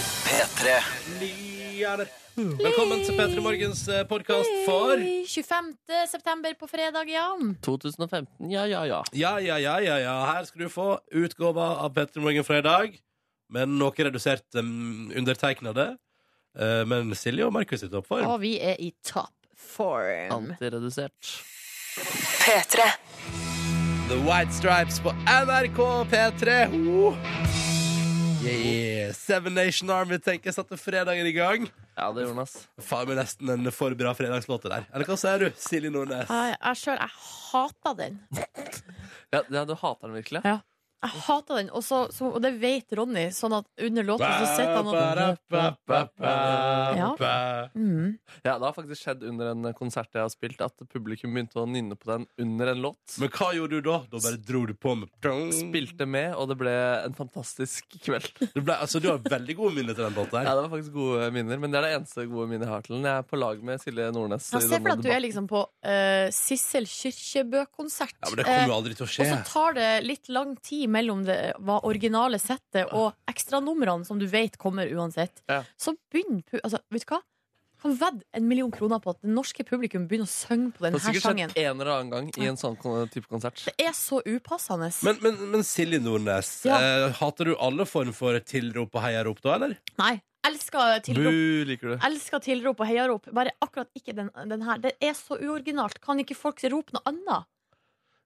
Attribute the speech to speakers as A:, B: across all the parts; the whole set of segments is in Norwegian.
A: P3.
B: Lyerne. Velkommen til P3 Morgens podkast for
C: 25. september på fredag, Jan.
D: 2015, ja, ja, ja.
B: Ja, ja, ja, ja, ja. Her skal du få utgåva av P3 Morgen fra i dag. Med noe redusert um, undertegnede. Eh, men Silje og Markus er i toppform.
C: Og vi er i top form.
D: Antiredusert.
E: P3.
B: The White Stripes på NRK P3. Ho! Yeah. Seven Nation Army tenkes at fredagen i gang.
D: Ja, det gjorde han, ass.
B: Faen meg nesten en for bra fredagslåt det der. Eller hva sier du, Silje Nordnes?
C: Jeg, jeg sjøl, jeg hata den.
D: Ja, ja, du hater den virkelig?
C: Ja. Jeg hata den, og, så, så, og det vet Ronny, sånn at under låten så sitter han og Ja.
B: Ba-ba-ba-ba-ba-ba.
C: mm.
D: Ja, det har faktisk skjedd under en konsert jeg har spilt, at publikum begynte å nynne på den under en låt.
B: Men hva gjorde du da? Da bare dro du på med
D: Spilte med, og det ble en fantastisk kveld.
B: Det ble, altså, Du har veldig gode minner til den låten
D: Ja,
B: her.
D: det var faktisk gode minner, men det er det eneste gode minnet jeg har til den. Jeg er på lag med Silje Nordnes. i
C: Jeg ser
D: denne
C: for deg at du
D: debatten.
C: er liksom på eh, Sissel Kyrkjebø-konsert. Eh,
B: Ja, Men det kommer jo aldri til å
C: Og
B: skje.
C: så tar det litt lang tid mellom det hva originale settet og ekstranumrene som du vet kommer uansett.
D: Ja.
C: Så begynner pu- altså, Vet du hva? Kan vedde en million kroner på at det norske publikum begynner å synge på
D: Det har
C: denne
B: sånn
D: sikkert
C: sangen.
D: skjedd en eller annen gang i en sånn kon- type konsert.
C: Det er så upassende.
B: Men, men, men Silje Nordnes,
C: Ja.
B: eh, hater du alle form for tilrop og heiarop da, eller?
C: Nei. Elsker tilrop.
D: Bu, liker du.
C: Elsker tilrop og heiarop. Bare akkurat ikke den, den her. Det er så uoriginalt. Kan ikke folk rope noe annet?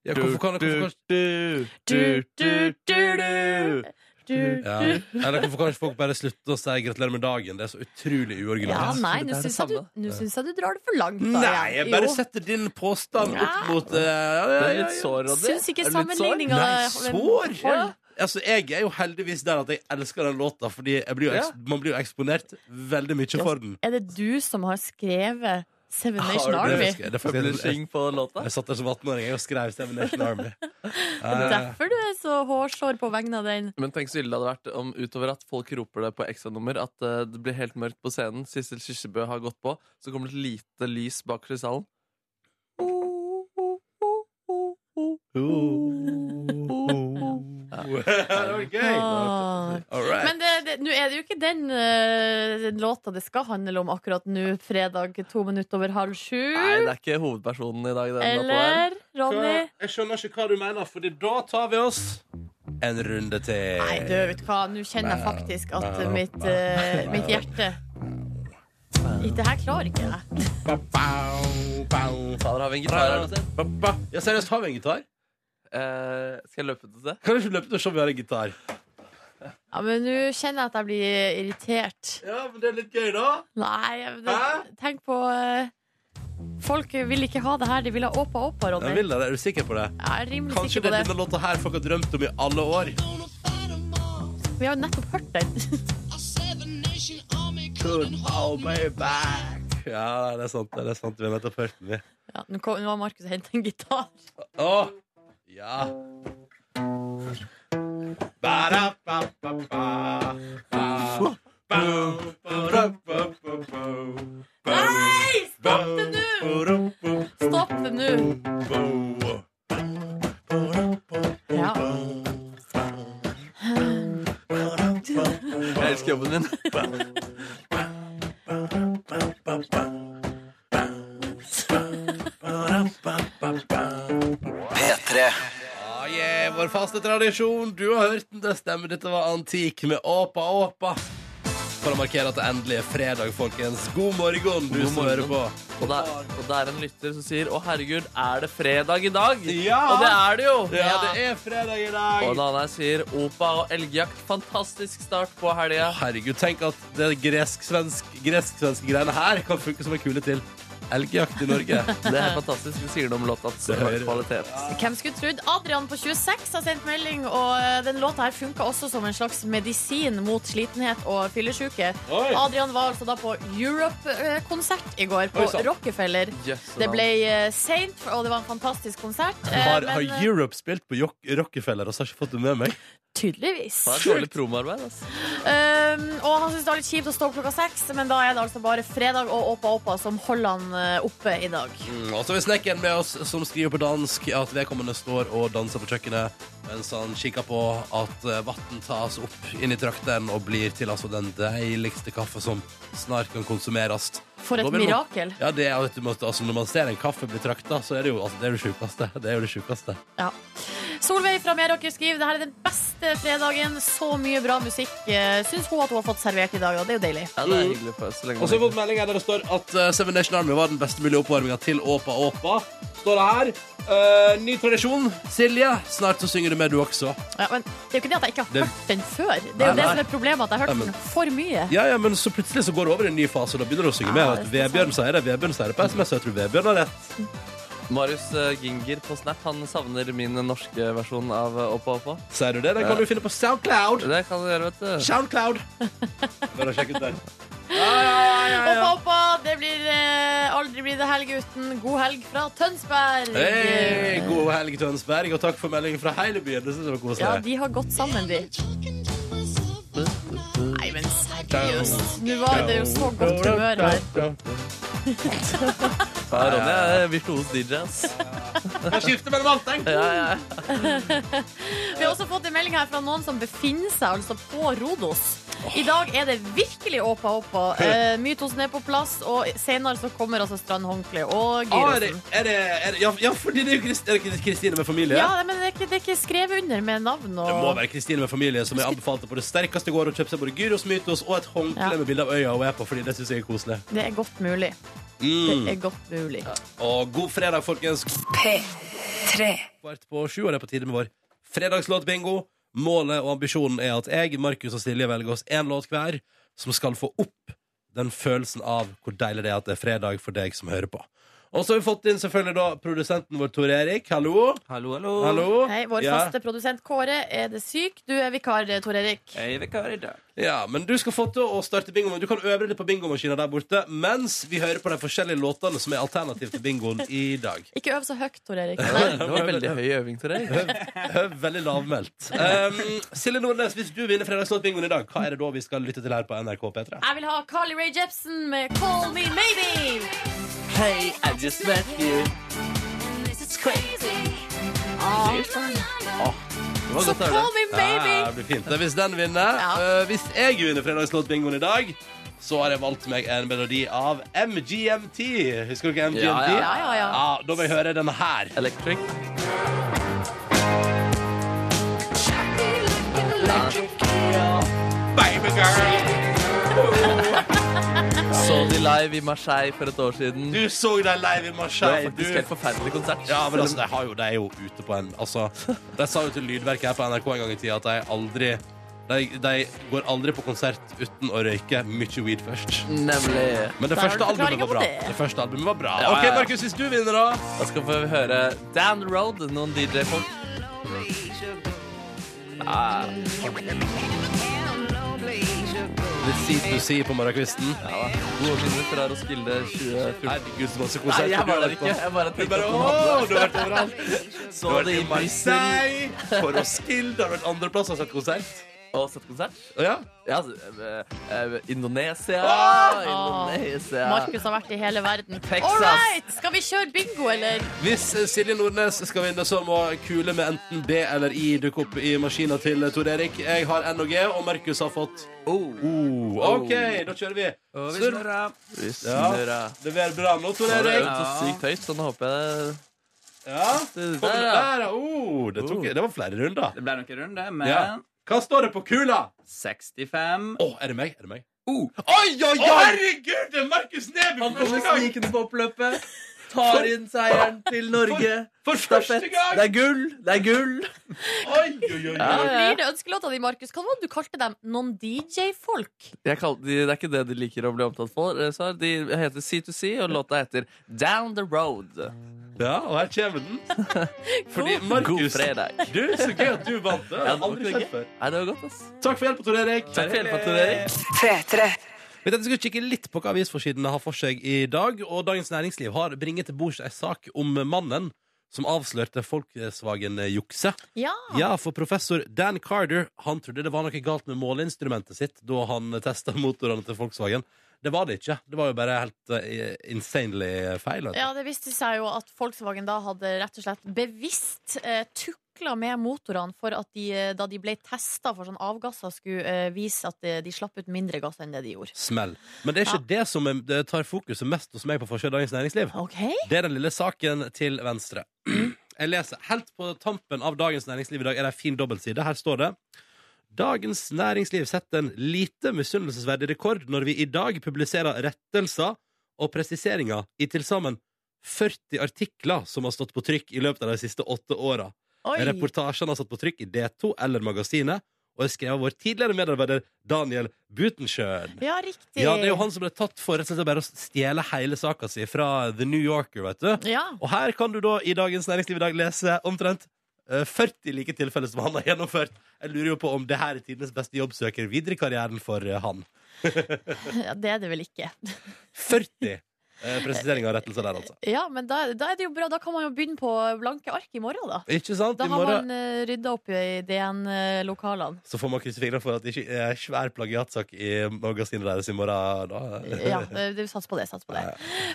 B: Ja, hvorfor kan, hvorfor, kan-
D: du,
C: Du, du, du, du. Du,
B: ja.
C: du.
B: Eller hvorfor kan ikke folk bare slutte å si gratulerer med dagen? Det er så utrolig
C: Ja,
B: uoriginalt.
C: nei,
D: det
C: nå
D: er det
C: syns jeg, du-
D: samme.
C: nå syns jeg du drar det for langt. da,
B: Nei,
C: igjen.
B: jeg bare
C: Jo.
B: setter din påstand opp
C: Ja.
B: mot eh, ja,
D: Det
B: ja,
D: er
B: ja,
D: litt
B: ja.
D: sår, Roddy.
C: Syns ikke
D: Er du litt sår?
C: sammenligninga
B: Nei, sår!
C: Ja.
B: Altså, jeg er jo heldigvis der at jeg elsker den låta, Fordi jeg blir jo eks- man blir jo eksponert veldig mye for den.
C: Er det du som har skrevet Seven
D: Har
C: Nation
D: du
C: Army?
B: Det er faktisk-
D: Publishing på låta?
B: Jeg satt der som 18-åring jeg, og skrev Seven Nation Army. Eh,
C: Derfor du er så hårsår på vegne av den.
D: Men tenk så ille det hadde vært om utover at folk roper det på ekstranummer, at eh, det blir helt mørkt på scenen, Sissel Kyrkjebø har gått på, så kommer det et lite lys bakerst i salen.
B: det var gøy!
C: Ah.
B: All right.
C: Men det, det, nå er det jo ikke den eh, låta det skal handle om akkurat nå, fredag to minutter over halv sju.
D: Nei, det er ikke hovedpersonen i dag. Den låta der.
C: Eller, Ronny?
B: Jeg skjønner ikke hva du mener, Fordi da tar vi oss en runde til.
C: Nei, du, vet du hva, nå kjenner jeg faktisk at mitt, eh, mitt hjerte Ikke, Det her klarer ikke jeg.
D: Fader, har vi en gitar her? også?
B: Ja, seriøst, har vi en gitar?
D: Eh, skal jeg løpe til det?
B: Kan du ikke løpe til å se om vi har en gitar?
C: Ja, men nå kjenner jeg at jeg blir irritert.
B: Ja, men det er litt gøy, da.
C: Nei, jeg- det,
B: Hæ?
C: tenk på eh, Folk vil ikke ha det her. De vil ha åpa åpa, Ronny.
B: Jeg vil det, Er du sikker på det?
C: Jeg er rimelig
B: Kanskje
C: sikker
B: det
C: på
B: er
C: det.
B: denne låta her folk har drømt om i alle år.
C: Vi har jo nettopp hørt den.
B: Ja, det er sant. det er sant Vi har nettopp hørt den, vi.
C: Ja, nå, kom, nå var Markus og henta en gitar.
B: Å! Ja. Ba-da, ba, ba, ba, ba. Ba, ba, ba, ba, ba, ba.
C: Nei! Stopp det nå!
B: Ba, ba,
C: Stopp det nå!
B: ba, ba.
C: Ja.
D: Jeg elsker jobben min.
A: P3.
B: Ah, yeah, vår faste tradisjon. Du har hørt den, det stemmer. Dette var Antik med Åpa Åpa. For å markere at det endelig er fredag, folkens. God morgen, du
D: God
B: som hører
D: morgen.
B: på.
D: Og det, er, og det er en lytter som sier 'Å, herregud, er det fredag i dag?'
B: Ja!
D: Og det er det jo!
B: Ja, det er fredag i dag.
D: Og en annen her sier 'Opa og elgjakt, fantastisk start på helga'.
B: Herregud, tenk at det gresk-svenske gresk greiene her kan funke som en kule til elgjakt i Norge.
D: Det er fantastisk. Det sier noe om låta
B: Det hører-
D: kvalitet.
C: Hvem skulle trodd? Adrian på 26 har sendt melding, og eh, den låta her funka også som en slags medisin mot slitenhet og fyllesyke.
B: Oi.
C: Adrian var altså da på Europe-konsert i går, på
B: Oi, sant.
C: Rockefeller.
D: Jøsse
C: Det
D: navn.
C: ble eh, seint, og det var en fantastisk konsert. eh,
B: Har,
C: men, eh,
B: har Europe spilt på Jok- Rockefeller, og så har jeg ikke fått det med meg?
C: Tydeligvis.
D: Det er dårlig promoarbeid. Altså.
C: Um, og han syns det er litt kjipt å stå opp klokka seks, men da er det altså bare fredag og Åpa Åpa som holder han eh, oppe i dag.
B: Mm, og så har vi snekkeren med oss som skriver på dansk at vedkommende står og danser på kjøkkenet mens han kikker på at eh, vann tas opp inn i trakteren og blir til altså den deiligste kaffe som snart kan konsumeres.
C: For et
B: Da vil man-
C: mirakel.
B: Ja, det er, vet du, måtte- altså, Når man ser en kaffe bli trakta, så er det jo altså, det, er det, sjukeste. det er jo det sjukeste.
C: Solveig fra Meråker skriver det her er den beste fredagen. Så mye bra musikk eh, syns hun at hun har fått servert i dag, og det er jo deilig.
D: Ja, det er hyggelig for oss. Så lenge
B: Og så har vi fått melding her der det står at eh, Seven Nation Army var den beste mulige oppvarminga til Åpa Åpa. Står det her. eh, ny tradisjon. Silje, snart så synger du med, du også.
C: Ja, men det er jo ikke det at jeg ikke har
B: Det-
C: hørt den før. Det
B: Nei,
C: er jo det
B: nei.
C: som er problemet, at jeg har
B: Nei,
C: hørt
B: men-
C: den for mye.
B: Ja, ja, men så plutselig så går det over i en ny fase, og da begynner du å synge med.
C: Ja,
B: og At
C: det er
B: Vebjørn sier Ah, det, Vebjørn sier det på SMS, og jeg tror Vebjørn har rett.
D: Marius eh, Ginger på Snap han savner min norske versjon av eh, Oppa Oppa.
B: Sier du det? Den kan du finne på Soundcloud.
D: Det kan du gjøre, vet du.
B: Soundcloud. Bare sjekk ut der.
C: Oppa, oppa, det blir eh, aldri blir det helg uten god helg fra Tønsberg.
B: Hei, god helg, Tønsberg, og takk for meldingen fra hele byen. Det synes jeg var
C: Ja,
B: koselig.
C: de har gått sammen, de. Nei, men seriøst. Nå var det jo så godt humør her.
D: Ja, Ronny er virtuos DJ, ass.
B: Jeg skifter mellom alt, tenk.
D: Ja, ja, ja.
C: Vi har også fått en melding her fra noen som befinner seg altså på Rodos. I dag er det virkelig åpa åpa. Eh, Mytosen er på plass, og senere så kommer altså strandhåndkle og
B: Ah, er det,
C: gyrosen.
B: er det, er det, ja, ja, fordi det er jo Krist- er det ikke Kristine med familie.
C: Ja, nei, men det er, ikke, det er ikke skrevet under med navn
B: Det må
C: og
B: være Kristine med familie som jeg anbefalte på det sterkeste i går å kjøpe seg både gyros, mytos og et håndkle
C: Ja.
B: med bilde av øya hun er på, fordi det syns jeg er koselig.
C: Det er godt mulig. Det
B: Mm.
C: er godt mulig.
B: Og god fredag, folkens.
E: P3.
B: Kvart på sju, og det er på tide med vår fredagslåtbingo. Målet og ambisjonen er at jeg, Markus og Silje velger oss én låt hver som skal få opp den følelsen av hvor deilig det er at det er fredag for deg som hører på. Og så har vi fått inn selvfølgelig da produsenten vår Tor Erik. Hallo.
A: Hallo, hallo.
B: Hallo.
C: Hei, vår
B: Ja.
C: faste produsent Kåre, er det syk? Du er vikar, eh, Tor Erik.
A: Jeg er vikar i dag.
B: Ja, men du skal få til å starte bingoen. Du kan øve litt på bingomaskina der borte mens vi hører på de forskjellige låtene som er alternativ til bingoen i dag.
C: Ikke øv så høyt, Tor Erik. Nei.
D: Det var veldig høy øving til deg.
B: Høv veldig lavmælt. Um, Silje Nordnes, hvis du vinner fredagslåtbingoen i dag, hva er det da vi skal lytte til her på NRK P3?
C: Jeg vil ha Carly Rae Jepsen med 'Call Me Maybe'.
A: Hey, I just met you.
D: Det var
C: Så
D: godt å
C: Call
D: høre.
C: Me Maybe!
B: Ja, Ah, det blir fint. Det er Hvis den vinner
C: Ah, Ja.
B: eh, Hvis jeg vinner fredagslåtbingoen i dag, så har jeg valgt meg en melodi av MGMT. Husker du ikke MGMT?
D: Ja, ja,
C: ja, ja.
B: Ah, Da må jeg høre denne her.
D: Electric. Så de live i Marseille for et år siden.
B: Du så deg live i
D: Det var
B: Marseille.
D: faktisk
B: du-
D: helt forferdelig konsert.
B: Ja, men altså, de, har jo, de er jo ute på en altså, De sa jo til Lydverket her på NRK en gang i tida at de aldri de, de går aldri på konsert uten å røyke mye weed først.
D: Nemlig.
B: Men det
C: Der har
B: første
C: du
B: albumet
C: forklaringen
B: var bra.
C: på det.
B: Det første albumet var bra.
D: Ja, ja,
B: OK,
D: ja.
B: Markus, hvis du vinner, da
D: Da skal vi høre Down the Road, noen DJ-folk. Ah, Ja.
B: Litt Seat to Sea på morgenkvisten.
D: Ja, Gode minner fra Roskilde 2014.
B: Herregud, så masse
D: Nei,
B: konserter
D: jeg var der
B: du
D: ikke.
B: har vært
D: Jeg
B: på.
D: bare
B: Du
D: tenkte
B: bare,
D: på
B: Åh,
D: noe.
B: du har vært overalt. Du
D: Så
B: har
D: det
B: vært i
D: i Brussel.
B: Marseille, på Roskilde, har du vært andreplass og satt konsert.
D: Og sett konsert.
B: Å, Ja.
D: Ja, altså, eh, eh, Indonesia.
C: Ah!
D: Indonesia.
C: Markus har vært i hele verden.
D: Texas.
C: All right! Skal vi kjøre bingo, eller?
B: Hvis eh, Silje Nordnes skal vinne, så må kule med enten B eller I dukke opp i maskina til Tor Erik. Jeg har N og G, og Markus har fått
D: Oh.
B: O. OK, da kjører Oh, vi. Snurr.
D: Vi
B: Ja.
D: snurrer.
B: Leverer bra nå, Tor
D: Det er
B: Erik.
D: jo så sykt høyt, så nå håper jeg
B: Ja.
D: Det
B: Kom,
D: der,
B: der,
D: ja.
B: ja. O. det, tok, det var flere runder.
A: Det ble nok en runde, men
B: Ja. Hva står det på kula?
A: 65
B: Å, er det meg? Er det meg?
D: Oh.
A: O.
B: Oi, oi, oi! herregud, det er Markus Neby for første gang!
D: snikende på oppløpet. Tar inn seieren til Norge.
B: For første gang!
D: er gull! Det er gull!
B: Oi, oi, oi,
D: Ja,
B: oi.
D: ja.
C: Blir det ønskelåta di, Markus? Hva var det du kalte dem? Non-DJ-folk?
D: Jeg kall- de, det er ikke det de liker å bli omtalt for. eh, Sar. De heter C2C, og låta heter Down the Road.
B: Ja, og her kommer den. Fordi
D: God
B: Markus
D: fredag.
B: Du, så gøy at du vant. Det har
D: Ja,
B: jeg aldri
D: det var
B: sett før.
D: Nei, det var godt, ass.
B: Takk for hjelpa, Tor Erik.
D: Takk for hjelpa til dere.
E: P3.
B: Vi tenkte vi skulle kikke litt på hva avisforsidene har for seg i dag. Og Dagens Næringsliv har bringet til bords ei sak om mannen som avslørte Volkswagen-jukset.
C: Ja.
B: Ja, for professor Dan Carter Han trodde det var noe galt med måleinstrumentet sitt da han testa motorene til Volkswagen. Det var det ikke. Det var jo bare helt eh, insanely feil. vet du.
C: ja, det viste seg jo at Volkswagen da hadde rett og slett bevisst eh, tukla med motorene for at de, eh, da de ble testa for sånn avgasser, skulle eh, vise at de, de slapp ut mindre gass enn det de gjorde.
B: Smell. Men det er ikke det som eh, det tar fokuset mest hos meg på Forskjell Dagens Næringsliv.
C: OK?
B: Det er den lille saken til venstre. Jeg leser helt på tampen av Dagens Næringsliv i dag. Er det en fin dobbeltside? Her står det Dagens Næringsliv setter en lite misunnelsesverdig rekord når vi i dag publiserer rettelser og presiseringer i til sammen 40 artikler som har stått på trykk i løpet av de siste åtte åra.
C: Oi.
B: Reportasjene har satt på trykk i D2 eller Magasinet og er skrevet av vår tidligere medarbeider Daniel Butenschøn.
C: Ja, riktig.
B: Ja, det er jo han som ble tatt for rett og slett bare å stjele hele saka si fra The New Yorker, vet du.
C: Ja.
B: Og her kan du da i Dagens Næringsliv i dag lese omtrent eh, 40 like tilfeller som han har gjennomført. Jeg lurer jo på om det her er tidenes beste jobbsøker videre i karrieren for eh, han.
C: Ja, det er det vel ikke.
B: 40 eh, presiseringer og rettelser der, altså.
C: Ja, men da, da er det jo bra. Da kan man jo begynne på blanke ark i morgen, da.
B: Ikke sant?
C: Da
B: I
C: har
B: morgen
C: man uh, rydda opp i eh, DN-lokalene.
B: så får man krysse fingrene for at det ikke er svær plagiatsak i magasinet deres i morgen. Da.
C: Ja, eh, du sats på det. Sats på det.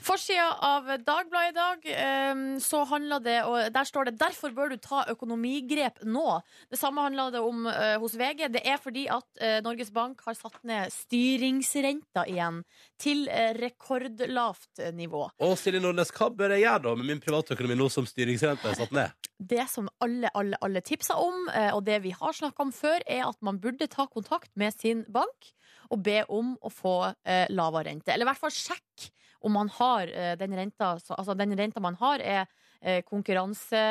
C: Forsida av Dagbladet i dag, eh, så handler det og Der står det 'Derfor bør du ta økonomigrep nå'. Det samme handler det om eh, hos VG. Det er fordi at eh, Norges Bank har satt ned styringsrenta igjen til eh, rekordlavt nivå.
B: Og Silje Nordnes, hva bør jeg gjøre da med min privatøkonomi nå som styringsrenta er satt ned?
C: det som alle, alle, alle tipsa om, eh, og det vi har snakka om før, er at man burde ta kontakt med sin bank og be om å få eh, lavere rente. Eller i hvert fall sjekk om man har eh, den renta så- Altså den renta man har, er eh,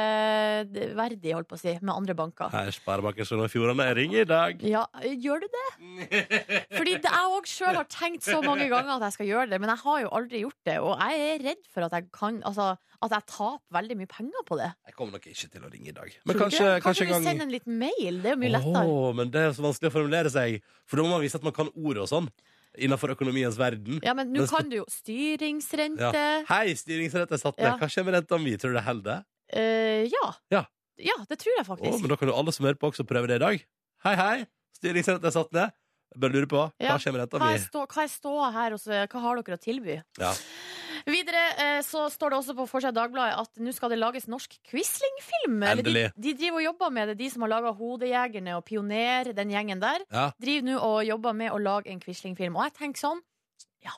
C: konkurranseverdig, holdt på å si, med andre banker.
B: Her Sparebanken Sogn og Fjordane jeg ringer i dag.
C: Ja, gjør du det? Fordi det jeg òg sjøl har tenkt så mange ganger at jeg skal gjøre det, men jeg har jo aldri gjort det. Og jeg er redd for at jeg kan Altså at jeg taper veldig mye penger på det.
B: Jeg kommer nok ikke til å ringe i dag. Men
C: Tror du
B: kanskje,
C: det?
B: kanskje en
C: vi
B: gang
C: sender en liten mail? Det er jo mye lettere.
B: Åh, men det er så vanskelig å formulere seg. For da må man vise at man kan ord og sånn. Innenfor økonomiens verden.
C: Ja, men nå
B: Men-
C: kan du jo styringsrente.
B: Ja.
C: Ja.
B: Hei, styringsrett er satt ned.
C: Ja.
B: Hva skjer med renta mi? Tror du det holder?
C: Eh, ja.
B: Ja.
C: Ja, det tror jeg
B: Å,
C: faktisk.
B: men da kan jo alle som hører på, også prøve det i dag. Hei, hei. Styringsrett er satt ned. Jeg Bare lurer på hva
C: Ja.
B: skjer med renta
C: Hva
B: mi?
C: er, stå, hva er ståa her, og så, hva har dere å tilby?
B: Ja.
C: Videre eh, så står det også på Forsida Dagbladet at nå skal det lages norsk Quisling-film. Eller De,
B: Endelig.
C: de driver og jobber med det, de som har laga Hodejegerne og Pioner, den gjengen der.
B: Ja.
C: Driver nå og jobber med å lage en Quisling-film. Og jeg tenker sånn Ja,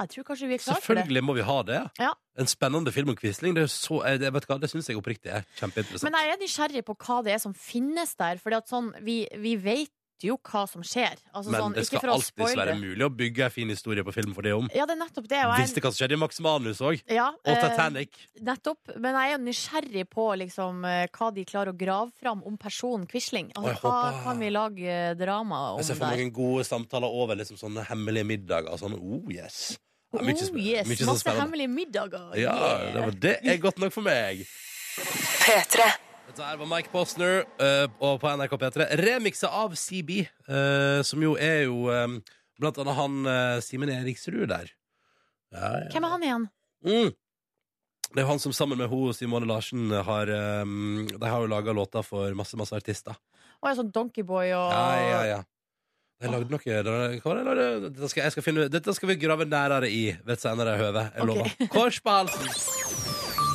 C: jeg tror kanskje vi er klare for det.
B: Selvfølgelig må vi ha det.
C: Ja.
B: En spennende film om Quisling. Det, er jo så- eh, det, vet du hva, det syns jeg oppriktig er kjempeinteressant.
C: Men jeg er nysgjerrig på hva det er som finnes der. Fordi at sånn, vi, vi vet jo hva som skjer. Altså,
B: Men
C: sånn,
B: det skal
C: ikke for å
B: alltid
C: spoile.
B: være mulig å bygge en fin historie på film for det om.
C: Ja, det er nettopp det. Og
B: Visste
C: jeg,
B: hva som skjedde i Max Manus òg.
C: ja,
B: Og
C: eh,
B: Titanic.
C: nettopp. Men jeg er jo nysgjerrig på liksom, eh, hva de klarer å grave fram om personen Quisling.
B: Og
C: Altså,
B: jeg
C: hva
B: håper-
C: kan vi lage eh, drama om
B: Jeg ser for
C: der?
B: meg noen gode samtaler over liksom sånne hemmelige middager. og Sånn, oh yes. Ja, mye
C: oh,
B: spen-
C: yes,
B: mye sånn
C: Masse
B: spennende.
C: hemmelige middager.
B: Ja,
C: yeah.
B: det, var, det er godt nok for meg.
E: P3.
B: Dette her var Mike Posner eh, og på NRK P3. Remiksa av CB, eh, som jo er jo eh, blant annet han eh, Simen Eriksrud der. Ja, ja.
C: Hvem er han igjen?
B: Mm. Det er jo han som sammen med hun, Simone Larsen har eh, De har jo laga låter for masse, masse artister.
C: Å, ja, sånn Donkeyboy og
B: Ja, ja, ja. Jeg lagde noe det- hva var det jeg lagde? Dette skal, jeg skal finne, dette skal vi grave nærere i ved et senere høve. Jeg
C: Ok.
B: lover. Kors på halsen!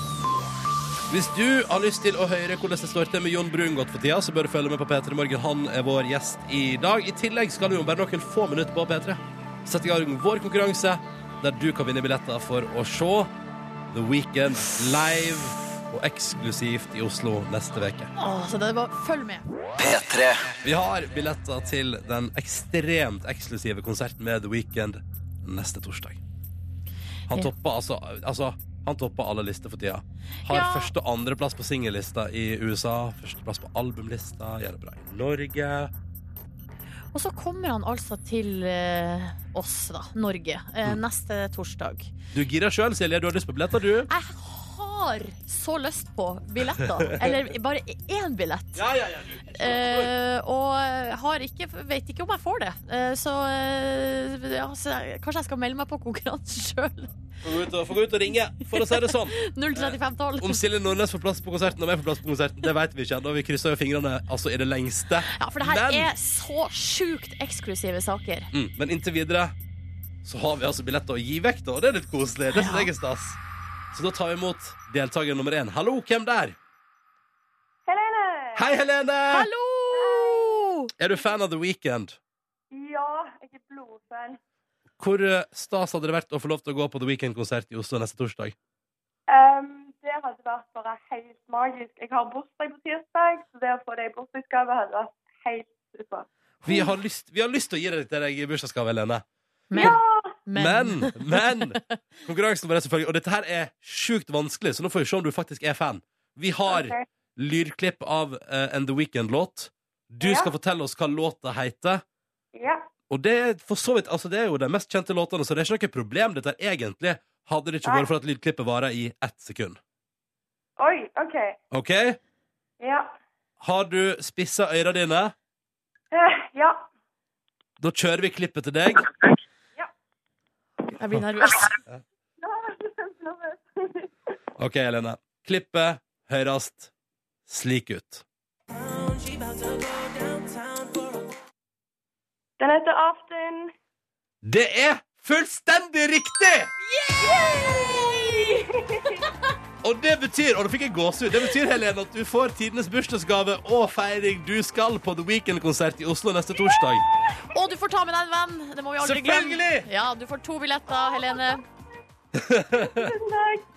B: Hvis du har lyst til å høre hvordan det står til med Jon Brungot for tida, så bør du følge med på P3 Morgen. Han er vår gjest i dag. I tillegg skal du om bare noen få minutter på P3 sette i gang vår konkurranse, der du kan vinne billetter for å se The Weekend live og eksklusivt i Oslo neste uke.
C: Å, så det var, følg med.
B: Vi har billetter til den ekstremt eksklusive konserten med The Weeknd neste torsdag. Han
C: Ja.
B: topper altså, altså han topper alle lister for tida. Har
C: Ja.
B: første- og andreplass på singellista i USA. Førsteplass på albumlista. Gjør det bra i Norge.
C: Og så kommer han altså til eh, oss, da. Norge. eh,
B: Mm.
C: Neste torsdag.
B: Du girer sjøl, Silje. Du har lyst på billetter, du?
C: Jeg har så lyst på billetter. Eller bare én billett. Eh, og har ikke, vet ikke om jeg får det. Eh, så eh, ja, så jeg- kanskje jeg skal melde meg på konkurranse sjøl.
B: Få gå ut og, få gå ut og ringe, for å si det sånn.
C: 03512.
B: Om Silje Nordnes får plass på konserten og jeg får plass på konserten, det vet vi ikke ennå. Vi krysser jo fingrene altså i det lengste.
C: Ja, for det her
B: Men-
C: er så sjukt eksklusive saker.
B: Mm. Men inntil videre så har vi altså billetter å gi vekk, da. Og det er litt koselig. Det synes jeg er stas. Så da tar vi imot deltaker nummer én. Hallo, hvem der?
F: Helene!
B: Hei, Helene!
C: Hallo!
B: Er du fan av The Weekend?
F: Ja, jeg er blodfan.
B: Hvor eh, stas hadde det vært å få lov til å gå på The Weekend-konsert i Oslo neste torsdag?
F: Ehm, det hadde vært bare helt magisk. Jeg har bursdag på tirsdag, så det å få det i bursdagsgave hadde vært helt super.
B: Vi har lyst, vi har lyst til å gi det til deg i bursdagsgave, Helene.
C: Men,
B: Men, men Konkurransen var det selvfølgelig. Og dette her er sjukt vanskelig, så nå får vi se om du faktisk er fan. Vi har
F: Ok.
B: lydklipp av eh, en The Weekend-låt. Du
F: Ja.
B: skal fortelle oss hva låta heter.
F: Ja.
B: Og det er for så vidt, altså det er jo de mest kjente låtene, så det er ikke noe problem dette her egentlig. Hadde det ikke
F: Nei.
B: vært for at lydklippet varer i ett sekund.
F: Oi, OK.
B: OK?
F: Ja.
B: Har du spissa øyra dine?
F: Eh, ja.
B: Da kjører vi klippet til deg.
C: jeg blir nervøs.
F: Nå er jeg kjempenervøs.
B: OK, Helene. Klippet høyrast slik ut.
F: Den heter Aften.
B: Det er fullstendig riktig! Og det betyr, og da fikk jeg gåsehud, det betyr Helene at du får tidenes bursdagsgave og feiring. Du skal på The Weekend-konsert i Oslo neste torsdag.
C: Og du får ta med deg en venn. Det må vi aldri glemme.
B: Selvfølgelig!
C: Ja, du får to billetter, Helene.
F: Tusen takk.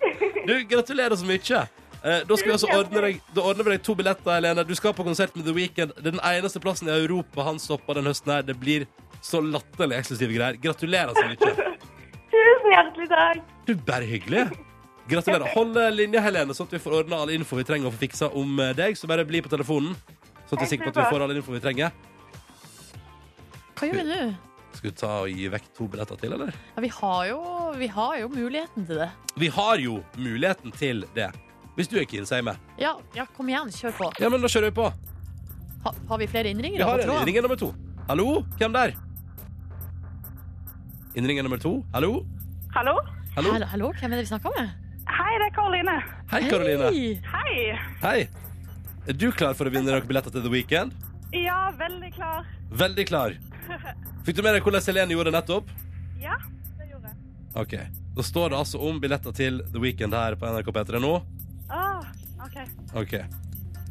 B: Du, gratulerer så mye. Eh, da skal vi altså ordne deg, da ordner vi deg to billetter, Helene. Du skal på konsert med The Weeknd. Det er den eneste plassen i Europa han stopper den høsten her. Det blir så latterlig eksklusive greier. Gratulerer så mye.
F: Tusen hjertelig takk.
B: Du, bare hyggelig. Gratulerer. Hold eh, linja, Helene, sånn at vi får ordna all info vi trenger å få fiksa om eh, deg. Så bare bli på telefonen, sånn at vi er sikre på at vi får all info vi trenger.
C: Hva gjør vi nå?
B: Skal du ta og gi vekk to billetter til, eller?
C: Ja, vi, har jo, vi har jo muligheten til det.
B: Vi har jo muligheten til det. Hvis du er keen, sier vi.
C: Ja, ja kom igjen, kjør på.
B: Ja, men da kjører vi på.
C: Ha, har vi flere innringere?
B: Vi har
C: på
B: en
C: tråden?
B: innringer nummer to. Hallo, hvem der? Innringer nummer to. Hallo?
G: Hallo?
B: Hallo?
C: Hallo, hallo, hvem er det vi snakker med?
G: Hei, det er Karoline.
B: Hei, Karoline. Hei.
C: Hei!
G: Hei.
B: Er du klar for å vinne noen billetter til The Weekend?
G: Ja, veldig klar.
B: Veldig klar. Fikk du med deg hvordan Helene gjorde det nettopp?
G: Ja, det gjorde jeg.
B: Ok. Da står det altså om billetter til The Weekend her på NRK P3 nå.
G: Ah, ok.
B: Ok.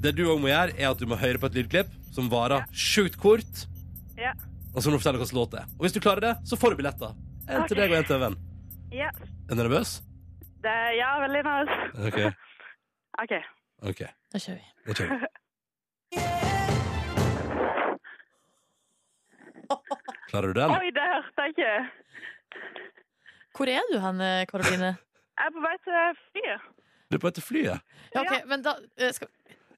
B: Det du òg må gjøre, er at du må høre på et lydklipp som varer sjukt kort.
G: Ja.
B: Og så må du fortelle hvilken låt det er. Og hvis du klarer det, så får du billetter. En til
G: Ok.
B: deg og en til en venn.
G: Ja,
B: Er du nervøs?
G: det er, ja veldig nervøs.
B: Ok.
G: Ok.
B: Ok.
C: Da kjører vi.
B: Da kjører vi. Klarer du den?
G: Oi, det hørte jeg ikke.
C: Hvor er du hen, eh, Karoline?
G: Jeg er på vei til flyet.
B: Du er på etter flyet.
C: Ja, ok, men da eh, skal,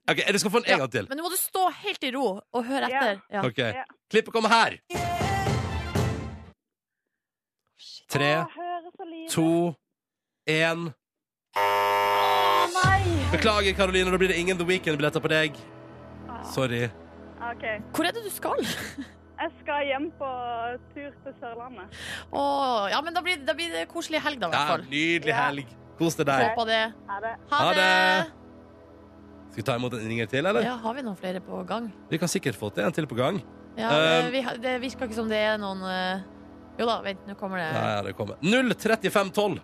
B: Ok, Du skal få den en gang til.
C: Men nå må du stå helt i ro og høre
G: Ja.
C: etter. Ja.
B: Ok, Klippet kommer her. Tre,
G: Jeg hører så lite.
B: to, én Beklager, Karoline. Da blir det ingen The Weekend-billetter på deg. Sorry.
G: Ah, Ok.
C: Hvor er det du skal?
G: Jeg skal hjem på tur til Sørlandet.
C: Å, ja, men da blir, da blir det koselig helg, da, i hvert
B: Ja,
C: fall.
B: nydelig
G: Ja.
B: helg. Kos deg der.
C: Håper det.
G: Ha det.
C: Ha
B: Ha
C: det!
B: det. Skal vi ta imot en ringer til, eller?
C: Ja, har vi noen flere på gang?
B: Vi kan sikkert få til en til på gang.
C: Ja, det,
B: Um,
C: vi, har- det virker ikke som det er noen eh, Jo da, vent, nå kommer det.
B: Ja, ja, det kommer. 03512.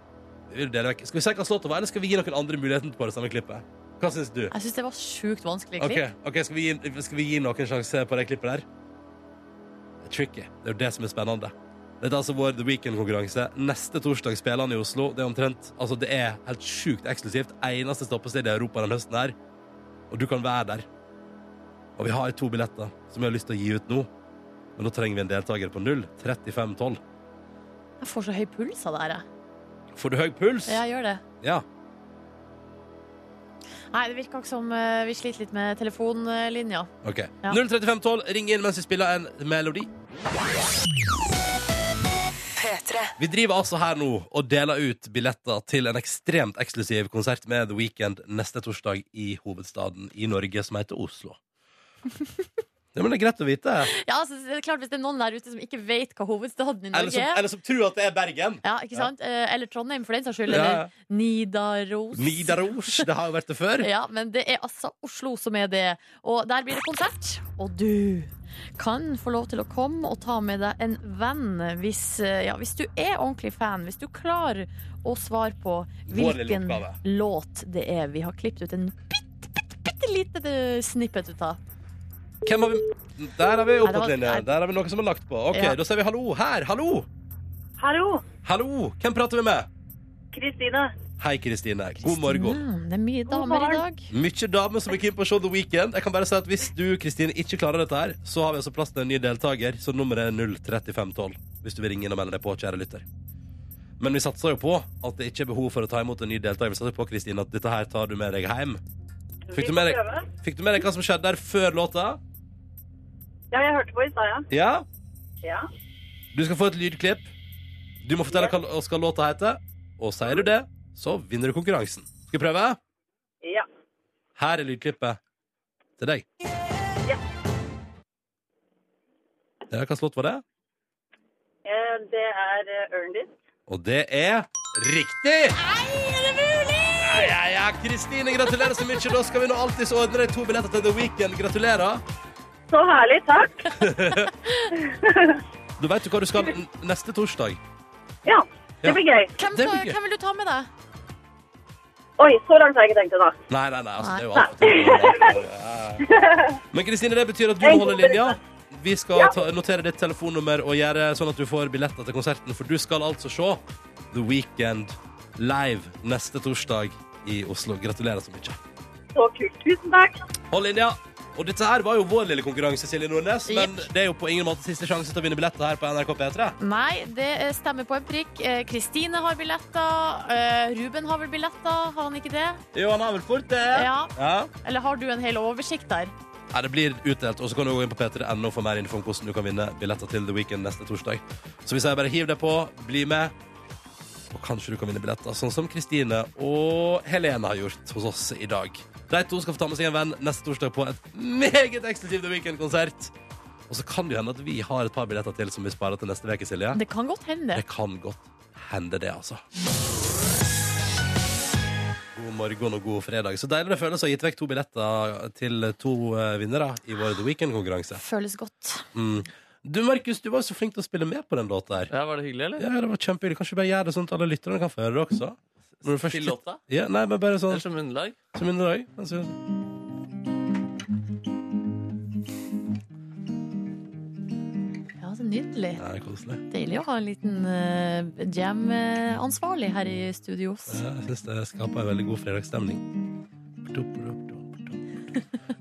B: Vi vil dele vekk. Skal vi se hva slått over, eller skal vi gi noen andre muligheten på det samme klippet? Hva syns du?
C: Jeg syns det var sjukt vanskelig
B: Ok,
C: klipp.
B: ok, skal, vi gi, skal vi gi noen sjanse på det klippet der? Det er tricky. Det er jo det som er spennende. Dette er altså vår The Weekend-konkurranse. Neste torsdag spiller han i Oslo. Det er omtrent, altså det er helt sjukt eksklusivt. Eneste stoppested i Europa den høsten her. Og du kan være der. Og vi har to billetter som vi har lyst til å gi ut nå. Men da trenger vi en deltaker på 03512.
C: Jeg får så høy puls av det her. jeg.
B: Får du høy puls?
C: Ja, jeg gjør det.
B: ja.
C: Nei, det virker ikke som eh, vi sliter litt med telefonlinja.
B: Ok.
C: Ja.
B: 03512, ring inn mens vi spiller en melodi.
E: P3.
B: Vi driver altså her nå og deler ut billetter til en ekstremt eksklusiv konsert med The Weekend neste torsdag i hovedstaden i Norge, som heter Oslo. Ja, men det er greit å vite.
C: Ja, altså, det er klart, Hvis det er noen der ute som ikke vet hva hovedstaden i
B: Eller
C: Norge
B: som,
C: er
B: eller som tror at det er Bergen.
C: ja, ikke sant? Eh, Eller Trondheim, for den saks skyld.
B: Ja.
C: Eller Nidaros.
B: Nidaros. Det har jo vært det før.
C: Ja, men det er altså Oslo som er det. Og der blir det konsert. Og du kan få lov til å komme og ta med deg en venn hvis, eh, ja, hvis du er ordentlig fan. Hvis du klarer å svare på
B: Vår lille
C: hvilken
B: oppgave.
C: låt det er. Vi har klippet ut en bitte, bitte, bitte lite eh, snippet ut av.
B: Hvem har vi Der har vi
C: det var-
B: opptatt-linje. Der har vi noen som har lagt på. OK,
C: Ja.
B: da sier vi hallo her. Hallo!
G: Hallo,
B: Hallo! Hvem prater vi med?
G: Kristine.
B: Hei, Kristine. God morgen.
C: Mm, det er mye damer i dag.
B: Mye damer som er keen på å se The Weekend. Jeg kan bare si at Hvis du Kristine, ikke klarer dette, her så har vi altså plass til en ny deltaker. Så nummeret er 03512 hvis du vil ringe inn og melde deg på, kjære lytter. Men vi satser jo på at det ikke er behov for å ta imot en ny deltaker. Vi satser på Kristine, at dette her tar du med deg hjem. Fikk du med deg, fikk du med deg hva som skjedde der før låta?
G: Ja, jeg hørte på i stad, ja.
B: Ja?
G: Ja.
B: Du skal få et lydklipp. Du må fortelle hva hva skal låta heter. Og sier du det, så vinner du konkurransen. Skal vi prøve?
G: Ja.
B: Her er lydklippet til deg.
G: Ja.
B: Ja, hva slags låt var det?
G: Eh, Det er eh, Ørndis.
B: Og det er riktig! Nei, er det mulig? Ja, ja, ja. Kristine, gratulerer så mye. Da skal vi nå alltid ordne deg to billetter til The Weekend. Gratulerer.
G: Så herlig, takk.
B: Du vet jo hva du skal n- neste torsdag.
G: Ja,
B: Ja.
G: det blir gøy.
C: Hvem,
B: Det er
C: skal,
B: mye.
C: hvem vil du ta med deg?
G: Oi, så langt har jeg ikke tenkt det, da.
B: Nei, nei, nei. Altså, det er jo
G: Nei.
B: alt. Ja, ja. Men Kristine, det betyr at du
G: Jeg
B: holder
G: håper
B: linja. Vi skal ta, notere ditt telefonnummer og gjøre sånn at du får billetter til konserten, for du skal altså se The Weekend live neste torsdag i Oslo. Gratulerer så mye.
G: Så kult. Tusen takk.
B: Hold linja. Og dette her var jo vår lille konkurranse, Silje Nordnes, men
C: Jepp.
B: det er jo på ingen måte siste sjanse til å vinne billetter her på NRK P3.
C: Nei, det eh, stemmer på en prikk. Eh, Kristine har billetter. eh, Ruben har vel billetter, har han ikke det?
B: Jo, han har vel fort det.
C: Ja.
B: ja.
C: Eller har du en hel oversikt der?
B: Ja, det blir utdelt, og så kan du gå inn på p3.no for mer info om hvordan du kan vinne billetter til The Weekend neste torsdag. Så hvis jeg bare hiver deg på, bli med, og kanskje du kan vinne billetter, sånn som Kristine og Helene har gjort hos oss i dag. De to skal få ta med seg en venn neste torsdag på et meget eksklusivt The Weekend-konsert. Og så kan det jo hende at vi har et par billetter til som vi sparer til neste uke, Silje.
C: Det kan godt hende.
B: Det kan godt hende det, altså. God morgen og god fredag. Så deilig det føles å ha gitt vekk to billetter til to eh, vinnere i vår The Weekend-konkurranse.
C: Føles godt.
B: Mm. Du, Markus, du var jo så flink til å spille med på den låta her.
D: Ja, Var det hyggelig, eller?
B: Ja, det var kjempehyggelig. Kanskje vi bare gjør det sånn at alle lytterne kan få høre det også? Når du først-
D: Til låta?
B: Ja, nei, men bare sånn
D: Eller som underlag?
B: som underlag. Altså.
C: Ja, det er Nydelig.
B: Ja, det er koselig.
C: Deilig å ha en liten eh, jam-ansvarlig her i studios.
B: Ja, jeg syns det skaper en veldig god fredagsstemning.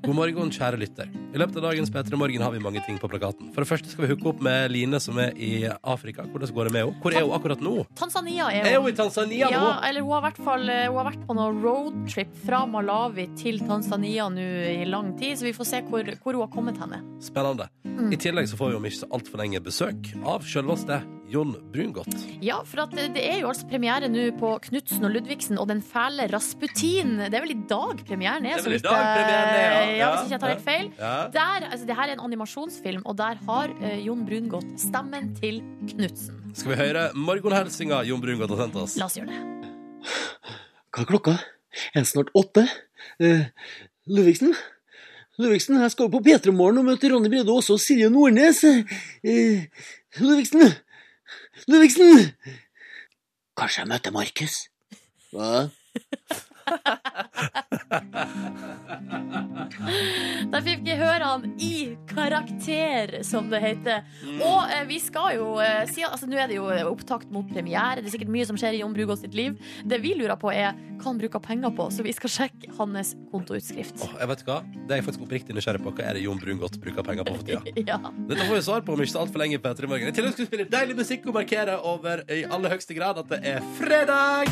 B: God morgen, kjære lytter. I løpet av dagens P3 Morgen har vi mange ting på plakaten. For det første skal vi hooke opp med Line, som er i Afrika. Hvordan går det med henne? Hvor er hun akkurat nå?
C: Tanzania er
B: Er
C: jo
B: hun i Tanzania nå?
C: ja, eller hun har, i hvert fall, eh, hun har vært på noen roadtrip fra Malawi til Tanzania nå i lang tid, så vi får se hvor, hvor hun har kommet henne.
B: Spennende. I tillegg så får vi om ikke så altfor lenge besøk av selveste Jon Brungot.
C: Ja, for at eh, det er jo altså premiere nå på Knutsen og Ludvigsen og Den fæle Rasputin. Det er vel i dag premieren
B: Det
C: er?
B: er
C: så
B: vel i
C: vidt
B: dag
C: jeg-
B: premieren er, ja.
C: ja.
B: Ja,
C: Hvis ikke jeg tar helt feil.
B: Ja.
C: Der, altså, det her er en animasjonsfilm, og der har eh, Jon Brungot stemmen til Knutsen.
B: Skal vi høre morgenhelsinga Jon Brungot har sendt oss?
C: La oss gjøre det.
H: Hva er klokka? Er det snart åtte? Eh, Ludvigsen? Ludvigsen, jeg skal jo på P3morgen og møte Ronny Brede Aase og Silje Nordnes. Eh, Ludvigsen! Ludvigsen! Kanskje jeg møter Markus? Hva?
C: Der fikk vi høre han i karakter, som det heter.
B: Mm.
C: Og eh, vi skal jo eh, si altså, Nå er det jo opptakt mot premiere. Det er sikkert mye som skjer i Jon Brungot sitt liv. Det vi lurer på, er hva han bruker penger på, så vi skal sjekke hans kontoutskrift.
B: Åh, jeg vet hva, Det er jeg faktisk oppriktig nysgjerrig på. Hva er det Jon Brungot bruker penger på for tida?
C: Ja.
B: Dette får vi svar på om ikke så altfor lenge. Petter, i morgen. I tillegg skal vi spille deilig musikk og markere over i aller høyeste grad at det er fredag!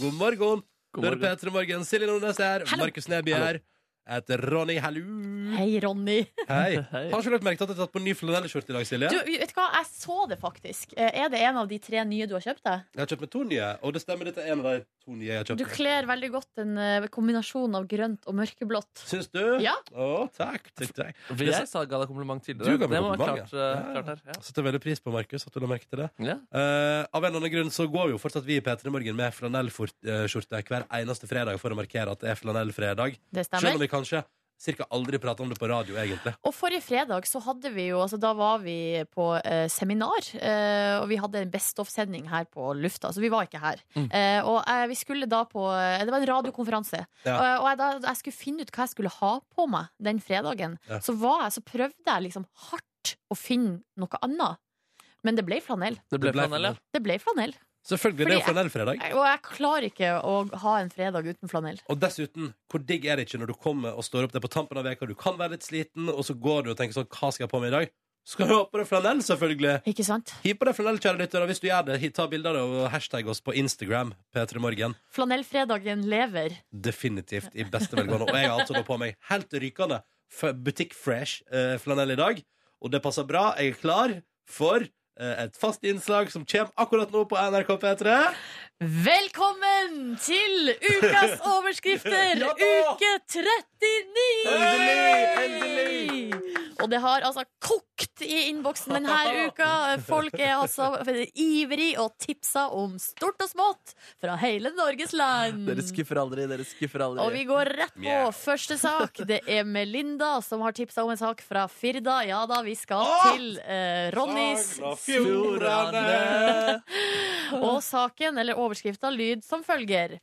B: God morgen.
D: God
B: Da er det
D: morgen.
B: P3 Morgen. Silje Nordnes er her.
C: Hallo.
B: Markus Neby er her. Jeg heter Ronny. Hallo.
C: Hei, Ronny.
B: Hei.
D: Hei.
B: Har ikke du lagt merke til at jeg har tatt på ny flanellskjorte i dag, Silje?
C: Du, vet du hva, jeg så det faktisk. Eh, Er det en av de tre nye du har kjøpt deg?
B: Jeg har kjøpt meg to nye, og det stemmer, dette er en av de To nye jeg har
C: Du
B: kjøpt.
C: kler veldig godt en eh, kombinasjon av grønt og mørkeblått.
B: Syns du?
C: Ja.
B: Å, takk. takk, takk.
D: For jeg sa ga deg kompliment
B: Du
D: tidligere.
B: ga meg
D: Det må være
B: kompliment,
D: klart,
B: ja.
D: eh,
B: Ja, ja.
D: klart her. Ja.
B: Jeg setter veldig pris på, Markus, at du la merke til det.
D: Ja.
B: Eh, av en eller annen grunn så går jo fortsatt vi i P3 Morgen med flanellskjorte eh, hver eneste fredag for å markere at det er flanellfredag.
C: Det
B: Selv
C: stemmer.
B: om vi kanskje cirka aldri prater om det på radio, egentlig.
C: Og forrige fredag så hadde vi jo altså Da var vi på eh, seminar, eh, og vi hadde en Best of-sending her på lufta. Så vi var ikke her.
B: Mm.
C: Eh, og eh, vi skulle da på eh, Det var en radiokonferanse.
B: Ja.
C: Og, og jeg, da jeg skulle finne ut hva jeg skulle ha på meg den fredagen,
B: Ja.
C: så, var jeg, så prøvde jeg liksom hardt å finne noe annet. Men det ble flanell.
D: Det ble
B: Det ble
D: flanell, ja.
C: Det ble flanell.
B: Selvfølgelig, det er jo flanellfredag.
C: Og jeg klarer ikke å ha en fredag uten flanell.
B: Og dessuten, hvor digg er det ikke når du kommer og står opp der på tampen av veka, du kan være litt sliten, og så går du og tenker sånn, hva skal jeg ha på meg i dag? Skal du ha på deg flanell, selvfølgelig?
C: Ikke sant?
B: Hiv på deg flanell, kjære lyttere, og hvis du gjør det, hi- ta bilder av det og hashtag oss på Instagram, P3morgen.
C: Flanellfredagen lever.
B: Definitivt i beste velgående. Og jeg har altså da på meg helt rykende f- Butikk Fresh eh, flanell i dag. Og det passer bra. Jeg er klar for eh, et fast innslag som kommer akkurat nå på NRK P3.
C: Velkommen til ukas overskrifter,
B: Ja da!
C: uke 39!
B: Endelig,
C: Og det har altså kokt i innboksen denne uka. Folk er altså ivrig og tipsa om stort og smått fra hele Norges land.
D: Dere skuffer aldri, dere skuffer aldri.
C: Og vi går rett på
B: Mjau.
C: første sak. Det er Melinda som har tipsa om en sak fra Firda. Ja da, vi skal
B: Åh!
C: til eh, Ronnys
B: Sogn og Fjordane.
C: Og saken, eller overskrifta, lyd som følger.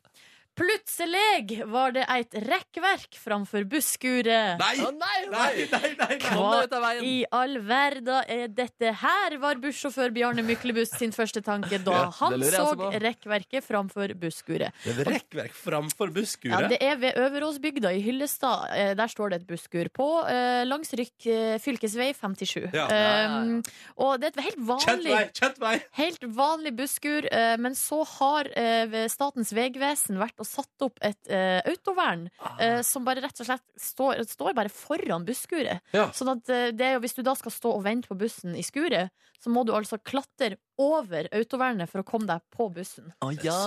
C: Plutseleg var det eit rekkverk framfor busskuret.
B: Nei!
D: Å, nei,
B: Nei, nei, nei, nei.
D: Kom deg ut av veien!
C: I all verda er dette her, var bussjåfør Bjarne Myklebust sin første tanke da
D: Ja, det
C: han
D: lurer jeg
C: så
D: også på.
C: rekkverket framfor busskuret.
B: Det er rekkverk framfor
C: Ja,
B: busskuret.
C: det er ved Øveråsbygda i Hyllestad. Eh, Der står det et busskur på eh, langs rykk eh, fylkesvei 57.
B: Ja.
C: Um, og det er et helt
B: Kjent
C: vanlig
B: vei! Kjent vei!
C: Helt vanlig busskur, eh, men så har eh, ved Statens vegvesen vært og satt opp et eh, autovern
B: Ah.
C: eh, som bare rett og slett står, står bare foran busskuret.
B: Ja.
C: Sånn at eh, det er jo, hvis du da skal stå og vente på bussen i skuret, så må du altså klatre over autovernet for å komme deg på bussen.
B: Ah.
D: Å, ja.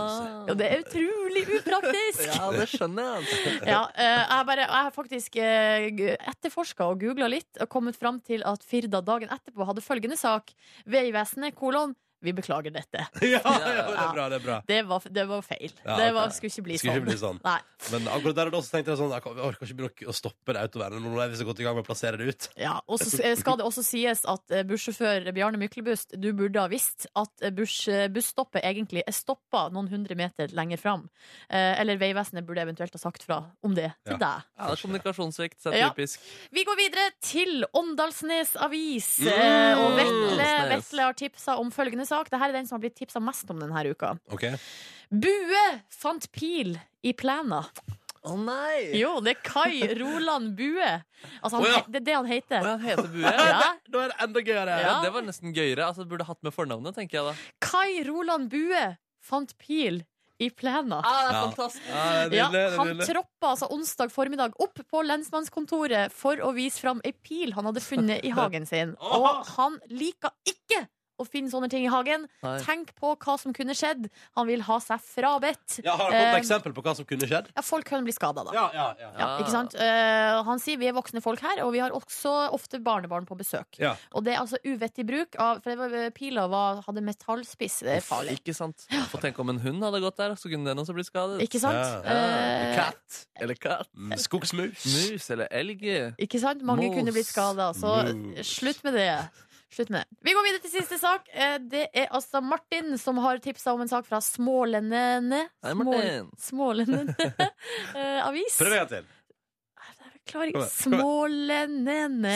C: Og det er utrolig upraktisk!
D: ja, det skjønner jeg. altså.
C: Ja, eh, jeg, bare, jeg har faktisk uh, etterforska og googla litt og kommet fram til at Firda dagen etterpå hadde følgende sak. Vegvesenet kolon vi beklager dette.
B: Ja, ja, det er bra, det er bra.
C: Det var, det var feil.
B: Ja,
C: det
B: ok.
C: var, skulle ikke bli
B: Skulle ikke bli sånn.
C: sånn. Nei.
B: Men akkurat der og da så tenkte jeg sånn Jeg kan- jeg orker ikke begynne å stoppe det autovernet nå når vi så godt i gang med å plassere det ut.
C: Ja, og så s- eh, skal det også sies at eh, bussjåfør Bjarne Myklebust, du burde ha visst at eh, buss, eh, busstoppet egentlig er stoppa noen hundre meter lenger fram. Eh, eller Vegvesenet burde eventuelt ha sagt fra om det til deg.
D: Ja, det er kommunikasjonssvikt. Det er
C: Ja.
D: typisk.
C: Vi går videre til Åndalsnes Avis.
B: Mm,
C: Eh, og Vetle,
D: Åndalsnes.
C: Vetle har tipsa om følgende sak. Dette er den som har blitt tipsa mest om denne uka.
B: Ok
C: Bue fant pil i plena.
D: Å nei!
C: Jo, det er Kai Roland Bue. Altså, han,
B: Å ja.
C: he- Det er det han heter.
D: Å, han heter Bue. Ja.
C: Ja.
B: Nå er det enda gøyere!
C: Ja.
D: det var nesten gøyere. Altså, burde hatt med fornavnet, tenker jeg da.
C: Kai Roland Bue fant pil i plena.
D: Ah, det er
B: Ja.
D: fantastisk
B: Ja, det er
C: Ja,
B: nydelig, det er
C: han
B: nydelig.
C: troppa altså onsdag formiddag opp på lensmannskontoret for å vise fram ei pil han hadde funnet i hagen sin. Og han liker ikke å finne sånne ting i hagen.
D: Nei.
C: Tenk på hva som kunne skjedd. Han vil ha seg frabedt.
B: Ja, har dere
C: Eh,
B: et eksempel på hva som kunne skjedd?
C: Ja, folk kan bli skada, da.
B: Ja, ja, ja.
C: Ja, ikke sant? Eh, han sier vi er voksne folk her, og vi har også ofte barnebarn på besøk.
B: Ja.
C: Og det er altså uvettig bruk av For det var, pila var, hadde metallspiss. Det er farlig.
D: Ikke sant? Få tenke om en hund hadde gått der, så kunne den også blitt skadet.
C: Ikke sant?
B: Ja.
C: Eh,
D: Katt. Eller katt.
B: Mm, Skogsmus.
D: Mus eller elg.
C: ikke sant? Mange
D: Mos.
C: kunne blitt skada, så
B: Mos.
C: slutt med det. Slutt med det. Vi går videre til siste sak. Eh, det er altså Martin som har tipsa om en sak fra Smålendene.
D: Hei, Martin.
C: Smålendene eh, avis.
B: Prøv en gang til.
C: Jeg klarer
B: Kom
C: ikke.
B: igjen, kom igjen.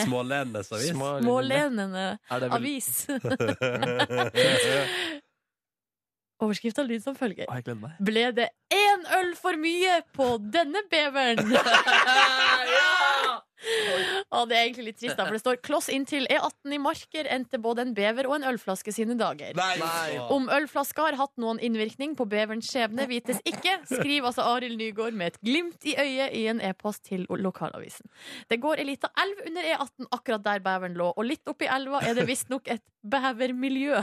C: Smålendene.
B: Smålenes avis.
D: Små-
C: Smålendene
D: Er det vel-
C: avis. Overskrifta lyd som følger.
D: Å, jeg gleder meg.
C: Ble det én øl for mye på denne beveren? Og det er egentlig litt trist, da, for det står kloss inntil E18 i Marker endte både en bever og en ølflaske sine dager.
B: Nei!
C: Om ølflaska har hatt noen innvirkning på beverens skjebne, vites ikke, skriver altså Arild Nygaard med et glimt i øyet i en e-post til lokalavisen. Det går ei lita elv under E18 akkurat der beveren lå, og litt oppi elva er det visstnok et bevermiljø.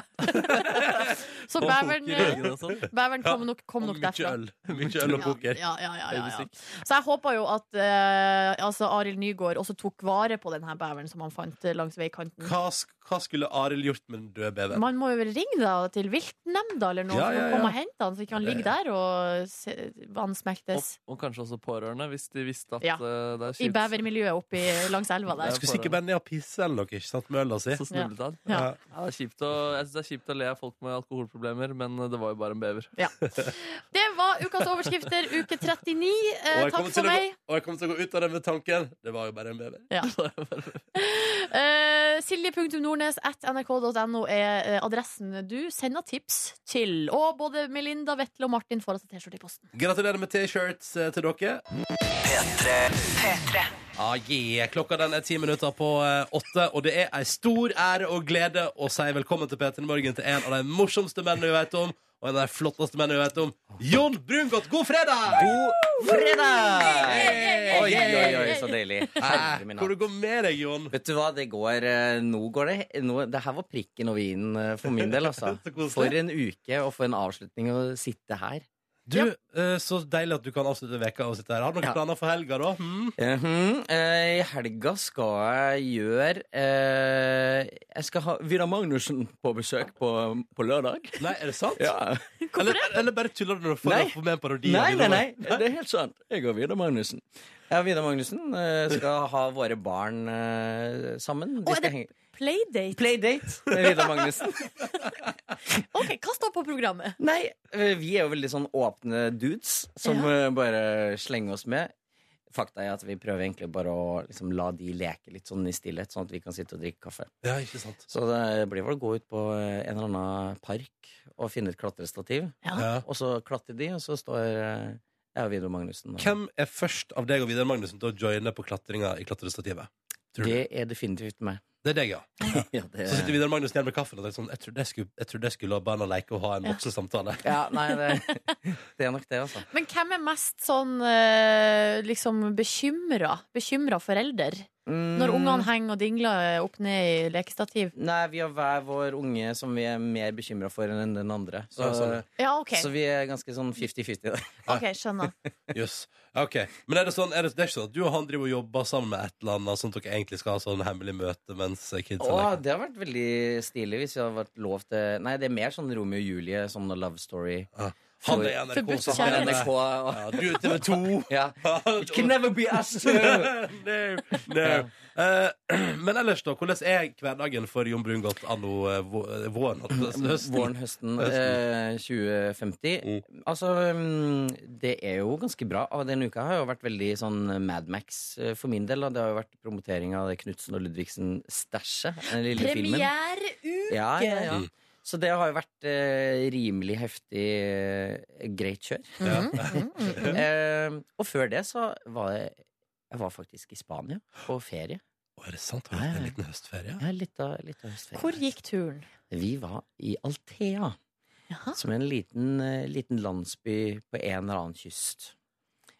C: Så
B: Og
C: beveren,
B: poker i ryggen og sånn.
C: beveren kom nok, kom
B: Og
C: nok
B: mye
C: derfra.
B: øl. Mye øl og poker.
C: Ja, ja, ja, ja, ja.
B: Øyemusikk.
C: Så jeg håper jo at eh, altså Arild Nygaard også tok vare på den her beveren som han fant eh, langs veikanten.
B: Hva, sk- hva skulle Arild gjort med den døde beveren?
C: Man må jo vel ringe da til viltnemnda eller noe,
B: Ja,
C: for
B: ja,
C: å
B: ja.
C: komme og hente han, så ikke han ligger der og se-
D: Og,
C: vansmektes
D: og kanskje også pårørende, hvis de visste at
C: Ja.
D: eh, det er
C: i
D: kjipt.
C: bevermiljøet oppi langs elva
D: Ja,
C: der.
B: Skulle sikkert bare ned og pisse eller noe, ikke sant? Med øla si.
D: Så snublet han.
C: Ja.
B: Ja.
D: Ja, det er kjipt å, jeg synes det er kjipt å le av folk med alkoholproblemer, men det var jo bare en bever.
C: Det var ukas overskrifter, uke 39.
B: Og
C: Eh,
B: jeg
C: takk
B: kommer til
C: for
B: å gå-
C: meg.
B: Og jeg kommer til å gå ut av den med tanken. Det var jo bare en bever.
C: Eh, Silje.nordnes at nrk.no er eh, adressen du sender tips til. Og både Melinda, Vetle og Martin får altså T-skjorte i posten.
B: Gratulerer med T-shirts eh, til dere. Ah, yeah. Klokka den er ti minutter på eh, åtte, og det er ei stor ære og glede å si velkommen til P3 Morgen til en av de morsomste mennene vi vet om, og en av de flotteste mennene vi vet om. Jon Brungot, god fredag!
A: God fredag! Oi, oi, oi, så deilig. Herre
B: Eh,
A: min
B: Hvor
A: hatt.
B: det går med deg, Jon?
A: Vet du hva, det går eh, Nå går det nå, Det her var prikken over i-en eh, for min del, altså.
B: Så koselig.
A: For en uke og for en avslutning å sitte her.
B: Du, eh, Så deilig at du kan avslutte veka og sitte her. Har du noen
A: Ja.
B: planer for helga, da? Hm?
A: Mhm. Eh, I helga skal jeg gjøre eh, Jeg skal ha Vidar Magnussen på besøk på, på lørdag.
B: Nei, er det sant?
A: Ja.
B: Eller, eller bare tuller du når du får
A: Nei.
B: får med en parodi? av
A: Nei, nei,
B: Vidar
A: nei,
B: Magnussen?
A: det er helt sant. Jeg og Vidar Magnussen. Jeg og Vidar Magnussen eh, skal ha våre barn eh, sammen.
C: Å,
A: Vi
C: er det-
A: skal henge
C: Playdate.
A: Playdate med Vidar Magnussen.
C: Ok, Hva står på programmet?
A: Nei, eh, vi er jo veldig sånn åpne dudes som
C: Ja.
A: eh, bare slenger oss med. Fakta er at vi prøver egentlig bare å liksom, la de leke litt sånn i stillhet, sånn at vi kan sitte og drikke kaffe.
B: Ja, ikke sant.
A: Så det blir vel å gå ut på eh, en eller annen park og finne et klatrestativ.
B: Ja.
A: Og så klatre de, og så står eh, jeg og Vidar Magnussen. Og
B: Hvem er først av deg og Vidar Magnussen til å joine på klatringa i klatrestativet? Tror du?
A: det Eh. er definitivt meg.
B: Det er deg, ja.
A: Ja, det,
B: Så sitter Vidar Magnussen igjen med kaffen og tenker sånn Jeg trodde jeg skulle, jeg trodde jeg skulle la barna leke og ha en voksen samtale.
A: ja, nei, det, det er nok det, altså.
C: Men hvem er mest sånn eh, liksom bekymra? Bekymra forelder?
A: Mm,
C: Når ungene henger og dingler eh, opp ned i lekestativ?
A: Nei, vi har hver vår unge som vi er mer bekymra for enn den andre. Så,
B: Ja, sånn,
C: Ja, OK.
A: så vi er ganske sånn 50-50 der.
C: ok, Skjønner.
B: Jøss. Ja, Ok. Men er det sånn, er det, det er ikke sånn at du og han driver og jobber sammen med et eller annet, sånn at dere egentlig skal ha sånn hemmelig møte mens kidsa
A: Å,
B: leker?
A: det har vært veldig stilig hvis det har vært lov til Nei, det er mer sånn Romeo og Julie, sånn love story.
B: Han er i NRK,
C: Forbudt
B: så han er
A: NRK
B: der.
A: og
B: Ja, du er TV 2.
A: ja. It can never be us two!
B: no, no. Eh, men ellers, da? Hvordan er hverdagen for Jon Brungot anno eh, vå- eh, våren? Altså, høsten?
A: Våren, høsten eh, 2050. Altså, mm, det er jo ganske bra. Og denne uka har jo vært veldig sånn Mad Max eh, for min del. Og det har jo vært promotering av det Knutsen og Ludvigsen-stæsjet. Den lille filmen.
C: Premiereuke!
A: Ja, ja, ja. Så det har jo vært eh, rimelig heftig eh, greit kjør.
C: Mm.
B: Mm.
A: Eh, og før det så var jeg jeg var faktisk i Spania på ferie.
B: Å, er det sant? Har du hatt en liten høstferie?
A: Ja, litt av, litt av høstferie.
C: Hvor gikk turen?
A: Vi var i Altea,
C: Jaha.
A: som er en liten, eh, liten landsby på en eller annen kyst.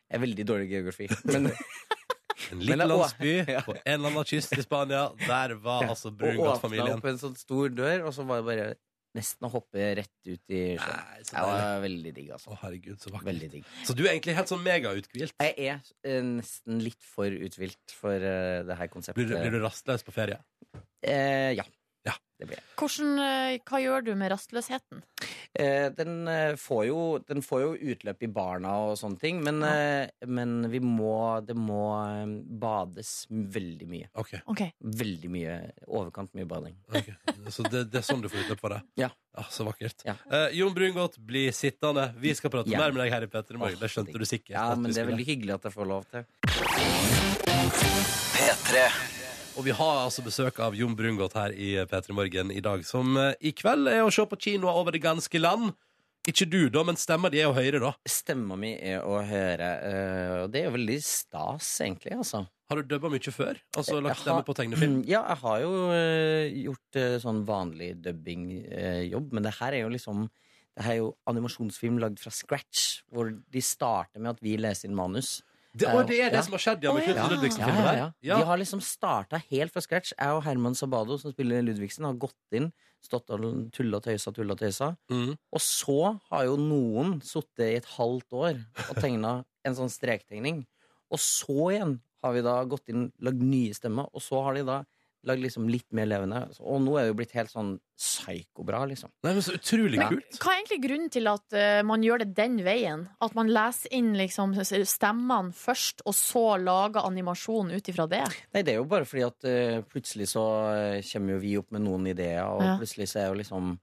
A: Jeg er veldig dårlig i geografi,
B: En
A: men Men det
B: liten
A: er å-
B: landsby
A: Ja.
B: på en eller annen kyst i Spania. Der var altså
A: og åpnet
B: Brungot-familien.
A: opp en sånn stor dør, og så var det bare nesten å hoppe rett ut i sjøen.
B: Nei, så
A: Det
B: deilig.
A: var veldig digg,
B: Å,
A: altså.
B: herregud, så vakkert.
A: Veldig digg.
B: Så du er egentlig helt sånn megauthvilt?
A: Jeg er eh, nesten litt for uthvilt for eh, det her konseptet.
B: Blir, du- blir du rastløs på ferie?
A: Eh, ja.
B: Ja.
A: Det blir jeg.
C: Hvordan, eh, hva gjør du med rastløsheten?
A: Eh, den, eh, får jo, den får jo utløp i barna og sånne ting, men, eh, men vi må Det må eh, bades veldig mye.
B: Ok,
C: Ok,
A: Veldig mye. Overkant mye bading.
B: ok. Så det, det er sånn du får utløp for det?
A: Ja.
B: Så vakkert.
A: Ja.
B: Eh, Jon Brungot, bli sittende. Vi skal prate
A: Ja.
B: mer med deg her i Petter i morgen.
A: Åh,
B: Det skjønte
A: digg.
B: du sikkert.
A: Ja,
B: at vi
A: men det er
B: skulle.
A: veldig hyggelig at jeg får lov til.
B: Og vi har altså besøk av Jon Brungot her i P3 Morgen i dag, som eh, i kveld er å se på kinoer over det ganske land. Ikke du, da, men stemmer de er jo høyere, da.
A: Stemma mi er å høre, eh, og det er jo veldig stas, egentlig, altså.
B: Har du dubba mye før? Altså lagt
A: Jeg har- Mm.
B: stemme på tegnefilm?
A: Ja, jeg har jo eh, gjort eh, sånn vanlig dubbingjobb, men det her er jo liksom det her er jo animasjonsfilm lagd fra scratch, hvor de starter med at vi leser inn manus.
B: Det, og det er det
A: Ja.
B: som har skjedd ja, med
C: Å, ja.
B: Knut og
A: Ja, ja,
B: Ludvigsen-filmen
A: ja.
B: Ja.
A: De har liksom starta helt fra scratch. Jeg og Herman Sabado, som spiller Ludvigsen, har gått inn, stått og tulla og tøysa, tulla og
B: der.
A: tøysa.
B: Mm.
A: Og så har jo noen sittet i et halvt år og tegna en sånn strektegning. Og så igjen har vi da gått inn, lagd nye stemmer, og så har de da lagd liksom litt mer levende. Og nå er det jo blitt helt sånn psykobra, liksom.
B: Nei, men så utrolig
C: Men
B: kult.
C: hva er egentlig grunnen til at eh, man gjør det den veien? At man leser inn liksom, stemmene først, og så lager animasjon ut ifra det?
A: Nei, det er jo bare fordi at eh, plutselig så eh, kommer jo vi opp med noen ideer, og
C: Ja.
A: plutselig så er jo liksom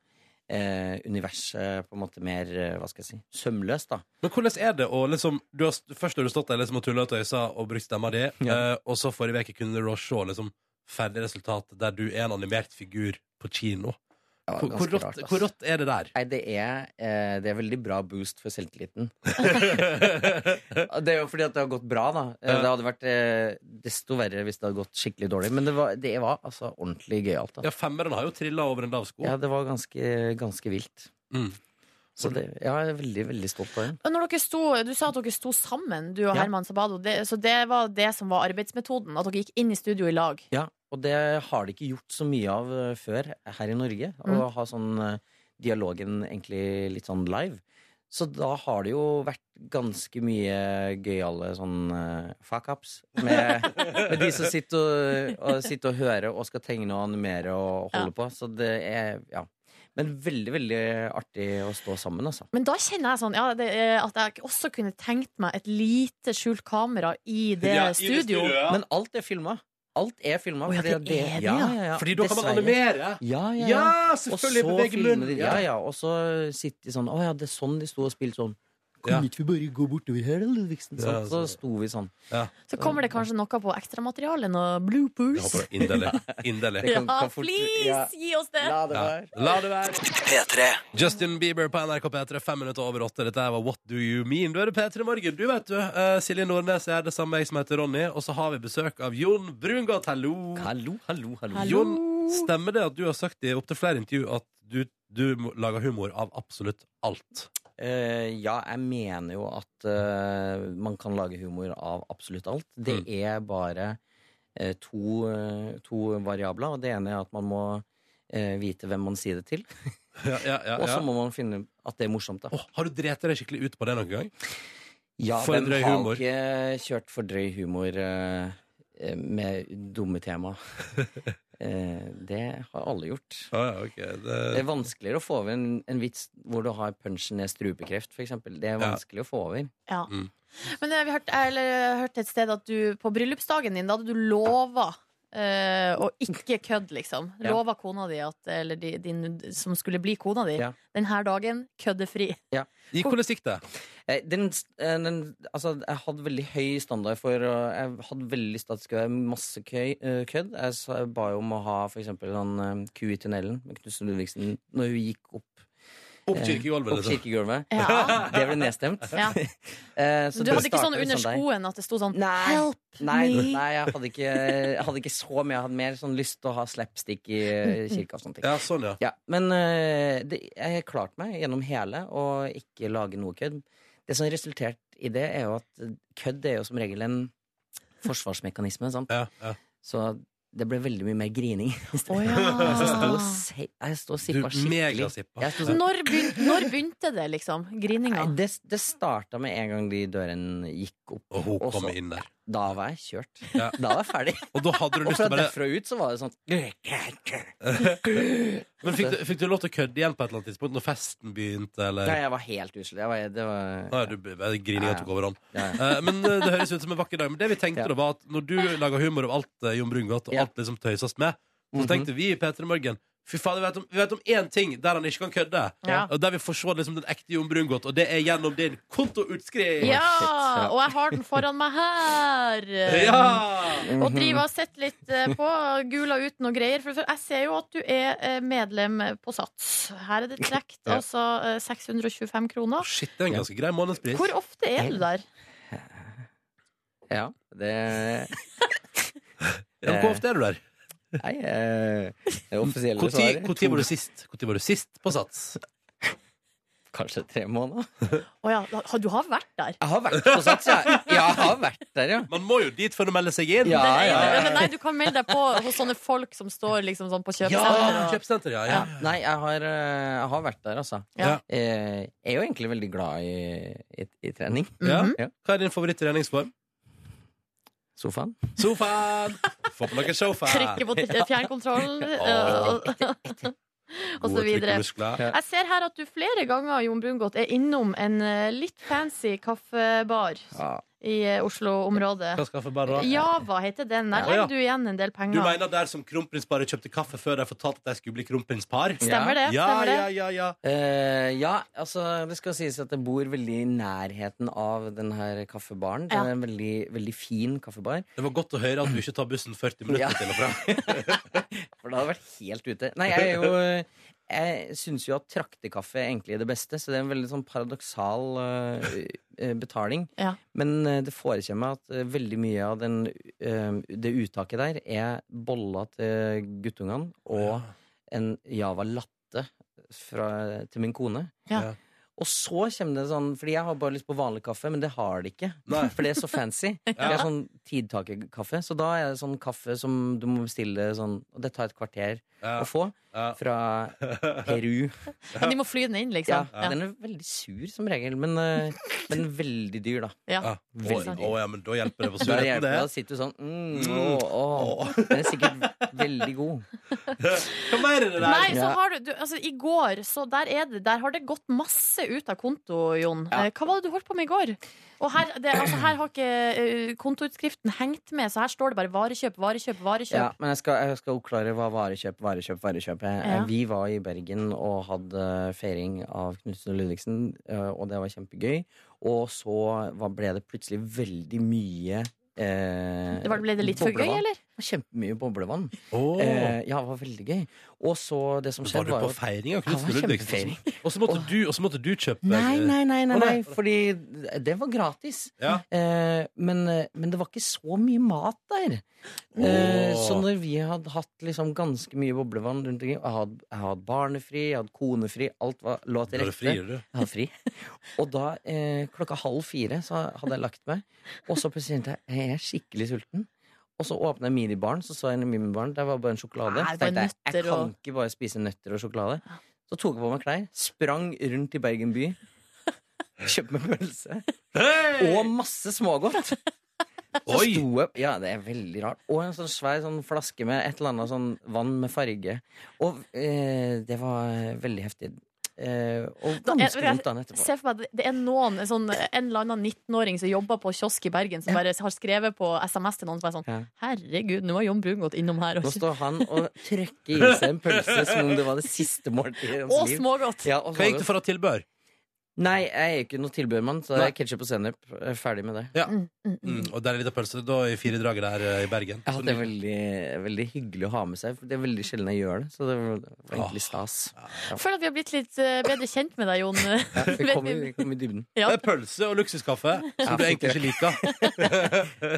A: eh, universet på en måte mer, eh, hva skal jeg si, sømløst, da.
B: Men hvordan er det å liksom du har, st- Først har du stått der liksom, og tulla og tøysa og brukt stemma di,
A: Ja.
B: eh, og så forrige uke kunne du da se liksom, ferdig resultat der du er en animert figur på kino.
A: Det var
B: Hvor, hvor,
A: ganske
B: rått,
A: ass.
B: hvor rått er det der?
A: Nei, det er, eh, det er veldig bra boost for selvtilliten. det er jo fordi at det har gått bra, da. Eh, Det hadde vært eh, desto verre hvis det hadde gått skikkelig dårlig. Men det var, det var altså ordentlig gøyalt. da.
B: Ja, Femmeren har jo trilla over en lav sko.
A: Ja, det var ganske, ganske vilt.
B: Mm.
A: Så det, ja, jeg er veldig, veldig stolt av den.
C: Eh, Når dere sto, du sa at dere sto sammen, du og
A: Ja.
C: Herman Sabado. Det, så det var det som var arbeidsmetoden? At dere gikk inn i studio i lag?
A: Ja, og det har de ikke gjort så mye av eh, før her i Norge. Å
C: Mm.
A: ha sånn eh, dialogen egentlig litt sånn live. Så da har det jo vært ganske mye gøyale sånn eh, fuck-ups med, med de som sitter og, og, sitter og hører og skal tegne og animere og
C: Ja.
A: holde på. Så det er ja. Men veldig, veldig artig å stå sammen, altså.
C: Men da kjenner jeg sånn ja, det, eh, at jeg også kunne tenkt meg et lite skjult kamera i det
B: Ja, i det
C: studio.
B: studioet, ja.
A: Men alt er filma. Alt er filma.
C: Å ja,
A: fordi
C: det
A: at
C: er det,
A: ja,
C: ja.
A: ja, ja.
B: Fordi da kan man
A: Dessverre.
B: animere!
A: Ja, ja, ja.
B: Ja,
A: Og
B: selvfølgelig!
A: så
B: Bevege
A: filmer
B: munnen.
A: de, ja, ja, og så sitter de sånn Å ja, det er sånn de sto og spilte sånn. Kan
B: Ja.
A: ikke vi bare gå bortover her, da, Ludvigsen? Sånn,
B: Ja,
A: så
B: så-
A: sto vi sånn.
C: Så kommer det kanskje noe på ekstramaterialet, noe
B: Jeg
C: bloopers.
B: håper det. Inderlig. Inderlig.
A: Det
C: Ja,
A: kan- kan fort-
C: please,
A: ja.
C: gi oss det!
A: La det
B: Ja.
A: være.
B: La det være. Justin Bieber på NRK P3, fem minutter over åtte. Dette her var What Do You Mean? Du er det P3 Morgen, du vet du. Eh, Silje Nordnes er det samme jeg som heter Ronny, og så har vi besøk av Jon Brungot. Hallo.
A: Hallo, hallo, hallo.
C: Hallo.
B: Jon, stemmer det at du har sagt i opptil flere intervju at du, du må- lager humor av absolutt alt?
A: Eh, ja, jeg mener jo at eh, man kan lage humor av absolutt alt. Det
B: Mm.
A: er bare eh, to, eh, to variabler, og det ene er at man må eh, vite hvem man sier det til.
B: Ja, ja, ja,
A: Og så
B: ja.
A: må man finne at det er morsomt, da.
B: Åh, har du drept deg skikkelig ut på det noen gang?
A: Ja,
B: For
A: hvem
B: drøy
A: har
B: humor.
A: ikke kjørt for drøy humor eh, eh, med dumme tema? Eh, det har alle gjort.
B: Ja, ja, ok. Det,
A: Det er vanskeligere å få over en, en vits hvor du har punchen ned strupekreft, f.eks. Det er
B: Ja.
A: vanskelig å få over.
C: Ja.
B: Mm.
C: Men eh, vi hørte, eller, jeg hørte et sted at du på bryllupsdagen din, da hadde du lova eh, å ikke kødde, liksom.
A: Ja.
C: Lova kona di, at, eller de, din som skulle bli kona di,
A: Ja.
C: denne dagen køddefri.
B: I hvordan gikk det?
A: Eh, Den, eh, den, altså, jeg hadde veldig høy standard for og Jeg hadde veldig lyst til at det skulle være masse køy, eh, kødd. Jeg sa- jeg ba jo om å ha f.eks. sånn eh, ku i tunnelen med Knutsen Ludvigsen når hun gikk opp,
B: Opp kirkegulvet,
A: opp
B: liksom.
A: kirkegulvet.
C: Ja.
A: Det ble nedstemt.
C: Ja.
A: Eh, så
C: Du
A: det
C: hadde ikke sånn under
A: startet liksom der.
C: skoen at det sto sånn
A: Nei.
C: Help!
A: Nei,
C: me.
A: nei jeg, hadde ikke, jeg hadde ikke så mye. Jeg hadde mer sånn lyst til å ha slapstick i eh, kirka. og sånne ting
B: Ja, sånn, ja.
A: ja, Men eh, det, jeg klarte meg gjennom hele og ikke lage noe kødd. Det som resulterte i det, er jo at kødd er jo som regel en forsvarsmekanisme. Sant?
B: ja, ja.
A: Så det ble veldig mye mer grining.
C: Å
A: Så jeg sto og
C: ja.
A: se- jeg sto og
B: Du
A: sippa skikkelig.
B: megasippa.
A: Jeg sto
C: Så
A: sånn
C: Når, begyn når begynte det, liksom? Grininga?
A: Nei, det, det starta med en gang de døren gikk opp.
B: Og hun
A: Og
B: kom
A: så-
B: inn der.
A: Da var jeg kjørt.
B: Ja.
A: Da var jeg ferdig.
B: Og da hadde du
A: Og
B: lyst
A: fra
B: til å bare
A: derfra ut så var det sånn
B: Men fikk du, fikk du lov til å kødde igjen på et eller annet tidspunkt når festen begynte, eller?
A: Nei, jeg var helt ussel. Jeg var, det var
B: Nei, du, grininga tok overhånd.
A: ja, ja.
B: Eh, men eh, det høres ut som en vakker dag. Men det vi tenkte
A: Ja.
B: da var at når du lager humor av alt eh, Jon Brungot, og
A: Ja.
B: alt liksom tøyses med, så
A: Mhm.
B: tenkte vi i P3 Morgen Fy faen, vi vet, om, vi vet om én ting der han ikke kan kødde.
C: Ja.
B: Og Der vi får se liksom, den ekte Jon Brungot, og det er gjennom din kontoutskrift!
C: Ja!
A: shit, ja.
C: Og jeg har den foran meg her.
B: Ja!
C: Og driver og setter litt eh, på. Gula ut noe greier. For jeg ser jo at du er eh, medlem på Sats. Her er det trukket
B: Ja.
C: altså eh, 625 kroner.
B: Shit, det er en ganske grei månedspris.
C: Hvor ofte er du der?
A: Mhm. ja, det
B: Ja, men hvor ofte er du der?
A: Nei, eh, det offisielle
B: Hvor tid
A: svaret
B: hvor tid var du sist? Hvor tid var du sist på Sats?
A: kanskje tre måneder.
C: Å ja, ha- du har vært der?
A: Jeg har vært på Sats, jeg. Ja, jeg har vært der, ja.
B: Man må jo dit før du melder seg inn.
A: Ja,
C: Nei,
A: ja,
C: nei,
A: ja.
C: nei, du kan melde deg på hos sånne folk som står liksom sånn på
B: Ja,
C: kjøpesenteret.
B: kjøpesenter, ja. ja.
A: Nei, jeg har, eh, jeg har vært der, altså.
C: Ja.
B: Ja.
A: Eh, Jeg er jo egentlig veldig glad i, i, i trening.
B: Ja.
A: Ja.
B: Hva er din favoritt-treningsform?
A: Sofaen.
B: Sofaen! Få på noen sofa.
C: Trykke på t- fjernkontrollen øh, og så
B: Gode
C: videre.
B: trykkemuskler.
C: Jeg ser her at du flere ganger Jon Brungot, er innom en eh, litt fancy kaffebar
A: Ja.
C: i eh, Oslo-området.
B: Hva skal jeg få bare da?
C: Java heter den. Der
B: Ja.
C: legger du igjen en del
B: Du
C: penger.
B: mener der som kronprinsparet kjøpte kaffe før de fortalte at de skulle bli kronprinspar?
C: Stemmer det?
B: Ja,
C: Stemmer det?
B: ja, ja, ja.
A: Eh, ja, altså det skal sies at jeg bor veldig i nærheten av den her kaffebaren. Det
C: Ja.
A: er en veldig, veldig fin kaffebar.
B: Det var godt å høre at du ikke tar bussen 40
A: Ja.
B: minutter til og fra.
A: For det hadde vært helt ute. Nei, jeg er jo Jeg syns jo at traktekaffe er egentlig er det beste, så det er en veldig sånn paradoksal eh, eh, betaling.
C: Ja.
A: Men eh, det forekjer meg at eh, veldig mye av den, eh, det uttaket der er boller til guttungene og en Java latte fra, til min kone.
C: Ja.
A: Og så kommer det sånn Fordi jeg har bare lyst på vanlig kaffe, men det har det ikke.
B: Nei.
A: For det er så fancy. Det er sånn tidtakerkaffe. Så da er det sånn kaffe som du må bestille sånn Og det tar et kvarter
B: Ja.
A: å få.
B: Ja.
A: Fra Peru.
C: Men de må fly den inn,
A: Ja,
C: liksom. Ja.
A: Den er veldig sur som regel, men, eh, men veldig dyr, da.
C: Ja.
B: Ja. Å,
A: Veldig.
B: å, ja, men da hjelper det på
A: Da,
B: surheten,
A: hjelper, det. da
B: det.
A: sitter du sånn mm, å, å. Den er sikkert veldig god.
B: Hva mer er det der?
C: Nei, så
A: Ja.
C: har du, du Altså, i går, så der er det Der har det gått masse ut av konto, Jon. Eh, Hva var det du holdt på med i går? Og her, det, altså, her har ikke eh, kontoutskriften hengt med, så her står det bare varekjøp, varekjøp, varekjøp.
A: Ja, men jeg skal, jeg skal oppklare hva varekjøp, varekjøp, varekjøp er.
C: Ja.
A: Vi var i Bergen og hadde eh, feiring av Knutsen og Ludvigsen, eh, og det var kjempegøy. Og så var, ble det plutselig veldig mye eh,
C: Det var- ble det litt for gøy,
A: boblevann.
C: eller?
A: Det var Kjempemye boblevann.
B: Å.
A: Eh, ja, det var veldig gøy. Og så det som
B: Var
A: skjedde,
B: du
A: var
B: på
A: jo at-
B: feiring av
A: Ja, det
B: Knutsen
A: var
B: Ludvigsen? liksom. Og så måtte, du- og så måtte du kjøpe
A: Nei, nei, nei, nei,
B: Å,
A: nei,
B: nei.
A: fordi det var gratis.
B: Ja.
A: Eh, men, men det var ikke så mye mat der. Eh, så når vi hadde hatt liksom ganske mye boblevann rundt omkring Jeg hadde, jeg hadde barnefri, jeg hadde konefri, alt var, lå
B: Da
A: til
B: er det
A: rette.
B: frier, du.
A: Jeg hadde fri. Og da, eh, klokka halv fire, så hadde jeg lagt meg. Og så plutselig tenkte jeg jeg er skikkelig sulten. Og så åpna jeg minibaren, så så jeg en minibaren. Der var bare en sjokolade.
C: Nei,
A: Så
C: bare
A: tenkte jeg jeg
C: nøtter og-
A: kan ikke bare spise nøtter og sjokolade. Så tok jeg på meg klær, sprang rundt i Bergen by, kjøpte meg pølse og masse smågodt. Så
B: Oi!
A: sto jeg Ja, det er veldig rart. Og en sånn svær sånn flaske med et eller annet sånn vann med farge. Og eh, det var veldig heftig. Eh, og
C: Da-
A: ganske
C: jeg- jeg-
A: vondt dagen etterpå.
C: Se for meg, det- det er noen en sånn, En eller annen 19-åring som jobber på kiosk i Bergen, som bare har skrevet på SMS til noen som er sånn
A: Ja.
C: Herregud, nå har Jon Brun gått innom her. Og,
A: Nå står han og trykker i seg en pølse som om det var det siste måltidet i hans
C: og
A: liv.
C: smågodt!
A: Ja, og
B: Hva gikk
A: smågodt.
B: det for av tilbør?
A: Nei, jeg er ikke noe tilbørmann, så det
B: Nei.
A: er ketsjup og sennep. Jeg er Ferdig med det.
C: Mm, mm, mm.
B: Mm, og der er lita pølse da i fire draget der eh, i Bergen.
A: Ja, det er veldig, veldig hyggelig å ha med seg. For det er veldig sjelden jeg gjør det. Så det var var egentlig stas.
C: Jeg føler at vi har blitt litt eh, bedre kjent med deg, Jon.
A: Ja, vi kom, i- vi kom i dybden.
C: Ja.
B: Det er pølse og luksuskaffe, som du egentlig ikke liker.
A: Jeg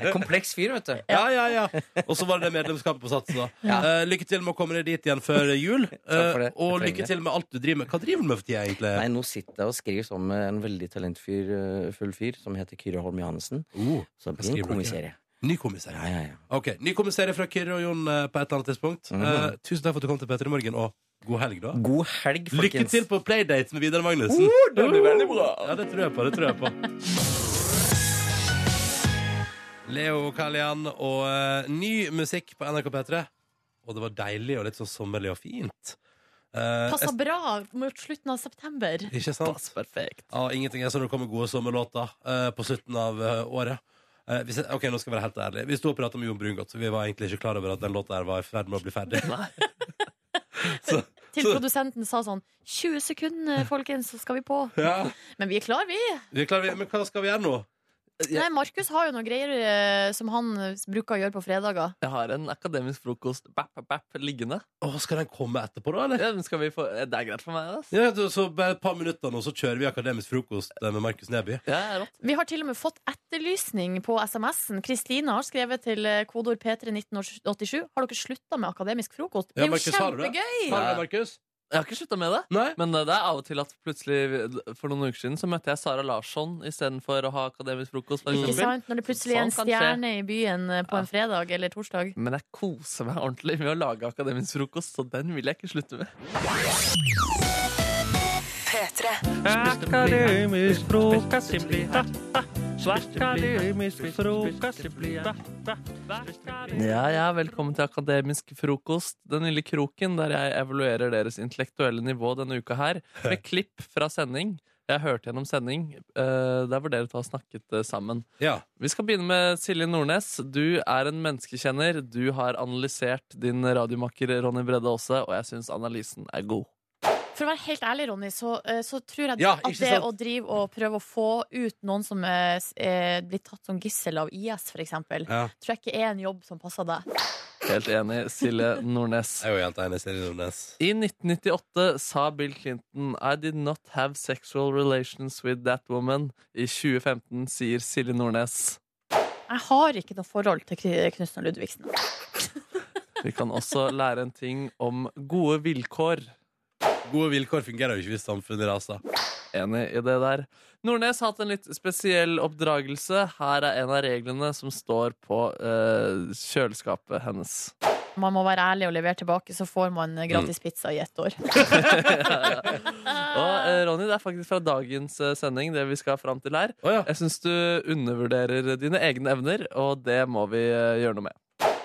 A: er kompleks fyr, vet du.
B: Ja, ja, ja. Og så var det det medlemskapet på Sats. da. Eh, lykke til med å komme deg dit igjen før jul.
A: Takk for det.
B: Eh, og
A: Jeg trenger
B: lykke
A: det.
B: til med alt du driver med. Hva driver du med for tida, egentlig?
A: Nei, nå sitter jeg og skriver sammen med en veldig talentfull fyr som heter Kyrre Holm Johannessen.
B: Oh,
A: Så det blir en
B: skriver du ikke?
A: komiserie.
B: ny komiserie.
A: Ja, ja, ja.
B: Ok, Ny komiserie fra Kyrre og Jon eh, på et eller annet tidspunkt. Eh,
A: Mhm.
B: tusen takk for at du kom til Petter i morgen, og god helg, da.
A: God helg, folkens.
B: Lykke til på playdate med Vidar Magnussen. Oh, det blir veldig bra. Ja, det tror jeg på. det tror jeg på Leo Kallian og eh, ny musikk på NRK P3. Og det var deilig og litt sånn sommerlig og fint. Eh,
C: Passa bra mot slutten av september.
B: jeg- ikke sant?
D: Perfekt.
B: Ja, ingenting er sånn når det kommer gode sommerlåter eh, på slutten av eh, året. Eh, hvis jeg, ok, nå skal jeg være helt ærlig Vi sto og prata med Jon Brungot, så vi var egentlig ikke klar over at den låta her var i ferd med å bli ferdig.
C: Til produsenten sa sånn 20 sekunder, folkens, så skal vi på.
B: Ja,
C: Men vi er klar, vi.
B: vi er klar, vi- Men hva skal vi gjøre nå?
C: Nei, Markus har jo noen greier eh, som han eh, bruker å gjøre på fredager.
D: Jeg har en akademisk frokost bap, bap, bap, liggende.
B: Å, skal den komme etterpå, da? eller?
D: Ja, den skal vi få. Det er greit for meg. ass.
B: Ja, du, så bare et par minutter nå, så kjører vi akademisk frokost eh, med Markus Neby.
D: Ja, det er rått.
C: Vi har til og med fått etterlysning på SMS-en. Kristine har skrevet til eh, kodeord P3 1987. Har dere slutta med akademisk frokost? Det
B: Ja,
C: er jo
B: Markus, har du det? Har
C: kjempegøy!
B: du det, Markus?
D: Jeg har ikke slutta med det.
B: Nei?
D: Men eh, det er av og til at plutselig For noen uker siden så møtte jeg Sara Larsson istedenfor å ha akademisk frokost. For
C: Ikke
D: eksempel.
C: sant? Når det plutselig er en
D: Sånn kan skje.
C: stjerne i byen eh,
D: Ja.
C: på en fredag eller torsdag.
D: Men jeg koser meg ordentlig med å lage akademisk frokost, så den vil jeg ikke slutte med.
E: P3.
I: Akademisk frokost, det blir Akademisk frokost, det blir
D: Ja, ja, velkommen til Akademisk frokost, den lille kroken der jeg evaluerer deres intellektuelle nivå denne uka her, med klipp fra sending. Jeg hørte gjennom sending eh, der hvor dere to har snakket eh, sammen.
B: Ja.
D: Vi skal begynne med Silje Nordnes. Du er en menneskekjenner. Du har analysert din radiomakker Ronny Bredde Aase, og jeg syns analysen er god.
C: For å være helt ærlig, Ronny, så, eh, så tror jeg
B: Ja,
C: at
B: ikke
C: det
B: sant?
C: å drive og prøve å få ut noen som eh, s- eh, blir tatt som gissel av IS, for eksempel,
B: Ja.
C: tror jeg ikke er en jobb som passer deg.
D: Helt enig, Silje Nordnes.
B: Jeg er jo helt enig, Silje Nordnes.
D: I 1998 sa Bill Clinton I did not have sexual relations with that woman. I 2015 sier Silje Nordnes.
C: Jeg har ikke noe forhold til Kri- Knutsen og Ludvigsen.
D: Vi kan også lære en ting om gode vilkår.
B: Gode vilkår fungerer jo ikke hvis samfunnet raser.
D: Enig i det der. Nordnes har hatt en litt spesiell oppdragelse. Her er en av reglene som står på eh, kjøleskapet hennes.
C: Man må være ærlig og levere tilbake, så får man eh,
B: Mm.
C: gratis pizza i ett år.
D: Og eh, Ronny, det er faktisk fra dagens eh, sending det vi skal fram til her.
B: Å ja.
D: Jeg syns du undervurderer dine egne evner, og det må vi eh, gjøre noe med.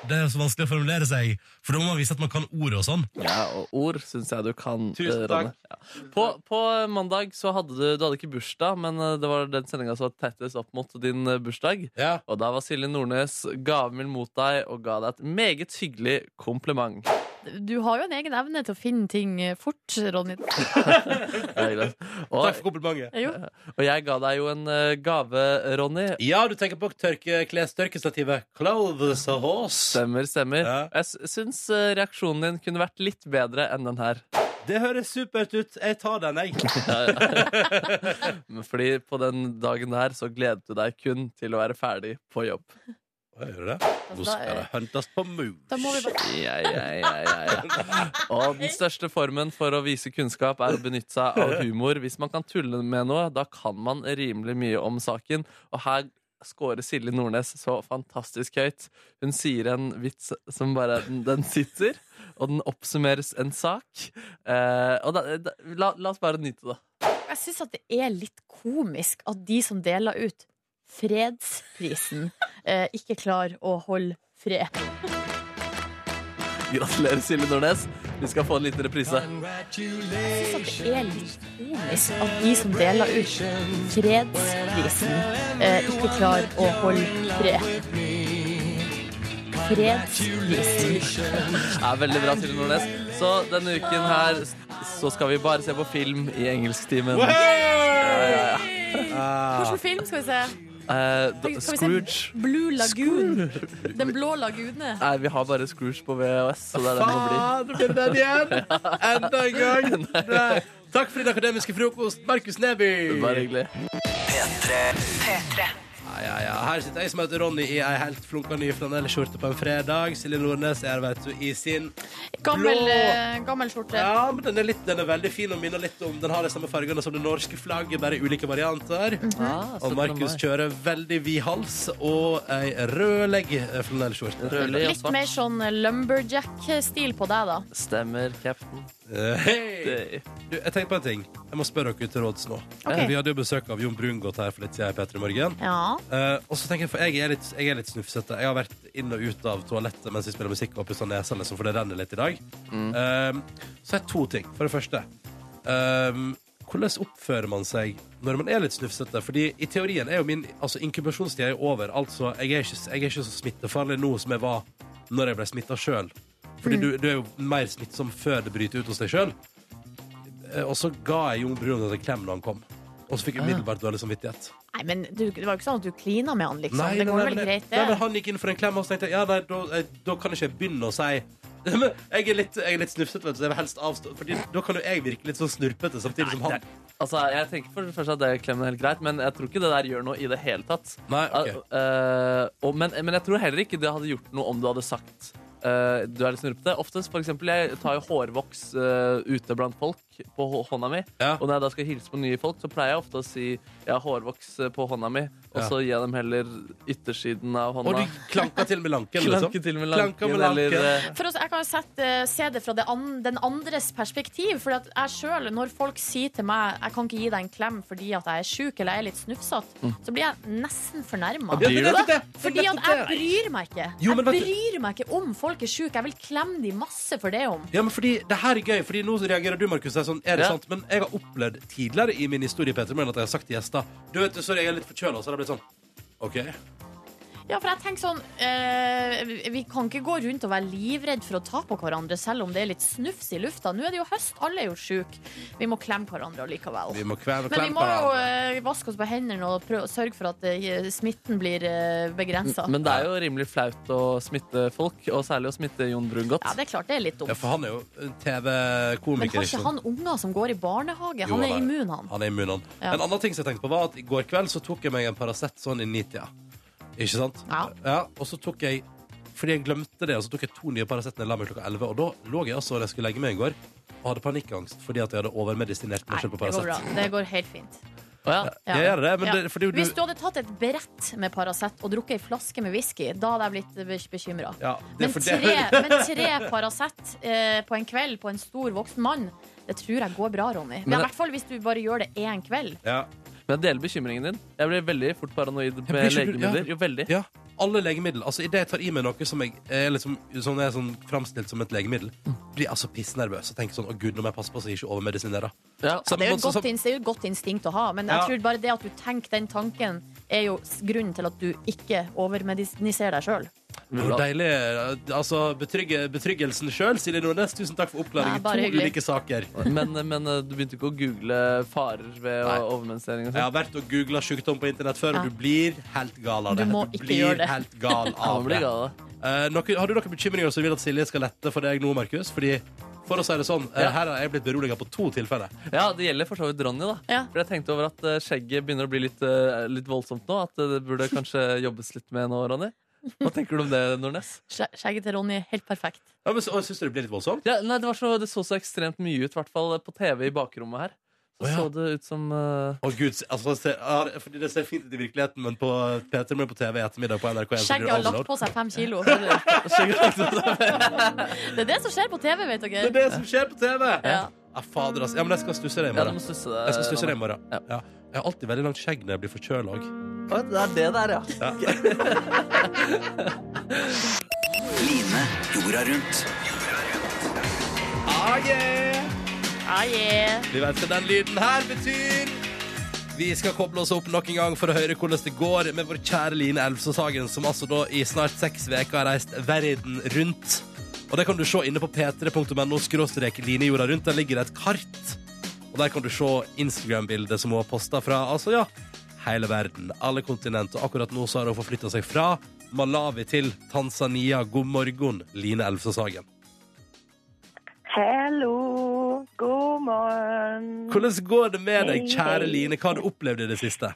B: Det er jo så vanskelig å formulere seg, for da må man vise at man kan ordet og sånn.
D: Ja, og ord syns jeg du kan.
B: Tusen
D: eh,
B: takk.
D: Ronny. Ja. På, på mandag så hadde du Du hadde ikke bursdag, men eh, det var den sendinga som var tettest opp mot din eh, bursdag.
B: Ja.
D: Og da var Silje Nordnes gavmild mot deg og ga deg et meget hyggelig kompliment.
C: Du har jo en egen evne til å finne ting eh, fort, Ronny. Eh,
D: Det er greit.
B: Takk
D: Og,
B: for komplimentet.
C: Jo.
D: og jeg ga deg jo en eh, gave, Ronny.
B: Ja, du tenker på tørke, klestørkestativet Clothes a Horse.
D: Stemmer, stemmer.
B: Ja.
D: Jeg s- syns eh, reaksjonen din kunne vært litt bedre enn den her.
B: Det høres supert ut. Jeg tar den, jeg.
D: Men Fordi på den dagen der så gledet du deg kun til å være ferdig på jobb.
B: Å, Gjør du det? Nå skal det huntes på
C: Altså, eh, Da må vi
B: mus.
C: bare
D: Ja, ja, ja, ja, ja. Og den største formen for å vise kunnskap er å benytte seg av humor. Hvis man kan tulle med noe, da kan man rimelig mye om saken. Og her scorer Silje Nordnes så fantastisk høyt. Hun sier en vits som bare Den, den sitter, og den oppsummeres en sak. Eh, og da, da, la, la oss bare nyte det.
C: Jeg syns at det er litt komisk at de som deler ut fredsprisen, eh, ikke klarer å holde fred.
D: Gratulerer, Silje Nordnes. Vi skal få en liten reprise.
C: Jeg synes at det er litt komisk at de som deler ut fredsprisen, eh, ikke klarer å holde fred. Fredsprisen.
D: er veldig bra, Silje Nordnes. Så denne uken her så skal vi bare se på film i engelsktimen.
C: Hvilken film skal vi se?
D: Eh, da-
C: Skal vi se-
D: Scrooge.
C: Blue Lagoon. Den blå lagune.
D: Nei, vi har bare Scrooge på VHS, så det er det det må bli.
B: Faen, blir den igjen? Enda en gang. Nei. Takk for din akademiske frokost, Markus Neby.
D: Bare hyggelig.
B: Ja, ja, ja. Her sitter jeg som heter Ronny i ei helt flunkende ny flanellskjorte på en fredag. Silje Nordnes er vet du, i sin
C: Gammel,
B: Blå.
C: eh, gammel skjorte.
B: Ja, men den er, litt, den er veldig fin og minner litt om Den har de samme fargene som det norske flagget, bare i ulike varianter.
D: Ah,
B: Og
D: 17.
B: Markus
D: mai.
B: kjører veldig vid hals og ei rødlegg flanellskjorte.
D: Rødlig og
C: Litt mer
D: svart.
C: sånn lumberjack-stil på deg, da.
D: Stemmer, cap'n.
B: Eh, Hei!
D: Det-
B: Du, jeg tenker på en ting. Jeg må spørre dere til råds nå.
C: Ok.
B: Vi hadde jo besøk av Jon Brungot her for litt siden i P3 Morgen.
C: Ja.
B: Eh, og så tenker jeg, for jeg er, litt, jeg er litt snufsete. Jeg har vært inn og ut av toalettet mens vi spiller musikk og pussa nesa, liksom, for det renner litt i dag. Eh, så er det to ting. For det første eh, Hvordan oppfører man seg når man er litt snufsete? Fordi i teorien er jo min altså, inkubasjonstid er jo over. Altså, jeg er, ikke, jeg er ikke så smittefarlig nå som jeg var når jeg ble smitta sjøl. Fordi du, du er jo mer smittsom før det bryter ut hos deg sjøl. og så ga jeg Jon Brungot en klem da han kom. Og så fikk jeg umiddelbart dårlig samvittighet.
C: Nei, men du, det var jo ikke sånn at du klina med han, liksom.
B: Nei,
C: det
B: nei,
C: går
B: nei,
C: vel
B: men-
C: greit,
B: Nei, men
C: det.
B: han gikk inn for en klem, og så tenkte jeg ja, nei, da, eh, da kan jeg ikke begynne å si Men jeg er litt, jeg er litt snufsete, vet du, så jeg vil helst avstå. Fordi da kan jo jeg virke litt sånn snurpete samtidig som han.
D: Altså, jeg tenker for det første at det klemmen er helt greit, men jeg tror ikke det der gjør noe i det hele tatt.
B: Nei, ok.
D: Eh, og, men, men jeg tror heller ikke det hadde gjort noe om du hadde sagt eh, du er litt snurpete. Oftest, for eksempel, jeg tar jo hårvoks eh, ute blant folk på hå- hånda mi.
B: Ja.
D: Og når jeg da skal hilse på nye folk, så pleier jeg ofte å si jeg har hårvoks eh, på hånda mi, og
B: Ja.
D: så gir jeg dem heller yttersiden av
B: Og
D: hånda.
B: du klanka til med lanken, liksom.
D: Klanke til med
B: Klanka
D: lanken,
B: med lanken.
D: eller eh,
C: For oss, jeg kan jo sette, eh, se det fra det an, den andres perspektiv. For at jeg selv, når folk sier til meg Jeg kan ikke gi deg en klem fordi at jeg er syk eller jeg er litt snufsete, så blir jeg nesten fornærma.
B: Mm. Ja, det er nettopp det.
C: Fordi at jeg bryr meg ikke.
B: Jo, men
C: Jeg
B: vet du-
C: bryr meg ikke om folk er syke. Jeg vil klemme de masse for det om.
B: Ja, men fordi det her er gøy, fordi nå reagerer du, Markus. Det Er, sånn, er det
D: Ja.
B: sant? Men jeg har opplevd tidligere i min historie Peter, men at jeg har sagt til gjester Du vet, du, sorry, jeg er litt forkjøla, så har det blitt sånn. OK.
C: Ja, for jeg tenker sånn eh, Vi kan ikke gå rundt og være livredd for å ta på hverandre, selv om det er litt snufs i lufta. Nå er det jo høst, alle er jo syke. Vi må klemme hverandre allikevel.
B: Vi må kvele
C: Men vi
B: klem
C: må
B: på
C: jo
B: hverandre.
C: eh, vaske oss på hendene og prøve å sørge for at eh, smitten blir eh, begrensa.
D: Men det er jo rimelig flaut å smitte folk, og særlig å smitte Jon Brun godt.
C: Ja, det er klart det er litt dumt.
B: Ja, for han er jo en liksom.
C: Men
B: TV-komiker. ikke
C: har ikke
B: sant?
C: han unger som går i barnehage?
B: Jo,
C: han er
B: han er-
C: immun, han.
B: Han er immun, han.
C: Ja.
B: En annen ting som jeg tenkte på, var at i går kveld så tok jeg meg en Paracet sånn i nitida. Ikke sant?
C: Ja.
B: Og så tok jeg Fordi jeg glemte det, og så tok jeg to nye Paracet da jeg la meg klokka 11. Og da lå jeg altså da jeg skulle legge meg i går, og hadde panikkangst fordi at jeg hadde overmedisinert meg
C: Nei,
B: selv på
C: det går bra.
B: Paracet.
C: Det går helt fint.
D: Å ja.
C: Ja.
B: Jeg gjør det, men
C: Ja.
B: det, fordi du
C: Hvis du hadde tatt et brett med Paracet og drukket ei flaske med whisky, da hadde jeg blitt bekymra.
B: ja, det,
C: Men
B: er for det-
C: tre, men tre Paracet eh, på en kveld på en stor voksen mann, det tror jeg går bra, Ronny. Men
D: Men-
C: I hvert fall hvis du bare gjør det én kveld.
B: Ja.
D: Men jeg deler bekymringen din. Jeg blir veldig fort paranoid med
B: blir så-
D: legemidler.
B: ja.
D: Jo, veldig.
B: Ja, alle legemiddel. Altså, Idet jeg tar i meg noe som jeg er, liksom, som er sånn framstilt som et legemiddel, blir jeg altså pissnervøs og tenker sånn Å, gud, nå må jeg passe på så jeg ikke overmedisinerer.
D: Ja.
C: Det er jo
B: Samme
C: et
B: måte
C: godt,
B: som-
C: ins- det er jo et godt instinkt å ha, men jeg
B: Ja.
C: tror bare det at du tenker den tanken, er jo s- grunnen til at du ikke overmedisiniserer deg sjøl.
B: Det var deilig. Altså, betrygge, betryggelsen sjøl, Silje Nordnes. Tusen takk for
C: Nei,
B: oppklaringen.
C: bare
B: to
C: hyggelig.
B: ulike saker.
D: Men, men eh, du begynte ikke å google farer ved
B: Nei.
D: overmensering og
B: Jeg
D: sånn?
B: har vært og googla sykdom på internett før,
C: Ja.
B: og du blir helt gal av det.
C: Du må ikke
B: blir
C: gjøre det.
B: helt gal
D: Ja,
B: av
D: man blir
B: det.
D: gal, da.
B: Eh, noe, har du noen bekymringer som vil at Silje skal lette for deg nå, Markus? Fordi, for å si det sånn, eh,
D: Ja.
B: her har jeg blitt beroliga på to tilfeller.
D: ja, det gjelder for så vidt Ronny, da.
C: Ja.
D: For jeg tenkte over at eh, skjegget begynner å bli litt, eh, litt voldsomt nå. At eh, det burde kanskje jobbes litt med nå, Ronny. Hva tenker du om det, Nordnes?
C: Skje- Skjegget til Ronny er helt perfekt.
B: Ja, men, så- å, Syns du det blir litt voldsomt?
D: Ja, nei, det, var så, det så så ekstremt mye ut, i hvert fall på TV i bakrommet her. Så
B: Å, ja.
D: så det ut som eh,
B: Å gud, se- altså, se, ja, det- fordi Det ser fint ut i virkeligheten, men på Peter men på TV i ettermiddag på NRK1 så blir
C: Skjegget
B: det
C: har lagt
B: overload.
C: på seg fem kilo. Det
D: skjegget lagt ut.
C: er det som skjer på TV, vet
B: Det er
C: dere.
B: det som skjer på TV!
C: Ja.
B: Ja, fader, altså. Ja, men jeg skal stusse det i
D: Ja, du Eh, må
B: morgen.
D: stusse det.
B: Jeg skal stusse det i
D: Ronny.
B: morgen.
D: Ja.
B: Ja. Jeg har alltid veldig langt skjegg når jeg blir forkjøla òg.
D: Å, Det er det der, ja.
J: Line jorda rundt.
B: Ah, yeah!
C: Ah, yeah.
B: Vi vet hva den lyden her betyr. Vi skal koble oss opp nok en gang for å høre hvordan det går med vår kjære Line Elvsås Hagen, som altså da i snart seks uker har reist verden rundt. Og det kan du se inne på p3.no skråstrek Line jorda rundt. Der ligger det et kart. Og der kan du se Instagram-bildet som hun har posta fra altså ja, hele verden. Alle kontinent. Og akkurat nå så har hun forflytta seg fra Malawi til Tanzania. God morgen, Line Elvsås Hagen.
F: Hallo, god morgen.
B: Hvordan går det med deg,
F: Hei,
B: kjære
F: hei.
B: Line? Hva har du opplevd i det siste?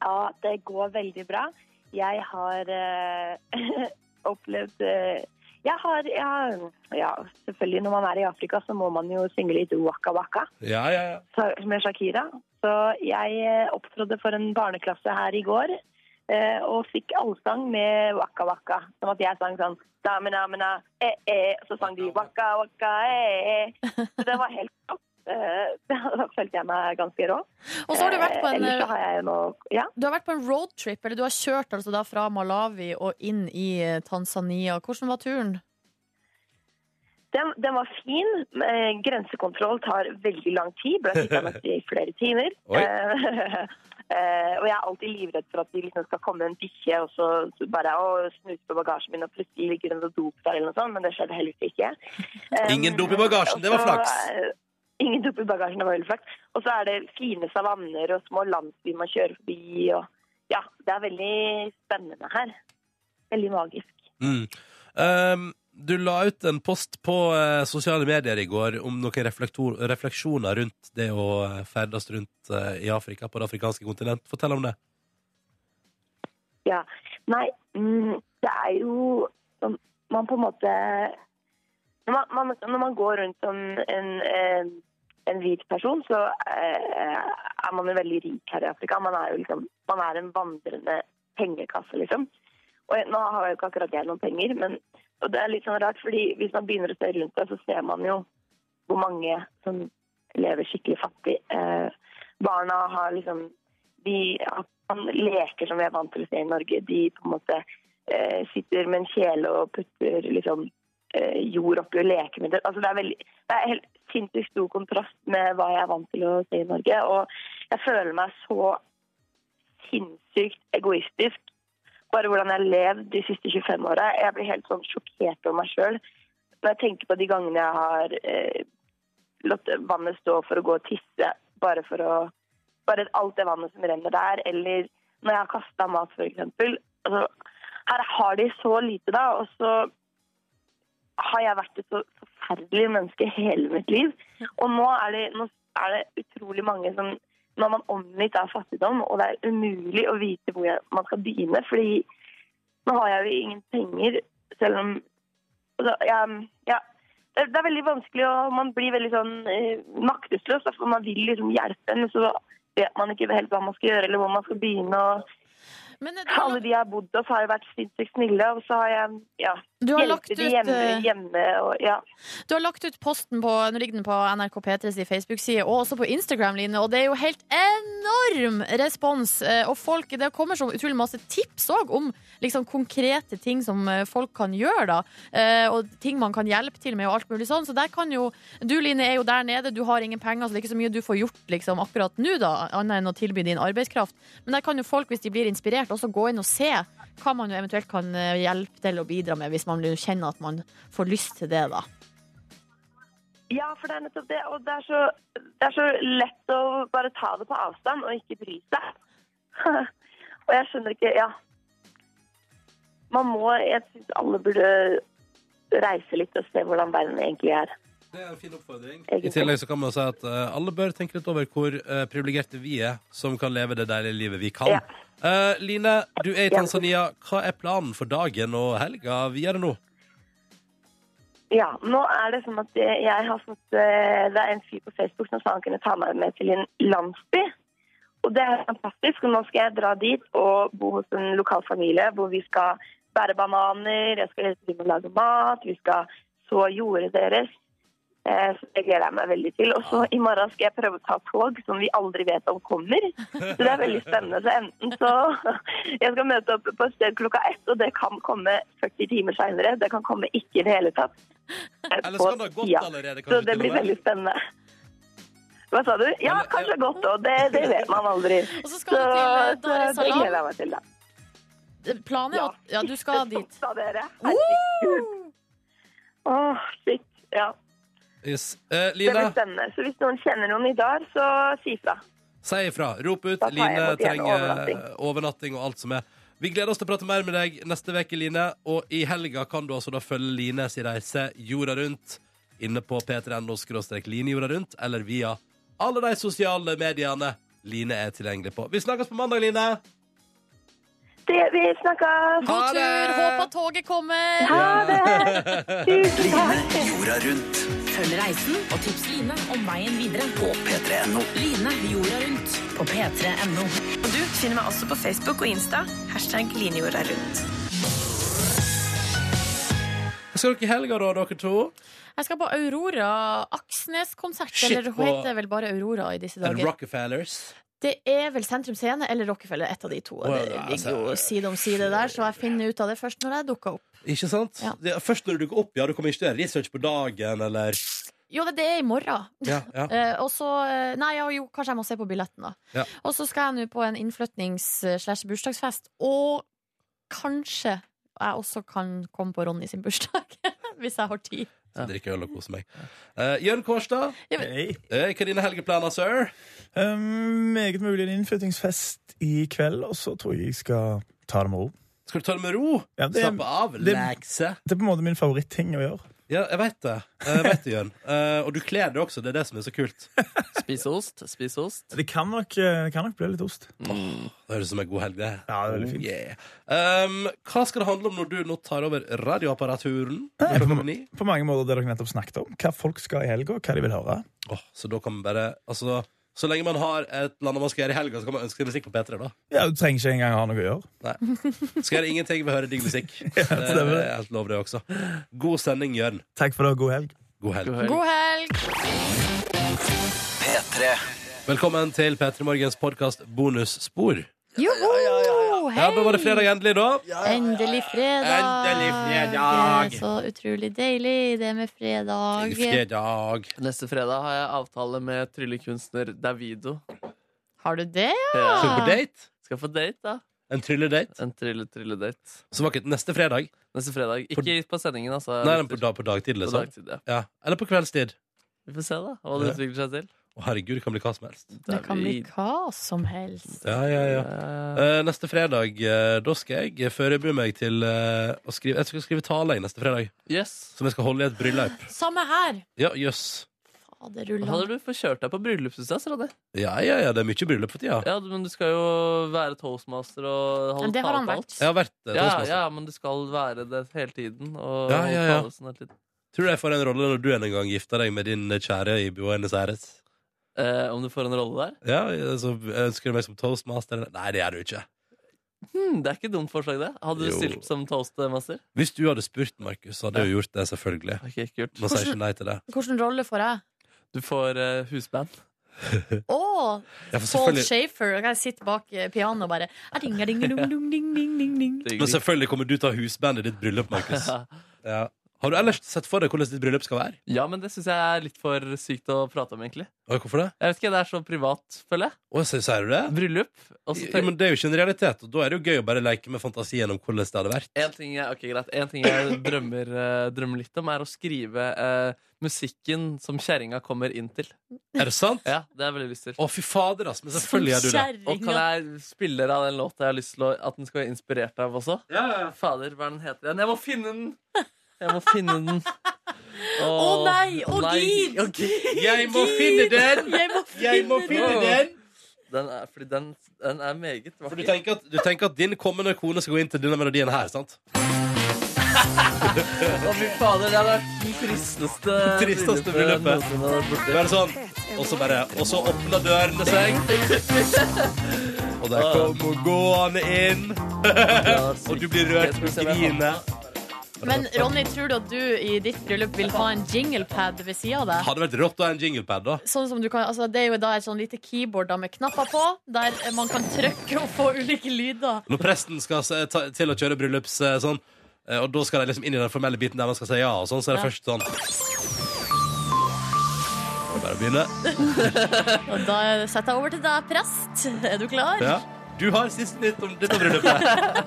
F: Ja, det går veldig bra. Jeg har eh, opplevd eh, jeg har, jeg har- ja, selvfølgelig når man er i Afrika så må man jo synge litt waka waka
B: Ja, ja, ja.
F: sa- med Shakira. Så jeg eh, opptrådte for en barneklasse her i går eh, og fikk allsang med waka waka. Som at jeg sang sånn damina, mina, eh, eh, og så sang de waka waka, eh, eh. Så det var helt topp. Eh, Da følte jeg meg ganske rå.
C: Og så har du vært på
F: Eh,
C: en
F: Ellers så har jeg jo nå Ja.
C: du har vært på en roadtrip, eller du har kjørt altså da fra Malawi og inn i eh, Tanzania. Hvordan var turen?
F: Den, den var fin. Eh, Grensekontroll tar veldig lang tid. Ble sittende i flere timer.
B: Oi.
F: Eh, eh, og jeg er alltid livredd for at de liksom skal komme en bikkje og så så bare å, snuse på bagasjen min, og plutselig ligger det noe dop der, eller noe sånt, men det skjedde heldigvis ikke. Eh,
B: Ingen dop i bagasjen, det var
F: og så,
B: flaks.
F: eh, Ingen dop i bagasjen, det var veldig flaks. Og så er det fine savanner og små landsbyer man kjører forbi. Og, ja, det er veldig spennende her. Veldig magisk.
B: Mm. Um, du la ut en post på eh, sosiale medier i går om noen reflektor- refleksjoner rundt det å eh, ferdes rundt eh, i Afrika, på det afrikanske kontinent. Fortell om det.
F: Ja. Nei, mm, det er jo sånn man på en måte Når man, man, når man går rundt som en, eh, en hvit person, så eh, er man jo veldig rik her i Afrika. Man er jo liksom Man er en vandrende pengekasse, liksom. Og jeg, nå har jeg jo ikke akkurat jeg noen penger, men og det er litt sånn rart, fordi hvis man begynner å se rundt seg, så ser man jo hvor mange som lever skikkelig fattig. Eh, barna har liksom de man Sånn leker som vi er vant til å se i Norge. De på en måte eh, sitter med en kjele og putter liksom eh, jord oppi og leker med det. Altså, det er veldig det er helt sinnssykt stor kontrast med hva jeg er vant til å se i Norge. Og jeg føler meg så sinnssykt egoistisk. Bare hvordan jeg har levd de siste 25 åra. Jeg blir helt sånn sjokkert over meg sjøl når jeg tenker på de gangene jeg har eh, latt vannet stå for å gå og tisse, bare for å bare alt det vannet som renner der, eller når jeg har kasta mat, f.eks. Altså, her har de så lite, da, og så har jeg vært et så forferdelig menneske hele mitt liv. Og nå er det, nå er det utrolig mange som Nå er man omgitt av fattigdom, og det er umulig å vite hvor jeg- man skal begynne, fordi nå har jeg jo ingen penger, selv om altså, jeg, ja, det, det er veldig vanskelig, og man blir veldig sånn eh, maktesløs. da, for man vil liksom hjelpe, men så vet man ikke helt hva man skal gjøre, eller hvor man skal begynne. og
C: eh,
F: Alle de jeg har bodd hos, har jo vært sinnssykt snille, og så har jeg ja,
C: Du har
F: hjulpet
C: lagt
F: de
C: ut,
F: hjemme,
C: eh,
F: hjemme og ja.
C: Du har lagt ut posten på Nå ligger den på NRK P3s Facebook-side og også på Instagram, Line. Og det er jo helt enorm respons. eh, Og folk, det kommer så utrolig masse tips òg om liksom, konkrete ting som eh, folk kan gjøre. da eh, Og ting man kan hjelpe til med og alt mulig sånn. Så der kan jo Du, Line, er jo der nede. Du har ingen penger, så det er ikke så mye du får gjort liksom, akkurat nå, da, annet enn å tilby din arbeidskraft. Men der kan jo folk, hvis de blir inspirert, også gå inn og se hva man jo eventuelt kan eh, hjelpe til å bidra med, hvis man kjenner at man får lyst til det, da.
F: ja, for det er nettopp det. Og det er, så, det er så lett å bare ta det på avstand og ikke bry seg. og jeg skjønner ikke Ja. Man må Jeg syns alle burde reise litt og se hvordan verden egentlig er.
B: Det er en fin oppfordring. I
F: Egentlig.
B: tillegg så kan man si at eh, alle bør tenke litt over hvor uh, privilegerte vi er som kan leve det deilige livet vi kan.
F: Ja.
B: Eh, Line, du er i Tanzania. Hva er planen for dagen og helga videre nå?
F: Ja, nå er det sånn at jeg jeg har fått eh, Det er en fyr på Facebook som sa han kunne ta meg med til en landsby. Og det er fantastisk. Og nå skal jeg dra dit og bo hos en lokal familie hvor vi skal bære bananer, jeg skal hjelpe til med å lage mat, vi skal så jordet deres. Eh, Så det gleder jeg meg veldig til. Og så i morgen skal jeg prøve å ta tog som vi aldri vet om kommer. Så det er veldig spennende. Så enten så Jeg skal møte opp på et sted klokka ett, og det kan komme 40 timer seinere. Det kan komme ikke i det hele tatt.
B: Eller skal det ha gått allerede, kanskje,
F: Så
B: til
F: det
B: og
F: blir
B: med?
F: veldig spennende. Hva sa du? Ja, kanskje
K: eh,
F: godt òg. Det, det vet man aldri.
C: Og så skal du til, eh, Dar es
F: så det
C: Salaam.
F: gleder jeg meg til, da.
C: Planen er at ja, du skal dit.
F: Sa dere. Herregud. Åh, shit. Ja.
B: Yes. Eh,
F: Det blir
B: Line,
F: spennende. Så hvis noen kjenner noen i Dar, så si fra.
B: si ifra. Rop ut.
F: Da tar jeg
B: Line
F: imot gjerne
B: trenger
F: overnatting.
B: overnatting og alt som er. Vi gleder oss til å prate mer med deg neste uke, Line. Og i helga kan du altså da følge Lines reise jorda rundt inne på p3.no line jorda rundt, eller via alle de sosiale mediene Line er tilgjengelig på. Vi snakkes på mandag, Line.
F: Det, vi snakkes!
C: God tur! Håper at toget kommer!
J: Line jorda rundt
L: Følg reisen og tips Line om veien videre på
J: p3.no.
L: Line jorda rundt på p3.no. Og du finner meg også på Facebook og Insta. Hashtag linejorda rundt.
B: Hva skal dere i helga, da, dere to?
C: Jeg skal på Aurora Aksnes-konsert.
B: Shit,
C: Eller hun
B: på-
C: heter vel bare Aurora i disse
B: Er det
C: dager.
B: Rockefellers?
C: Det er vel Sentrum Scene eller Rockefeller, et av de to. Og
B: Well,
C: det
B: altså-
C: ligger jo side om side der, så jeg finner ut av det først når jeg dukker opp.
B: Ikke sant? Det er først når du dukker opp, ja. Du kommer ikke til å gjøre research på dagen, eller
C: Jo, det er i morgen.
B: Ja, ja.
C: Eh, og så eh, Nei, ja, jo, kanskje jeg må se på billetten, da.
B: ja.
C: Og så skal jeg nå på en innflytnings-slash-bursdagsfest, og kanskje jeg også kan komme på Ronny sin bursdag. Hvis jeg har tid.
B: Så drikker jeg øl og koser meg. Uh, Jørn Kårstad,
C: Ja, men-
M: Hei.
B: Eh, hva er dine helgeplaner, sir?
M: Um, meget mulig en innflyttingsfest i kveld, og så tror jeg jeg skal ta det med ro.
B: Skal du ta det med ro?
M: Ja, det er-
B: Slappe av?
M: det-
B: Relaxe?
M: Det er på en måte min favoritting å gjøre.
B: Ja, jeg veit det. Jeg vet det, Jørn. Eh, og du kler det også. Det er det som er så kult. Spis ost. Spis ost.
M: Det kan nok, eh, det kan nok bli litt ost.
B: Det høres ut som en god helg, det. Oh,
M: Ja, det er veldig fint.
B: Yeah. Um, hva skal det handle om når du nå tar over radioapparaturen?
M: På mange måter det dere nettopp snakket om. Hva folk skal i helga, hva de vil høre.
B: Åh, så da kan man bare Altså, så lenge man har et eller annet man skal gjøre i helga, så kan man ønske seg musikk på P3, da.
M: Ja, Du trenger ikke engang ha noe å gjøre.
B: Skal gjøre ingenting, vi hører digg musikk. Eh,
M: stemmer.
B: det er helt lov, det også. God sending, Jørn.
M: Takk for det, og god helg.
B: God helg.
C: God helg!
J: P3.
B: Velkommen til P3 Morgens podkast Bonusspor.
C: Joho! Hei!
B: Ja, da var det fredag endelig, da.
C: Endelig fredag.
B: Endelig fredag.
C: Det er så utrolig deilig, det med fredag.
D: Neste fredag har jeg avtale med tryllekunstner Davido.
C: Har du det,
D: Ja.
C: ja?
B: Skal du på date?
D: Skal jeg få date, da.
B: En trylledate?
D: En trylle-trylledate.
B: Som var ikke neste fredag?
D: Neste fredag. Ikke på, sendingen, altså.
B: Nei, den på, dag, på dagtid,
D: På
B: liksom.
D: dagtid, ja.
B: Ja. Eller på kveldstid.
D: Vi får se, da, hva det
B: Ja.
D: utvikler seg til.
B: Å, herregud, det kan bli hva som helst.
C: Det kan bli hva som helst.
B: Ja, ja, ja. Eh, neste fredag, eh, da skal jeg forberede meg til eh, å skrive Jeg skal skrive tale jeg, neste fredag.
D: Yes.
B: Som jeg skal holde i et bryllup.
C: Samme her.
B: Ja, jøss.
D: Hva
C: Faderullan.
D: Hadde du fått kjørt deg på bryllupshuset, Radde?
B: Ja, ja, ja, det er mye bryllup for tida.
D: Ja, du- men du skal jo være toastmaster og
C: Men
D: holde
C: det har
D: tale
C: han
D: på
C: vært.
D: alt.
B: Jeg har vært eh,
D: Ja,
B: toastmaster.
D: ja, men du skal være det hele tiden. Og
B: Ja, ja, ja.
D: holde tale og sånn hele tiden.
B: Tror du jeg får en rolle når du en gang gifter deg med din kjære i Buenos Aires?
D: Eh, om du får en rolle der?
B: Ja, altså, Ønsker du meg som toastmaster? Nei, det gjør du ikke.
D: Hmm, det er ikke et dumt forslag, det. Hadde du
B: Jo.
D: stilt som toastmaster?
B: Hvis du hadde spurt, Markus, så hadde jeg jo gjort det, selvfølgelig.
D: Ok, kult.
B: Man sier ikke nei til det.
C: Hvilken rolle får jeg?
D: Du får eh, husband.
C: Å!
B: Ja, for
C: Paul
B: selvfølgelig-
C: Shafer. Jeg sitter bak eh, pianoet og bare ding, ah, ding, ding, ding, ding, ding, ding, ding.
B: Men selvfølgelig kommer du til å ha husband i ditt bryllup, Markus. Ja. Har du ellers sett for deg hvordan ditt bryllup skal være?
D: Ja, men det syns jeg er litt for sykt å prate om, egentlig.
B: Oi, Hvorfor det?
D: Jeg vet ikke, Det er så privat, føler jeg.
B: Å, sier sier du det?
D: Bryllup. og så
B: Ja, men det er jo ikke en realitet, og da er det jo gøy å bare leke med fantasien om hvordan det hadde vært.
D: En ting jeg, ok, greit. En ting jeg drømmer, eh, drømmer litt om, er å skrive eh, musikken som kjerringa kommer inn til.
B: Er det sant?
D: Ja, det har jeg veldig lyst til.
B: Å, fy fader, ass, men selvfølgelig gjør du det.
D: Og kan jeg spille av den låta jeg har lyst til å, at den skal være inspirert av også?
B: Ja, ja, ja.
D: Fader, hva er den heter igjen? Jeg må finne den! Jeg må finne den. Å
C: Å nei! Å gid!
D: Å, gid!
B: Jeg må finne den!
C: Jeg må finne,
B: Jeg må finne den!
D: Den er, fordi den, den er meget
B: For du
D: vakker.
B: tenker, at, du tenker at din kommende kone skal gå inn til denne melodien her, sant?
D: Å, fy fader, det er den tristeste
B: Tristeste bryllupet. Bare sånn, og så bare Og så åpner dørene seg, og der kommer gående inn. Og du blir rørt og griner.
C: Men Ronny, tror du at du i ditt bryllup vil ha en jinglepad ved sida av deg?
B: Hadde vært rått å ha en jinglepad, da.
C: Sånn som du kan, altså det er jo da et sånn lite keyboard da med knapper på, der man kan trykke og få ulike lyder.
B: Når presten skal se- ta, til å kjøre bryllups eh, sånn, eh, og da skal de liksom inn i den formelle biten der man skal si ja, og sånn, så er det
C: Ja.
B: først sånn Det er bare å begynne.
C: Og da setter jeg over til deg, prest. Er du klar?
B: Ja. Du har siste nytt om dette bryllupet.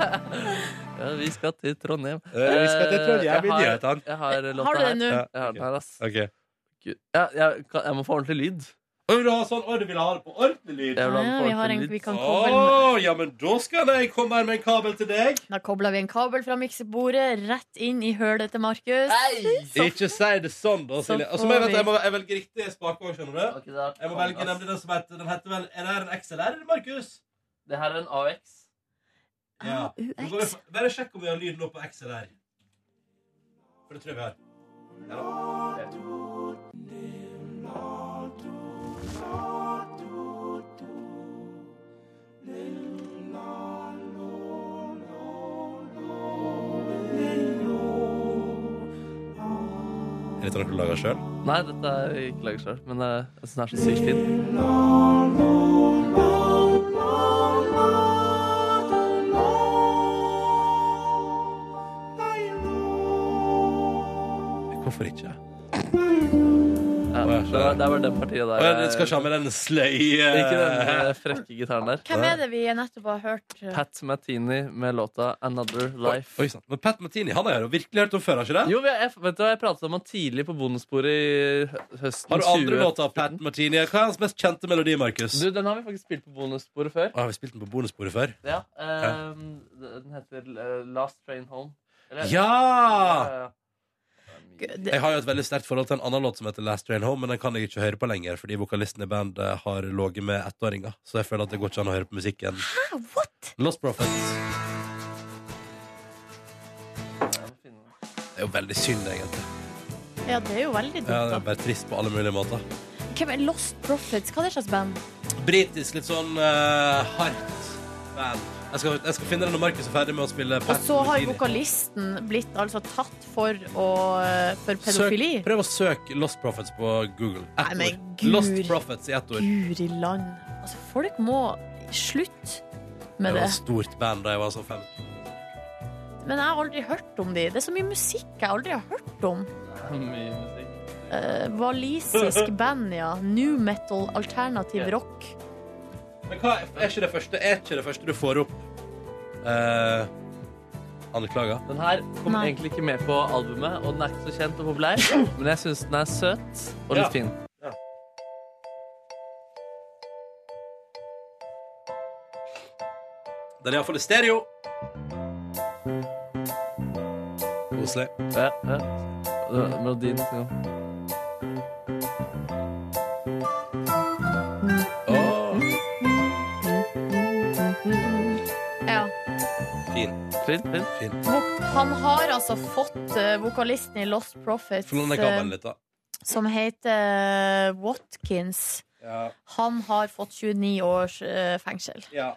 D: Ja, vi skal til Trondheim.
B: Eh, vi skal til Trondheim
D: Eh, jeg
B: i
D: har-
B: nyhetene.
D: Jeg har låta
C: Har du
D: her.
C: den nå?
B: Ja.
D: Jeg har den her, ass.
B: Ok.
D: Gud. Ja, jeg, kan, jeg må få ordentlig lyd.
B: Oi, du har sånn, oi, du vil ha det på ordentlig lyd.
D: Jeg vil ha den
C: Ja,
D: på
C: vi har
D: ordentlig
C: en,
D: lyd.
C: vi kan koble,
B: Å, ja, men da skal de komme her med en kabel til deg.
C: da kobler vi en kabel fra miksebordet rett inn i hølet til Markus.
B: Ikke si det sånn, da, Silje. Og så må jeg,
C: får
B: vente, jeg, må, jeg velge riktig spake òg, skjønner du.
D: Ok, da
B: Jeg må
D: kommer
B: velge
D: det, ass.
B: nemlig den som heter Den heter vel Er det her en XLR, Markus?
D: Det her er en AX.
C: Ah,
B: Ja. Nå går vi
C: UX.
B: for- Bare sjekk om vi har lyd nå på XLR. For det tror jeg vi har. Ja da. Er dette noe du lager sjøl?
D: Nei, dette er ikke laget selv, men eh, jeg synes den er så sykt fin.
B: Hvorfor ikke?
D: Ja,
B: Å, jeg
D: det, var, det var den partiet der.
B: Og jeg skal ikke ha med den sløye
D: eh, Ikke den eh, frekke gitaren der.
C: Hvem er det vi nettopp har hørt? eh,
D: Pat Matini med låta 'Another Life'.
B: Oi, sant. Men Pat Martini han har jeg jo virkelig hørt om før, har ikke det?
D: Jo, vi, jeg, vet du hva, jeg pratet om han tidlig på bonussporet i hø- høsten
B: Har du andre
D: 20.
B: låter av Pat Martini? Hva er hans mest kjente melodi, Markus?
D: Du, den har vi faktisk spilt på bonussporet før.
B: Å, Har vi spilt den på bonussporet før?
D: Ja, ehm, eh, Den heter eh, 'Last Train Home'. Eller-
B: Ja!
D: ja.
B: Jeg har jo et veldig sterkt forhold til en annen låt som heter Last Train Home, men den kan jeg ikke høre på lenger, fordi vokalisten i bandet har ligget med ettåringer. Så jeg føler at det går ikke an å høre på musikken. Hæ? What? Lost Prophets. Det er jo veldig synd, egentlig.
C: Ja, det er jo
B: Ja,
C: veldig
B: det
C: dumt.
B: er bare trist på alle mulige måter.
C: da. Hvem er Lost Prophets? Hva er det slags band?
B: Britisk, litt sånn eh, hardt band. Jeg skal, jeg skal finne den når Markus er ferdig med å spille
C: Og så
B: Pat
C: har
B: Metheny.
C: vokalisten blitt altså tatt for, å, for pedofili.
B: Søk, prøv å søke Lost Prophets på Google. Ett
C: Nei, men
B: ord.
C: Gud.
B: Lost Prophets i ett ord.
C: Guri land. Altså, folk må slutte med
B: det var
C: det.
B: et stort band da jeg var sånn 15.
C: Men jeg har aldri hørt om de. Det er så mye musikk jeg aldri har hørt om.
D: Mye musikk.
C: Eh, Walisisk band, ja. New metal, alternativ rock.
B: Men hva er ikke det første, er ikke det første du får opp? Eh, anklager.
D: Den her kom
B: Nei.
D: egentlig ikke med på albumet, og den er ikke så kjent og populær, men jeg syns den er søt og litt
B: Ja.
D: fin.
B: Den er iallfall i stereo. Koselig.
D: Ja, ja. Det- Melodien. Ja.
C: Ja.
B: Fin.
D: Fin, fin.
C: Han har altså fått eh, vokalisten i Lost Prophets
B: Få låne
C: eh,
B: kabelen litt, da.
C: som heter eh, Watkins.
B: Ja.
C: Han har fått 29 års eh, fengsel.
B: Ja.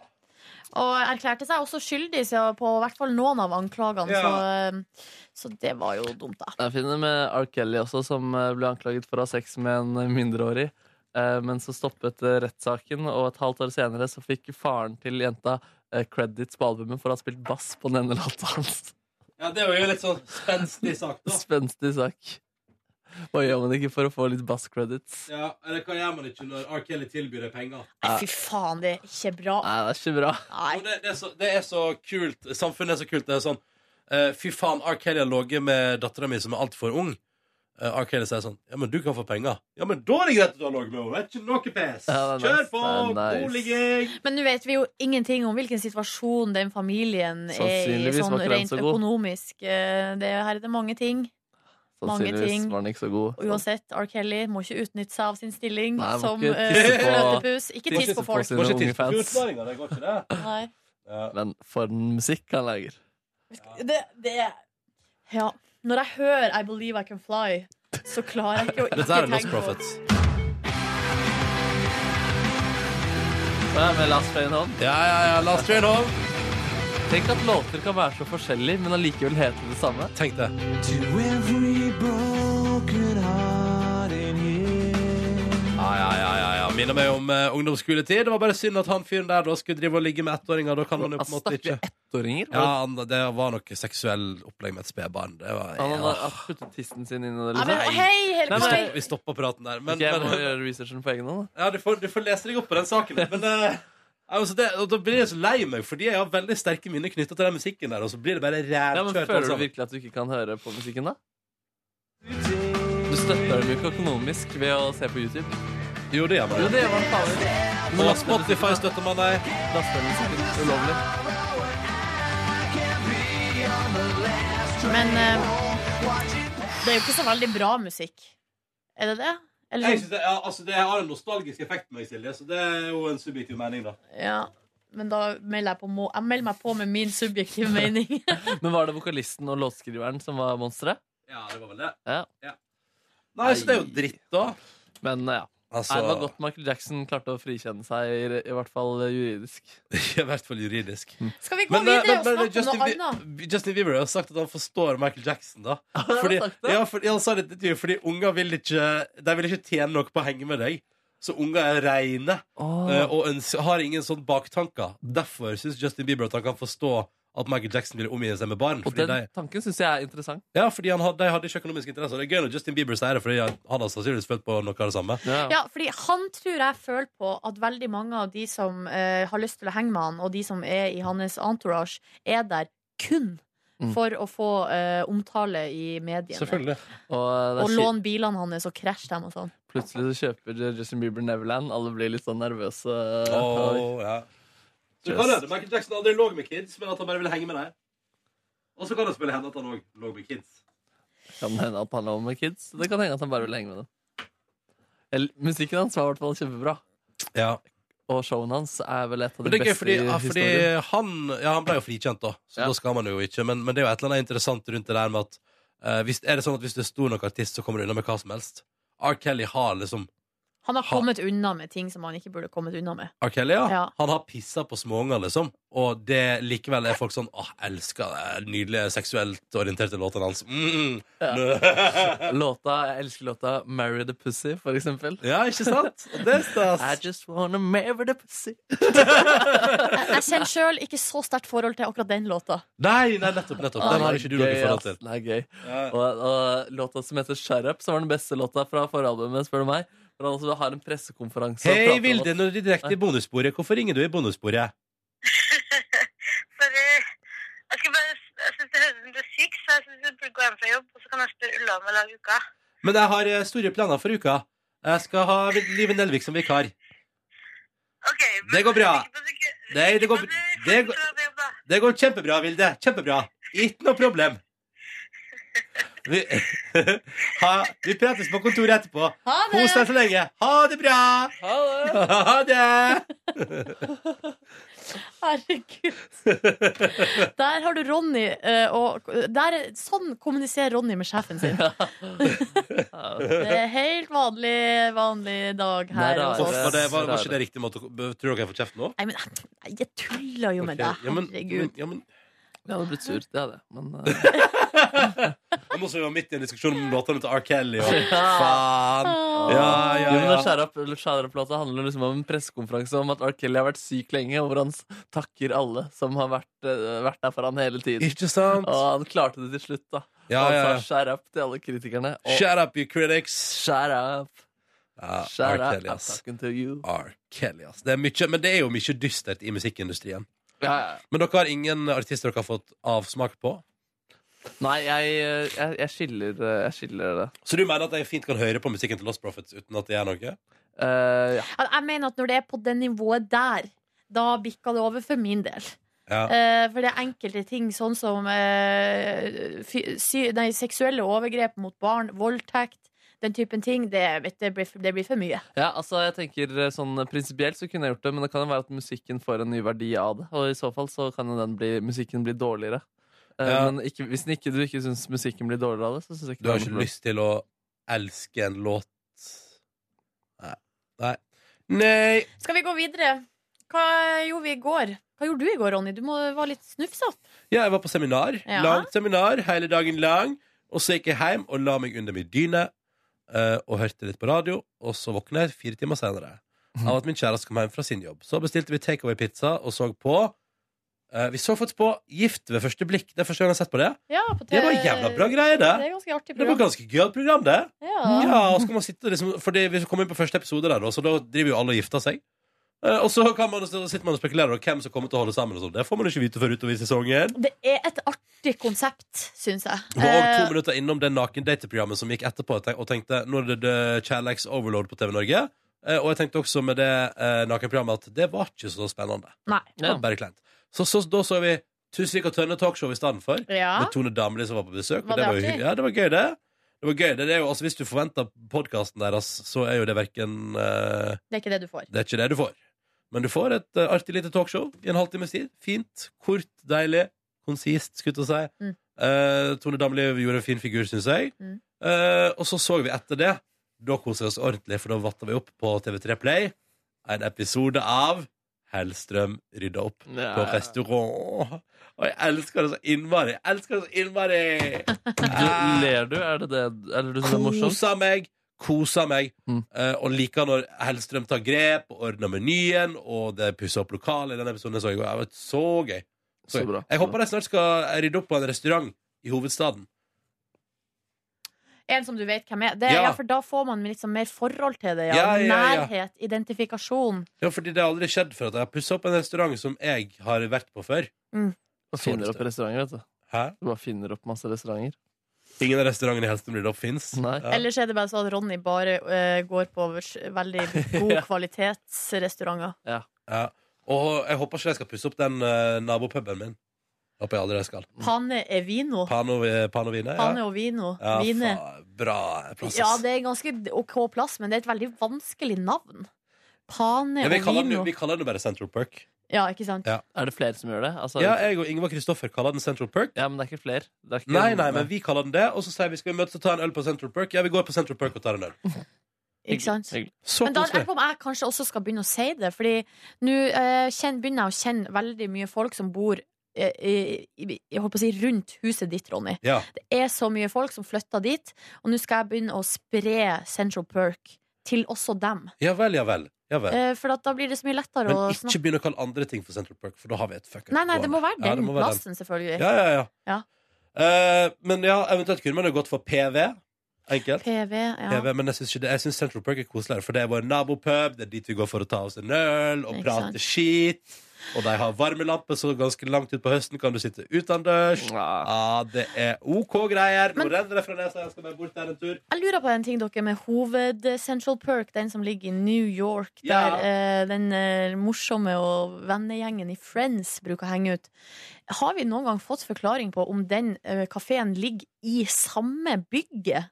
C: Og erklærte seg også skyldig så på i hvert fall noen av anklagene.
D: Ja.
C: Så, eh, så det var jo dumt, da.
D: Jeg finner med R. Kelly også, som eh, ble anklaget for å ha sex med en mindreårig. Eh, Men så stoppet eh, rettssaken, og et halvt år senere så fikk faren til jenta eh, credits på albumet for å ha spilt bass på den ene låta hans.
B: ja, det var jo litt sånn spenstig sak, da.
D: Spenstig sak. Hva gjør man ikke for å få litt bass-credits?
B: Ja, eller hva gjør man ikke når R. Kelly tilbyr deg penger?
C: Nei, fy faen, det er ikke bra.
D: Nei, det er ikke bra.
B: Og Det, det, er så, det er så kult. Samfunnet er så kult. Det er sånn eh, Fy faen, R. Kelly har ligget med dattera mi som er altfor ung. Uh, R. Kelly sier sånn Ja, men du kan få penger. Ja, men da er det greit at du har ligget med henne. Det er Ikke noe pes.
D: Ja, det er
B: Kjør
D: nice.
B: på!
D: Det er nice.
B: Boliging!
C: Men nå vet vi jo ingenting om hvilken situasjon den familien er i,
D: Sannsynligvis
C: sånn
D: var ikke den
C: rent
D: så god.
C: økonomisk. eh, Det, her er det mange ting. Mange
D: Sannsynligvis
C: ting.
D: var den ikke så god.
C: Og Uansett, R. Kelly må ikke utnytte seg av sin stilling
D: Nei, må
C: som
D: ikke
C: eh,
D: tisse på-
C: løpepus. Ikke tiss på folk.
D: sine unge fans.
B: det går ikke, det.
C: Nei.
D: Men for en musikk han lager.
C: Det, det er Ja. Når jeg hører I Believe I Can Fly, så klarer jeg ikke å ikke
B: Dette er Lost
C: tenke på
B: Prophets.
D: Og jeg er med Last Train Home.
B: Ja, ja, ja, Last Train Home.
D: Tenk at låter kan være så forskjellige, men allikevel hete det samme.
B: Tenk det. Ja, ja, ja, ja, ja. Minner meg om eh, ungdomsskoletid. Det var bare synd at han fyren der da skulle drive og ligge med ettåringer. Da kan man jo på en måte ikke
D: ettåringer?
B: Ja, han, Det var noe seksuell opplegg med et spedbarn. Det var
D: Han
B: ja.
D: hadde hadde puttet tissen sin inn i det.
C: Nei, men hei,
B: Vi
C: helt på
B: stopper,
C: stell.
B: vi stopper praten der. Men,
D: Ok, jeg
B: men,
D: må gjøre researchen på egen hånd. da.
B: ja, du, får, du får lese deg opp på den saken. Men eh, altså det, og da blir jeg så lei meg, fordi jeg har veldig sterke minner knytta til den musikken der. Og så blir det bare
D: Ja, men
B: rævkjørt.
D: Føler du
B: altså.
D: virkelig at du ikke kan høre på musikken, da? Du støtter dem jo ikke økonomisk ved å se på YouTube.
B: Jo, det gjør man.
D: Jo, det gjør man faen ikke.
B: Nå Spotify støtter man deg.
D: Laster musikken ulovlig.
C: Men eh, det er jo ikke så veldig bra musikk. Er det det? Eller
B: Jeg
C: sånn
B: synes det, ja, altså det har en nostalgisk effekt på meg, Silje, så det er jo en subjektiv mening, da.
C: Ja. Men da melder jeg, på må jeg melder meg på med min subjektive mening.
D: Men var det vokalisten og låtskriveren som var monsteret?
B: Ja, det var vel det.
D: Ja.
B: Nei, så det er jo dritt, da.
D: Men eh, ja.
B: Altså-
D: Nei, det var godt Michael Jackson klarte å frikjenne seg, i, i hvert fall juridisk.
B: I hvert fall juridisk.
C: Skal vi gå videre og snakke om noe annet?
B: eh, Justin Bieber har sagt at han forstår Michael Jackson, da.
D: han
B: Fordi,
D: sagt
B: ja, for, ja, han sa det til intervjuet, fordi unger vil ikke De vil ikke tjene noe på å henge med deg. Så unger er reine
D: Åh.
B: eh, og ønsker, har ingen sånn baktanker. Derfor syns Justin Bieber at han kan forstå at Michael Jackson ville omgi seg med barn.
D: Og
B: Fordi
D: den
B: de,
D: tanken syns jeg er interessant.
B: ja, fordi han hadde, de hadde ikke økonomiske interesser. Det er gøy når Justin Bieber sier det, fordi han han har sannsynligvis følt på noe av det samme.
C: Ja, fordi han tror jeg føler på at veldig mange av de som eh, har lyst til å henge med han, og de som er i hans entourage, er der kun
D: Mm.
C: for å få eh, omtale i mediene.
D: Og, det
C: Og
D: er
C: låne bilene hans og krasje dem og sånn.
D: kjipt. Plutselig så kjøper Justin Bieber Neverland. Alle blir litt sånn nervøse.
B: Åh, ja. Så kan det hende Michael Jackson aldri lå med kids, men at han bare ville henge med deg. Og så kan det spille hende at han òg lå med kids.
D: Kan hende at han er med kids. Det kan hende at han bare vil henge med dem. Eller, musikken hans var i hvert fall kjempebra. Og showen hans er vel et av
B: Men
D: de
B: det er gøy,
D: beste
B: fordi,
D: i
B: ja, fordi
D: historien.
B: han, ja, han ble jo frikjent, da, så da skal man jo ikke. Men, men det er jo et eller annet interessant rundt det der med at eh, hvis, Er det sånn at hvis du er stor nok artist, så kommer du unna med hva som helst? R. Kelly har liksom
C: Han har kommet unna med ting som han ikke burde kommet unna med.
B: R. Kelly, ja.
C: Ja.
B: Han har pissa på småunger, liksom. Og det likevel er folk sånn Åh, elsker det nydelige seksuelt orienterte låtene hans. Mm.
D: Ja. Låta, Jeg elsker låta 'Marry the Pussy', for eksempel.
B: Ja, ikke sant? Det er stas.
D: I just wanna marry the pussy.
C: Jeg, jeg kjenner sjøl ikke så sterkt forhold til akkurat den låta.
B: Nei, nei, nettopp. nettopp Den har ikke du noe
D: Gøy,
B: forhold
D: ass.
B: til.
D: Den er gøy. Og, og låta som heter 'Shut Up', som var den beste låta fra forrige albumet, spør du meg. Hvor han også har en pressekonferanse. og prater
B: Hei,
D: om
B: Vilde,
D: at-
B: når du er direkte i bonussporet, hvorfor ringer du i bonussporet?
K: Jeg skal bare, jeg synes det høres ut som du er syk, så jeg synes du burde gå hjem fra jobb, og så kan jeg spørre Ulla om å lage uka.
B: Men jeg har eh, store planer for uka. Jeg skal ha Live Nelvik som vikar. det går bra. Nei, det går, det, går, det går kjempebra, Vilde. Kjempebra. Ikke noe problem. Vi, ha, vi prates på kontoret etterpå.
C: Ha det.
B: Kos deg så lenge. Ha det bra. Ha det.
C: Herregud. Der har du Ronny eh, og der, Sånn kommuniserer Ronny med sjefen sin. Det er helt vanlig, vanlig dag her. hos
B: Hvorfor
C: oss.
B: var, det, var, var ikke det riktig måte å- Tror dere jeg får kjeft nå?
C: Nei, men nei, jeg tuller jo med
B: Ok,
C: deg.
B: ja, men-
C: Herregud.
B: men- ja, men-
D: Jeg hadde blitt sur, det hadde jeg. Men eh,
B: Og nå som vi var midt i en diskusjon om låtene til R. Kelly og
D: Ja.
B: Faen. Ja, ja,
D: Jo, men da
B: ja.
D: Shut Up- eller Shut Up-låta handler liksom om en pressekonferanse om at R. Kelly har vært syk lenge, og hvor han s- takker alle som har vært, eh, vært der for han hele tiden.
B: Ikke sant?
D: Og han klarte det til slutt, da.
B: Ja,
D: han
B: ja, ja.
D: sa 'shut up' til alle kritikerne. Og
B: Shut up, you critics.
D: Shut up.
B: Ja,
D: Shut
B: R.
D: up,
B: Kelly,
D: I'm
B: ass.
D: talking to you.
B: R. Kelly, ass. Det er mye, men det er jo mye dystert i musikkindustrien.
D: Ja, ja.
B: Men dere har ingen artister dere har fått avsmak på?
D: Nei, jeg, eh, jeg, jeg, skiller, eh, jeg skiller det.
B: Så du mener at jeg fint kan høre på musikken til Lost Prophets uten at det er noe?
C: Jeg jeg mener at når det er på det nivået der, da bikker det over for min del.
B: Ja.
C: Eh, for det er enkelte ting, sånn som eh, fy- sy nei, seksuelle overgrep mot barn, voldtekt, den typen ting, det, vet, du, det, blir, det blir for mye.
D: Ja, altså jeg tenker eh, sånn eh, Prinsipielt så kunne jeg gjort det, men det kan jo være at musikken får en ny verdi av det. Og i så fall så kan jo den bli, musikken bli dårligere. Eh,
B: Ja.
D: Men ikke, hvis den ikke, du ikke syns musikken blir dårligere av det, så syns jeg ikke
B: Du har
D: det er
B: ikke
D: noe
B: lyst til å elske en låt Nei. Nei. Nei.
C: Skal vi gå videre? Hva gjorde vi i går? Hva gjorde du i går, Ronny? Du må være litt snufsete.
B: Ja, jeg var på seminar.
C: Ja.
B: Langt seminar, hele dagen lang. Og så gikk jeg hjem og la meg under min dyne eh, og hørte litt på radio. Og så våkna jeg fire timer senere av at min kjæreste kom hjem fra sin jobb. Så bestilte vi takeaway-pizza og så på eh, Vi så faktisk på Gift ved første blikk. Det er første gang jeg har sett på det.
C: Ja, på
B: Det var jævla bra greier, det.
C: Det er ganske artig
B: Det var
C: program.
B: ganske gøy program, det.
C: Ja.
B: og så kan man sitte liksom Fordi vi kom inn på første episode der, da, så da driver jo alle og gifter seg. Eh, Og så, kan man, så sitter man og spekulerer om hvem som kommer til å holde sammen. Og sånn. det får man jo ikke vite før utover i sesongen.
C: Det er et artig konsept, syns jeg. Eh,
B: Og to minutter innom det nakendateprogrammet som gikk etterpå, og tenk- og tenkte nå er det, det Kjærleiks Overload på TV Norge. Eh, Og jeg tenkte også med det eh, nakenprogrammet at det var ikke så spennende.
C: Nei.
B: Det var bare kleint. Så, så da så vi Tusvik og Tønne talkshow i stedet for,
C: Ja.
B: med Tone Damli som var på besøk.
C: Var
B: og det
C: det
B: var, jo
C: artig?
B: hy- ja, det var gøy, det. Det var gøy, det er jo, altså, Hvis du forventer podkasten deres, så er jo det verken eh,
C: Det er ikke det du får.
B: det er ikke det du får. Men du får et eh, artig lite talkshow i en halvtimes tid. Fint, kort, deilig, konsist, skulle jeg til å si.
C: Mm.
B: Eh, Tone Damli gjorde en fin figur, syns jeg.
C: Mm.
B: Eh, og så så vi etter det. Da koser vi oss ordentlig, for da vatta vi opp på TV3 Play en episode av Hellstrøm rydda opp
D: Ja.
B: på restaurant. Og jeg elsker det så innmari! Jeg elsker det så innmari!
D: Du, ler du? Er det det Eller du synes det er morsomt? Mm.
B: Kosa meg, kosa meg. Eh, og liker når Hellstrøm tar grep og ordner menyen, og det pusser opp lokalet i den episoden. jeg Så, i går. det var så gøy. Så,
D: Så
B: gøy.
D: bra.
B: Jeg håper de snart skal rydde opp på en restaurant i hovedstaden.
C: En som du vet hvem er. Det,
B: Ja.
C: ja. for da får man liksom mer forhold til det. Ja.
B: Ja, ja, ja.
C: Nærhet, identifikasjon.
B: Ja, fordi det har aldri skjedd før at jeg har pussa opp en restaurant som jeg har vært på før.
C: Mm.
D: Du finner opp restauranter, vet du.
B: Hæ?
D: Du bare finner opp masse restauranter.
B: Ingen av restaurantene i Hellstrøm rydda opp fins.
C: Ellers er det bare sånn at Ronny bare eh, går på vers- veldig god kvalitetsrestauranter.
B: Ja. Og jeg håper ikke de skal pusse opp den eh, nabopuben min. Håper jeg aldri jeg skal.
C: Pane e vino.
B: Pano, eh, pano vine, ja.
C: Pane og vino.
B: Ja,
C: Vine.
B: faen, altså. bra plass.
C: Ja,
B: ass.
C: det er ganske OK plass, men det er et veldig vanskelig navn. Pane
B: Ja, vi,
C: og
B: kaller den, jo-
C: vino.
B: vi kaller den jo bare Central Perk.
C: Ja, ikke sant?
D: Er det flere som gjør det? Altså,
B: Ja, jeg og Ingvar Kristoffer kaller den Central Perk.
D: Ja, men det er ikke flere. Det er ikke
B: Nei, nei, men vi kaller den det. Og så sier vi skal vi møtes og ta en øl på Central Perk. Ja, vi går på Central Perk og tar en øl.
C: Ikke sant?
B: Så
C: Men da lurer jeg
B: koselig.
C: på om jeg kanskje også skal begynne å si det. Fordi nå eh, kjenn- begynner jeg å kjenne veldig mye folk som bor eh, i- i- jeg holdt på å si rundt huset ditt, Ronny.
B: Ja.
C: Det er så mye folk som flytter dit, og nå skal jeg begynne å spre Central Perk til også dem.
B: Ja vel, ja vel. Ja vel.
C: Eh, For at da blir det så mye lettere
B: Men
C: å
B: ikke
C: snakke
B: begynn å kalle andre ting for Central Perk, for da har vi et fuck up.
C: Nei, nei, det må være den
B: Ja, det må være
C: plassen, selvfølgelig.
B: Ja, ja, ja.
C: Ja.
B: Eh, men ja, eventuelt kunne man jo gått for PV. Enkelt.
C: PV, ja.
B: PV, men jeg syns, ikke det, jeg synes Central Perk er koseligere, for det er vår nabopub. Det er dit vi går for å ta oss en øl og
C: Ikke
B: prate
C: sant.
B: skit. Og de har varmelampe, så ganske langt utpå høsten kan du sitte utendørs. Ja, det er OK greier. Nå renner det fra nesa. Jeg skal bare bort der en tur.
C: Jeg lurer på en ting dere med hoved-Central Perk, den som ligger i New York,
B: Ja.
C: der eh, den eh, morsomme og vennegjengen i Friends bruker å henge ut. Har vi noen gang fått forklaring på om den uh, kafeen ligger i samme bygget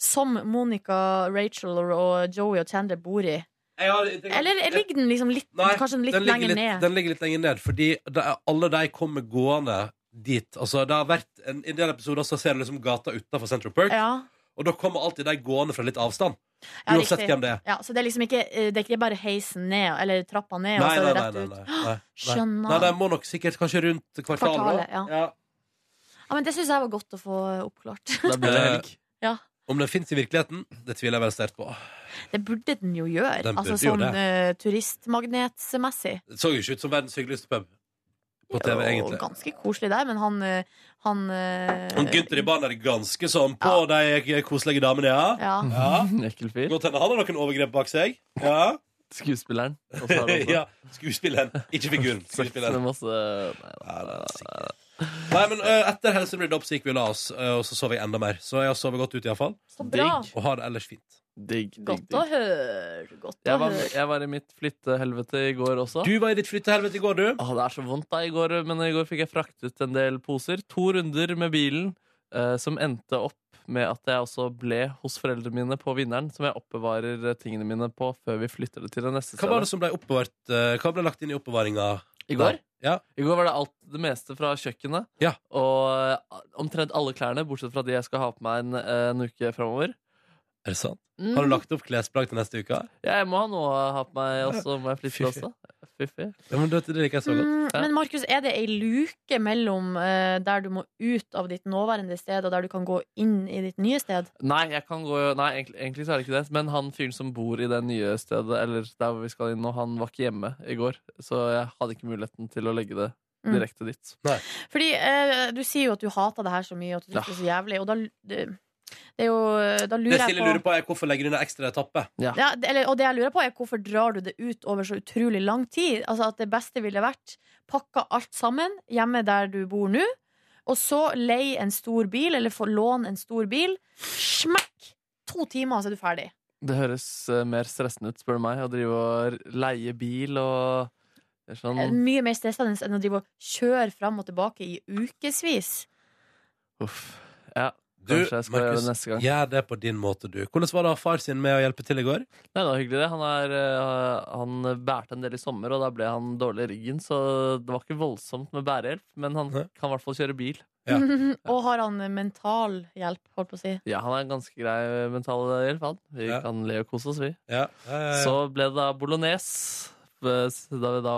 C: som Monica, Rachel og Joey og Chandler bor i?
B: Jeg har- jeg tenker-
C: Eller ligger den liksom litt,
B: Nei,
C: kanskje litt
B: den ligger
C: lenger
B: litt,
C: ned?
B: Den ligger litt lenger ned, fordi det er, alle de kommer gående dit. Altså, det har vært en, I en del episoder så ser du liksom gata utenfor Central Perk,
C: Ja.
B: og da kommer alltid de gående fra litt avstand.
C: Ja,
B: Uansett
C: riktig.
B: hvem det er.
C: Ja, så det er liksom ikke, eh, det er ikke bare heisen ned, eller trappa
B: Nei,
C: ned, og så
B: nei,
C: er det
B: nei,
C: rett
B: nei,
C: ut.
B: nei, nei.
C: Skjønner.
B: Nei, de må nok sikkert kanskje rundt kvartalet.
C: Kvartalet,
B: da.
C: ja. Ja, men Det syns jeg var godt å få oppklart.
B: Da blir det helg.
C: Ja,
B: Om den fins i virkeligheten, det tviler jeg veldig sterkt på.
C: Det burde den jo gjøre.
B: Den
C: altså
B: burde jo
C: Sånn
B: det.
C: eh, turistmagnetmessig.
B: Det så jo ikke ut som verdens hyggeligste pub på TV, egentlig.
C: Og ganske koselig der, men han, eh, han eh,
B: Han Gunther i banen er ganske sånn på de koselige damene, ja.
C: Ja.
B: Ekkel fyr. Godt hende han har noen overgrep bak seg. Ja.
D: Skuespilleren. Og så har du også-
B: ja. Skuespilleren, ikke figuren.
D: Det
B: Skuespilleren.
D: er masse-
B: Ja, det er sikkert. Nei, men ø, etter Helse Blir Dopp så gikk vi og la oss, ø, og så sov jeg enda mer. Så jeg har sovet godt ut, iallfall.
C: Så bra. Digg.
B: Og har det ellers fint.
C: Godt å høre. Godt å
D: Jeg var,
C: høre.
D: jeg var i mitt flyttehelvete i går også.
B: Du var i ditt flyttehelvete i går, du.
D: Åh, det er så vondt da i går, men i går fikk jeg fraktet en del poser. To runder med bilen, eh, som endte opp med at jeg også ble hos foreldrene mine på vinneren, som jeg oppbevarer eh, tingene mine på før vi flytter det til det neste
B: Hva var det som ble oppbevart ø, Hva ble lagt inn i oppbevaringa?
D: I går?
B: Ja.
D: I går var det alt, det meste fra kjøkkenet. Og eh, omtrent alle klærne, bortsett fra de jeg skal ha på meg en, eh, en uke framover.
B: Er det sant?
D: Mm.
B: Har du lagt opp klesplagg til neste uke?
D: Jeg må ha noe å ha på meg, og så må jeg flytte også. Fiffig.
B: Ja, men det, det liker jeg så godt.
C: Mm, men Markus, er det ei luke mellom eh, der du må ut av ditt nåværende sted, og der du kan gå inn i ditt nye sted?
D: Nei, jeg kan gå Nei, egentlig, egentlig så er det ikke det. Men han fyren som bor i det nye stedet, eller der hvor vi skal inn nå, han var ikke hjemme i går. Så jeg hadde ikke muligheten til å legge det
C: Mm.
D: direkte dit.
C: Fordi eh, du sier jo at du hater det her så mye, og at du
B: Ja.
C: synes det er så jævlig, og da det, det er jo, eh,
B: Det
C: da lurer jeg
B: Silje
C: på
B: lurer på, er hvorfor legger du inn en ekstra etappe?
C: Ja, det, eller, og det jeg lurer på er hvorfor drar du det ut over så utrolig lang tid? Altså at det beste ville vært pakka alt sammen hjemme der du bor nå, og så leie en stor bil, eller få låne en stor bil. Smekk! To timer, så er du ferdig.
D: Det høres eh, mer stressende ut, spør du meg, å drive og leie bil og det er sånn
C: Eh, Mye mer stressende enn å drive og kjøre fram og tilbake i ukevis.
D: Uff. Ja.
B: Du,
D: Kanskje jeg skal gjøre
B: Markus,
D: det neste gang.
B: gjør det på din måte, du. Hvordan var det å ha far sin med å hjelpe til i går?
D: Nei, det var hyggelig, det. Han, er, eh, han bærte en del i sommer, og da ble han dårlig i ryggen, så det var ikke voldsomt med bærehjelp, men han kan i hvert fall kjøre bil.
C: og har han mental hjelp, holdt på å si.
D: Ja, han er en ganske grei mental hjelp, han. Vi kan le og kose oss, vi.
B: eh,
D: Så ble det da bolognese, eh, s- da vi da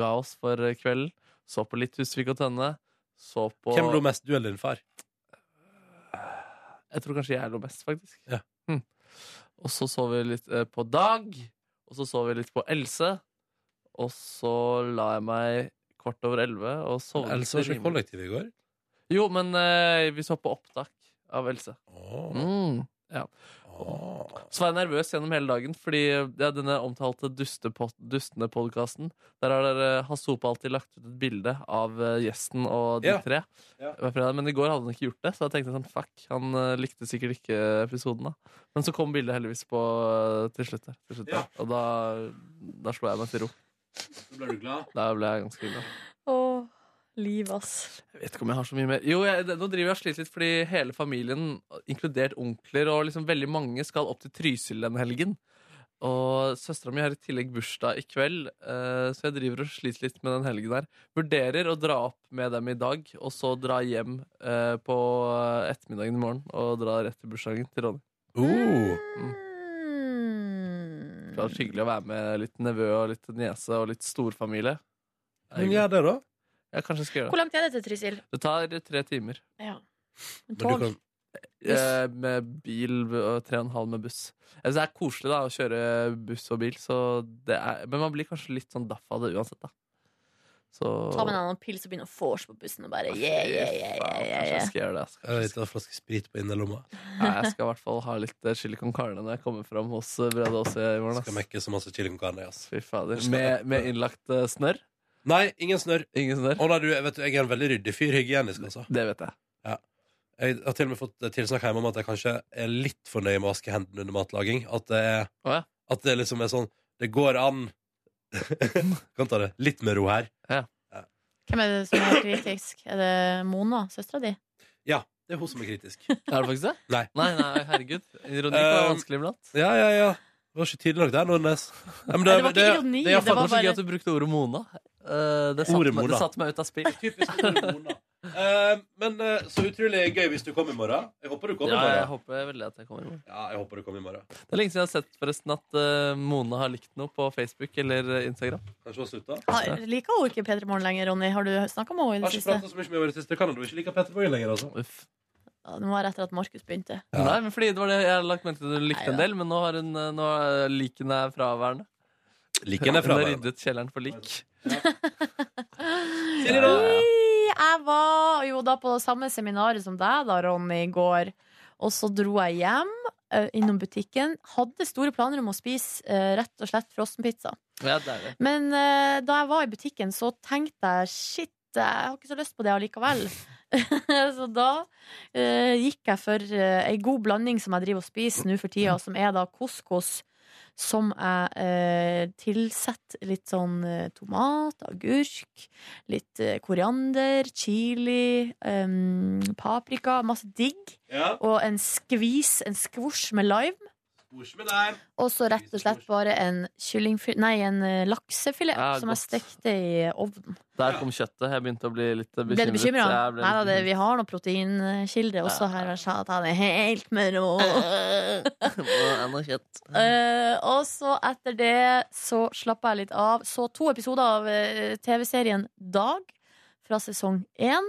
D: ga oss for eh, kvelden. Så på litt Husvik og Tønne. Så på
B: Hvem lo mest, du eller din far?
D: Jeg tror kanskje jeg lo mest, faktisk. Hm. Og så så vi litt eh, på Dag, og så så vi litt på Else. Og så la jeg meg kvart over elleve og sovnet.
B: Else var ikke i
D: rimelig.
B: kollektivet i går.
D: Jo, men eh, vi så på opptak av Else. Mm, ja.
B: Oh.
D: Så var jeg nervøs gjennom hele dagen, fordi ja, denne omtalte dustepod dustende podkasten Der har dere eh, Hasse Hope alltid lagt ut et bilde av eh, gjesten og de
B: Ja.
D: tre.
B: Ja.
D: hver fredag. Men i går hadde han ikke gjort det, så jeg tenkte sånn fuck, han eh, likte sikkert ikke episoden. da Men så kom bildet heldigvis på eh, til slutt. Der, til slutt der. Og da, da slo jeg meg til ro.
B: Da ble du glad?
D: Da ble jeg ganske glad.
C: Åh, Liv, ass.
D: Jeg vet ikke om jeg har så mye mer Jo, jeg, det- nå driver jeg og sliter litt fordi hele familien, inkludert onkler og liksom veldig mange, skal opp til Trysil denne helgen. Og søstera mi har i tillegg bursdag i kveld, eh, så jeg driver og sliter litt med den helgen her. Vurderer å dra opp med dem i dag, og så dra hjem eh, på ettermiddagen i morgen og dra rett til bursdagen til Ronny.
C: Mm.
D: Det hadde vært hyggelig å være med litt nevø og litt niese og litt storfamilie.
B: Men gjør det, da.
D: Ja, kanskje jeg skal gjøre det.
C: Hvor langt er det til Trysil?
D: Det tar tre timer.
C: Ja.
D: Men
C: Men
D: du
C: Tog?
D: kan- Eh, med bil og tre og en halv med buss. Altså, det er koselig da å kjøre buss og bil, så det er, men man blir kanskje litt sånn daff av det uansett. da så,
C: Ta med deg noen pils og begynne å vors på bussen og bare yeah, yeah, yeah, yeah, yeah,
D: Kanskje jeg
C: yeah.
D: skal gjøre det. altså.
B: Jeg vet, en flaske sprit på innerlomma.
D: Nei, jeg skal i hvert fall ha litt eh, chili con carne når jeg kommer fram hos eh, Brede Aase i morgen.
B: Skal mekke så masse chili con carne. ass.
D: Fy fader. Med, med innlagt eh, snørr?
B: Nei, ingen snørr.
D: Ingen snørr.
B: Å, nei, du, jeg vet, jeg er en veldig ryddig fyr. Hygienisk, altså.
D: Det vet jeg.
B: Ja. Jeg har til og med fått eh, tilsnakk hjemme om at jeg kanskje er litt for nøye med å vaske hendene under matlaging. At det, er, at det liksom er sånn Det går an Kan ta det litt med ro her.
C: Hvem er det som er kritisk? Er det Mona, søstera di?
B: Ja, det er hun som er kritisk.
D: Er det faktisk det?
B: Nei.
D: Nei, nei, herregud. Ironi kan være
B: Um,
D: vanskelig iblant.
B: Ja, ja, ja. Det var ikke tydelig nok der, Nordnes. Ja, men
D: Nei, det var ikke ironi,
B: er i
D: det
B: hvert
D: var
B: fall-
D: bare- Kanskje gøy at du brukte ordet Mona. Eh, det, satte
B: Ordet
D: meg,
B: Mona.
D: det satte meg ut av spill.
B: Eh, men eh, så utrolig gøy hvis du kommer i morgen. Jeg håper du kommer i
D: Ja,
B: morgen.
D: jeg håper veldig at jeg kommer i morgen.
B: Ja, jeg håper du kommer i morgen.
D: Det er lenge siden jeg har sett forresten at eh, Mona har likt noe på Facebook eller eh, Instagram.
B: Kanskje hun slutta?
C: Har, Ah, liker hun ikke P3 Morgen lenger, Ronny? Har du snakka med henne i det
B: Har ikke
C: siste?
B: pratet så mye med henne i det siste. Kan du ikke like Petter Borgen lenger, altså?
C: Ja, Det må være etter at Markus begynte.
D: Nei, men fordi det var det jeg hadde lagt merke til at hun likte en del, men nå, har hun, eh, nå er liken er fraværende.
B: Liken er
D: Hun har
B: fraværende.
D: ryddet kjelleren for lik.
C: Nei, Jeg var jo da på samme seminaret som deg da, Ronny, i går. Og så dro jeg hjem, eh, innom butikken. Hadde store planer om å spise eh, rett og slett frossenpizza.
D: Ja, det er det.
C: Men eh, da jeg var i butikken, så tenkte jeg shit, jeg har ikke så lyst på det allikevel. så da eh, gikk jeg for eh, ei god blanding som jeg driver og spiser nå for tida, som er da couscous. Som jeg eh, tilsetter litt sånn eh, tomat, agurk, litt eh, koriander, chili, em, paprika, masse digg.
B: Ja.
C: Og en skvis, en skvosj med lime.
B: Kos med deg.
C: Og så rett og slett bare en, kyllingfil- nei, en eh, laksefilet
D: Ja,
C: som jeg
D: godt.
C: stekte i ovnen.
D: Der kom kjøttet. Jeg begynte å bli litt bekymret.
C: Ble du bekymra?
D: Jeg ble
C: Nei da,
D: litt-
C: det- vi har noen proteinkilder også her. Jeg sa at han er helt med rå. Eh, og så etter det så slappa jeg litt av. Så to episoder av eh, TV-serien Dag fra sesong én.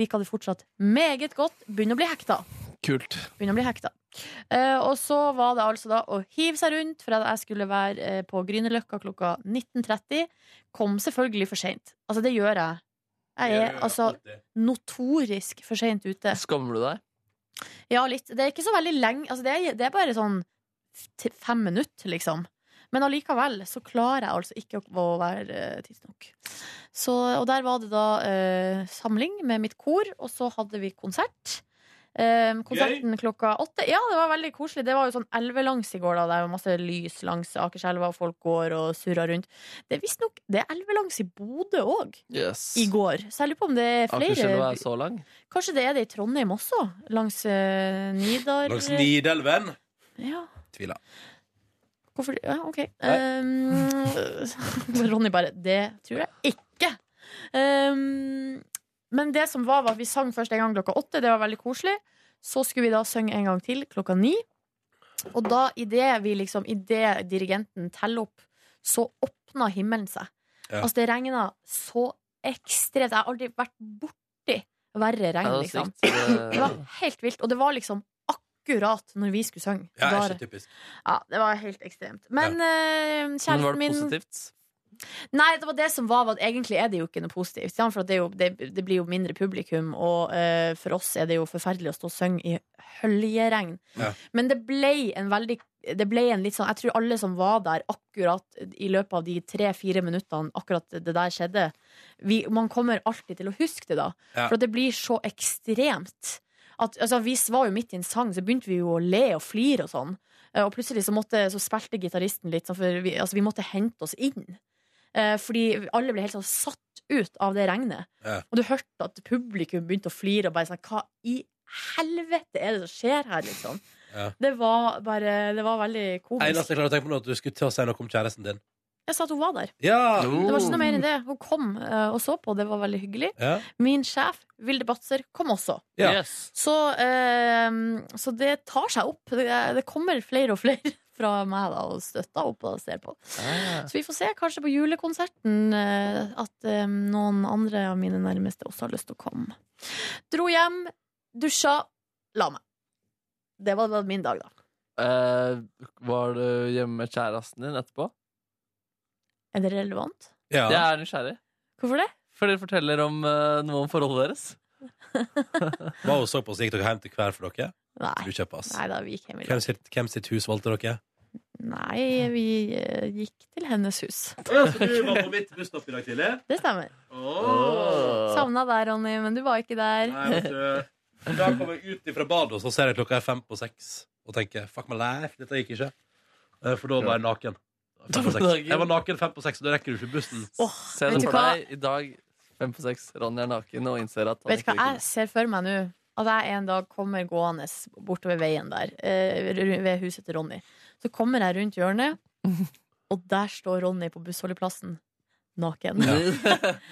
C: Liker det fortsatt meget godt. Begynner å bli hekta.
D: Kult.
C: Begynner å bli hekta. Eh, og så var det altså da å hive seg rundt for at jeg skulle være eh, på Grünerløkka klokka 19.30. Kom selvfølgelig for seint. Altså, det gjør jeg. Jeg er altså notorisk for seint ute.
D: Skammer du deg?
C: Ja, litt. Det er ikke så veldig lenge. Altså, det, er, det er bare sånn f- til fem minutter, liksom. Men allikevel så klarer jeg altså ikke å å være eh, tidsnok. Så, og der var det da eh, samling med mitt kor, og så hadde vi konsert. Eh, konserten klokka åtte. Ja, det var veldig koselig. Det var jo sånn elvelangs i går, da. Det er jo masse lys langs Akerselva, og folk går og surrer rundt. Det er visstnok det er elvelangs i Bodø òg,
D: Yes.
C: i går. Så jeg lurer på om det er flere
D: Akerselva er så lang.
C: Kanskje det er det i Trondheim også? Langs eh, Nidar
B: Langs Nidelven.
C: Ja,
B: Tviler.
C: hvorfor Ja, OK. Um, Ronny bare Det tror jeg ikke. Um, men det som var, var at vi sang først en gang klokka åtte. Det var veldig koselig. Så skulle vi da synge en gang til klokka ni. Og da, idet vi liksom Idet dirigenten teller opp, så åpna himmelen seg.
D: Ja.
C: Altså, det regna så ekstremt. Jeg har aldri vært borti verre regn,
D: Ja, det var
C: liksom.
D: sykt. Det-
C: Det var helt vilt. Og det var liksom akkurat når vi skulle synge.
D: Ja,
C: Da-
D: ikke typisk.
C: Ja, det var helt ekstremt. Men eh,
D: Men var
C: kjæresten
D: det
C: min
D: positivt?
C: Nei, det var det som var, var at egentlig er det jo ikke noe positivt. sant? For at det, er jo, det, det blir jo mindre publikum, og eh, for oss er det jo forferdelig å stå og synge i høljeregn.
N: Ja.
C: Men det ble en veldig det ble en litt sånn, Jeg tror alle som var der akkurat i løpet av de tre-fire minuttene akkurat det der skjedde vi, Man kommer alltid til å huske det, da.
N: Ja.
C: For at det blir så ekstremt. At, altså, vi var jo midt i en sang, så begynte vi jo å le og flire og sånn. Eh, Og plutselig så, måtte, så spilte gitaristen litt, sånn, for vi, altså, vi måtte hente oss inn. Eh, Fordi alle ble helt sånn satt ut av det regnet.
B: Ja.
C: Og du hørte at publikum begynte å flire og bare sånn Hva i helvete er det som skjer her, liksom?
B: Ja.
C: Det var bare Det var veldig
B: Eneste
C: komisk.
B: jeg klarer å tenke på nå, er at du skulle til å si noe om kjæresten din.
C: Jeg sa at hun var der.
B: Ja!
C: Det var ikke noe mer enn det. Hun kom eh, og så på, det var veldig hyggelig.
B: Ja.
C: Min sjef, Vilde Batzer, kom også.
B: Ja.
C: Så, eh, så det tar seg opp. Det, det kommer flere og flere fra meg da, og støtter opp og ser på. Så vi får se, kanskje på julekonserten, eh, at eh, noen andre av mine nærmeste også har lyst til å komme. Dro hjem, dusja, la meg. Det var, det var min dag, da.
D: Eh, var du hjemme med kjæresten din etterpå?
C: Er det relevant?
B: Ja.
D: Jeg er nysgjerrig.
C: Hvorfor det?
D: For dere forteller om eh, noe om forholdet deres.
B: Hva hun så på, så gikk dere hjem til hver for dere?
C: Nei.
B: Du kjøper, ass.
C: Nei da, vi gikk hjem i
B: Hvem sitt, hvem sitt hus valgte dere?
C: Nei, vi eh, gikk til hennes hus.
B: mitt busstopp i dag tidlig?
C: Det stemmer.
B: Åh.
C: Savna deg, Ronny, men du var ikke der.
B: Nei, vet du. Da kommer jeg ut fra badet, og så ser jeg klokka er fem på seks og tenker fuck my life, dette gikk ikke. Eh, For da var jeg naken. Fem på seks. Jeg var naken fem på seks, og da rekker du ikke bussen.
D: Se
C: vet
D: det
C: du
D: for
C: hva?
D: deg i dag. Fem på seks. Ronny er naken og innser at han
C: Vet du
D: ikke
C: hva
D: liker
C: jeg ser for meg nå? At jeg en dag kommer gående bortover veien der, eh, ru- ved huset til Ronny. Så kommer jeg rundt hjørnet, og der står Ronny på bussholdeplassen. Naken.
B: Ja.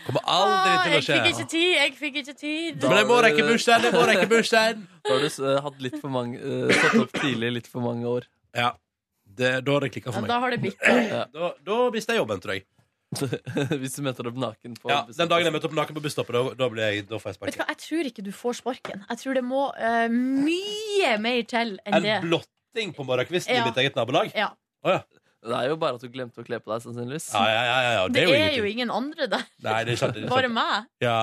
B: Kommer aldri
C: Ah,
B: til å
C: jeg fikk
B: skje.
C: ikke tid! Jeg fikk ikke tid!
D: Da
B: Men jeg må
D: har du-
B: rekke bussen! Jeg må rekke bussen!
D: Da har du eh, hatt litt for mange eh, Stått opp tidlig litt for mange år.
B: Ja. Det, da har det klikka
C: Ja, da har det bikka.
B: Da, da mister jeg jobben, tror jeg.
D: Hvis du møter opp naken på altså.
B: Ja, Den dagen jeg møter opp naken på busstoppet, da, da, blir jeg, da får jeg
C: Vet du
B: sparken.
C: hva, Jeg tror ikke du får sparken. Jeg tror det må eh, mye mer til enn det.
B: En blotting på morgenkvisten
C: Ja.
B: i mitt eget nabolag?
C: Ja.
B: Å, ja.
D: Det er jo bare at du glemte å kle på deg, sannsynligvis.
B: Ja, ja, ja, ja, ja.
C: Det er jo
B: ingenting.
C: ingen andre der.
B: Nei, det er sant, det er sant.
C: Bare meg.
B: Ja.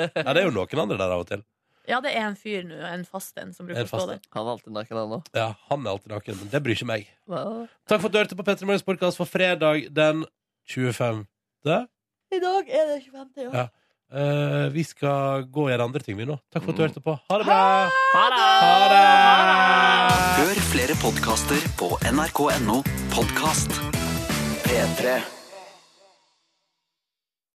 B: ja, det er jo noen andre der av og til.
C: Ja, det er en fyr nå, en fast en, som bruker
B: En
C: å stå
B: fast en.
C: der.
D: Han er alltid naken, han òg.
B: Ja, han er alltid naken, men det bryr ikke meg.
D: Hva?
B: Takk for at du hørte på Petter Morgens podkast for fredag den 25.
C: I dag er det 25. ja.
B: Ja. Eh, vi skal gå og gjøre andre ting, vi nå. Takk for at du hørte på. Ha det bra!
J: Hør flere podkaster på nrk.no podkast. P3.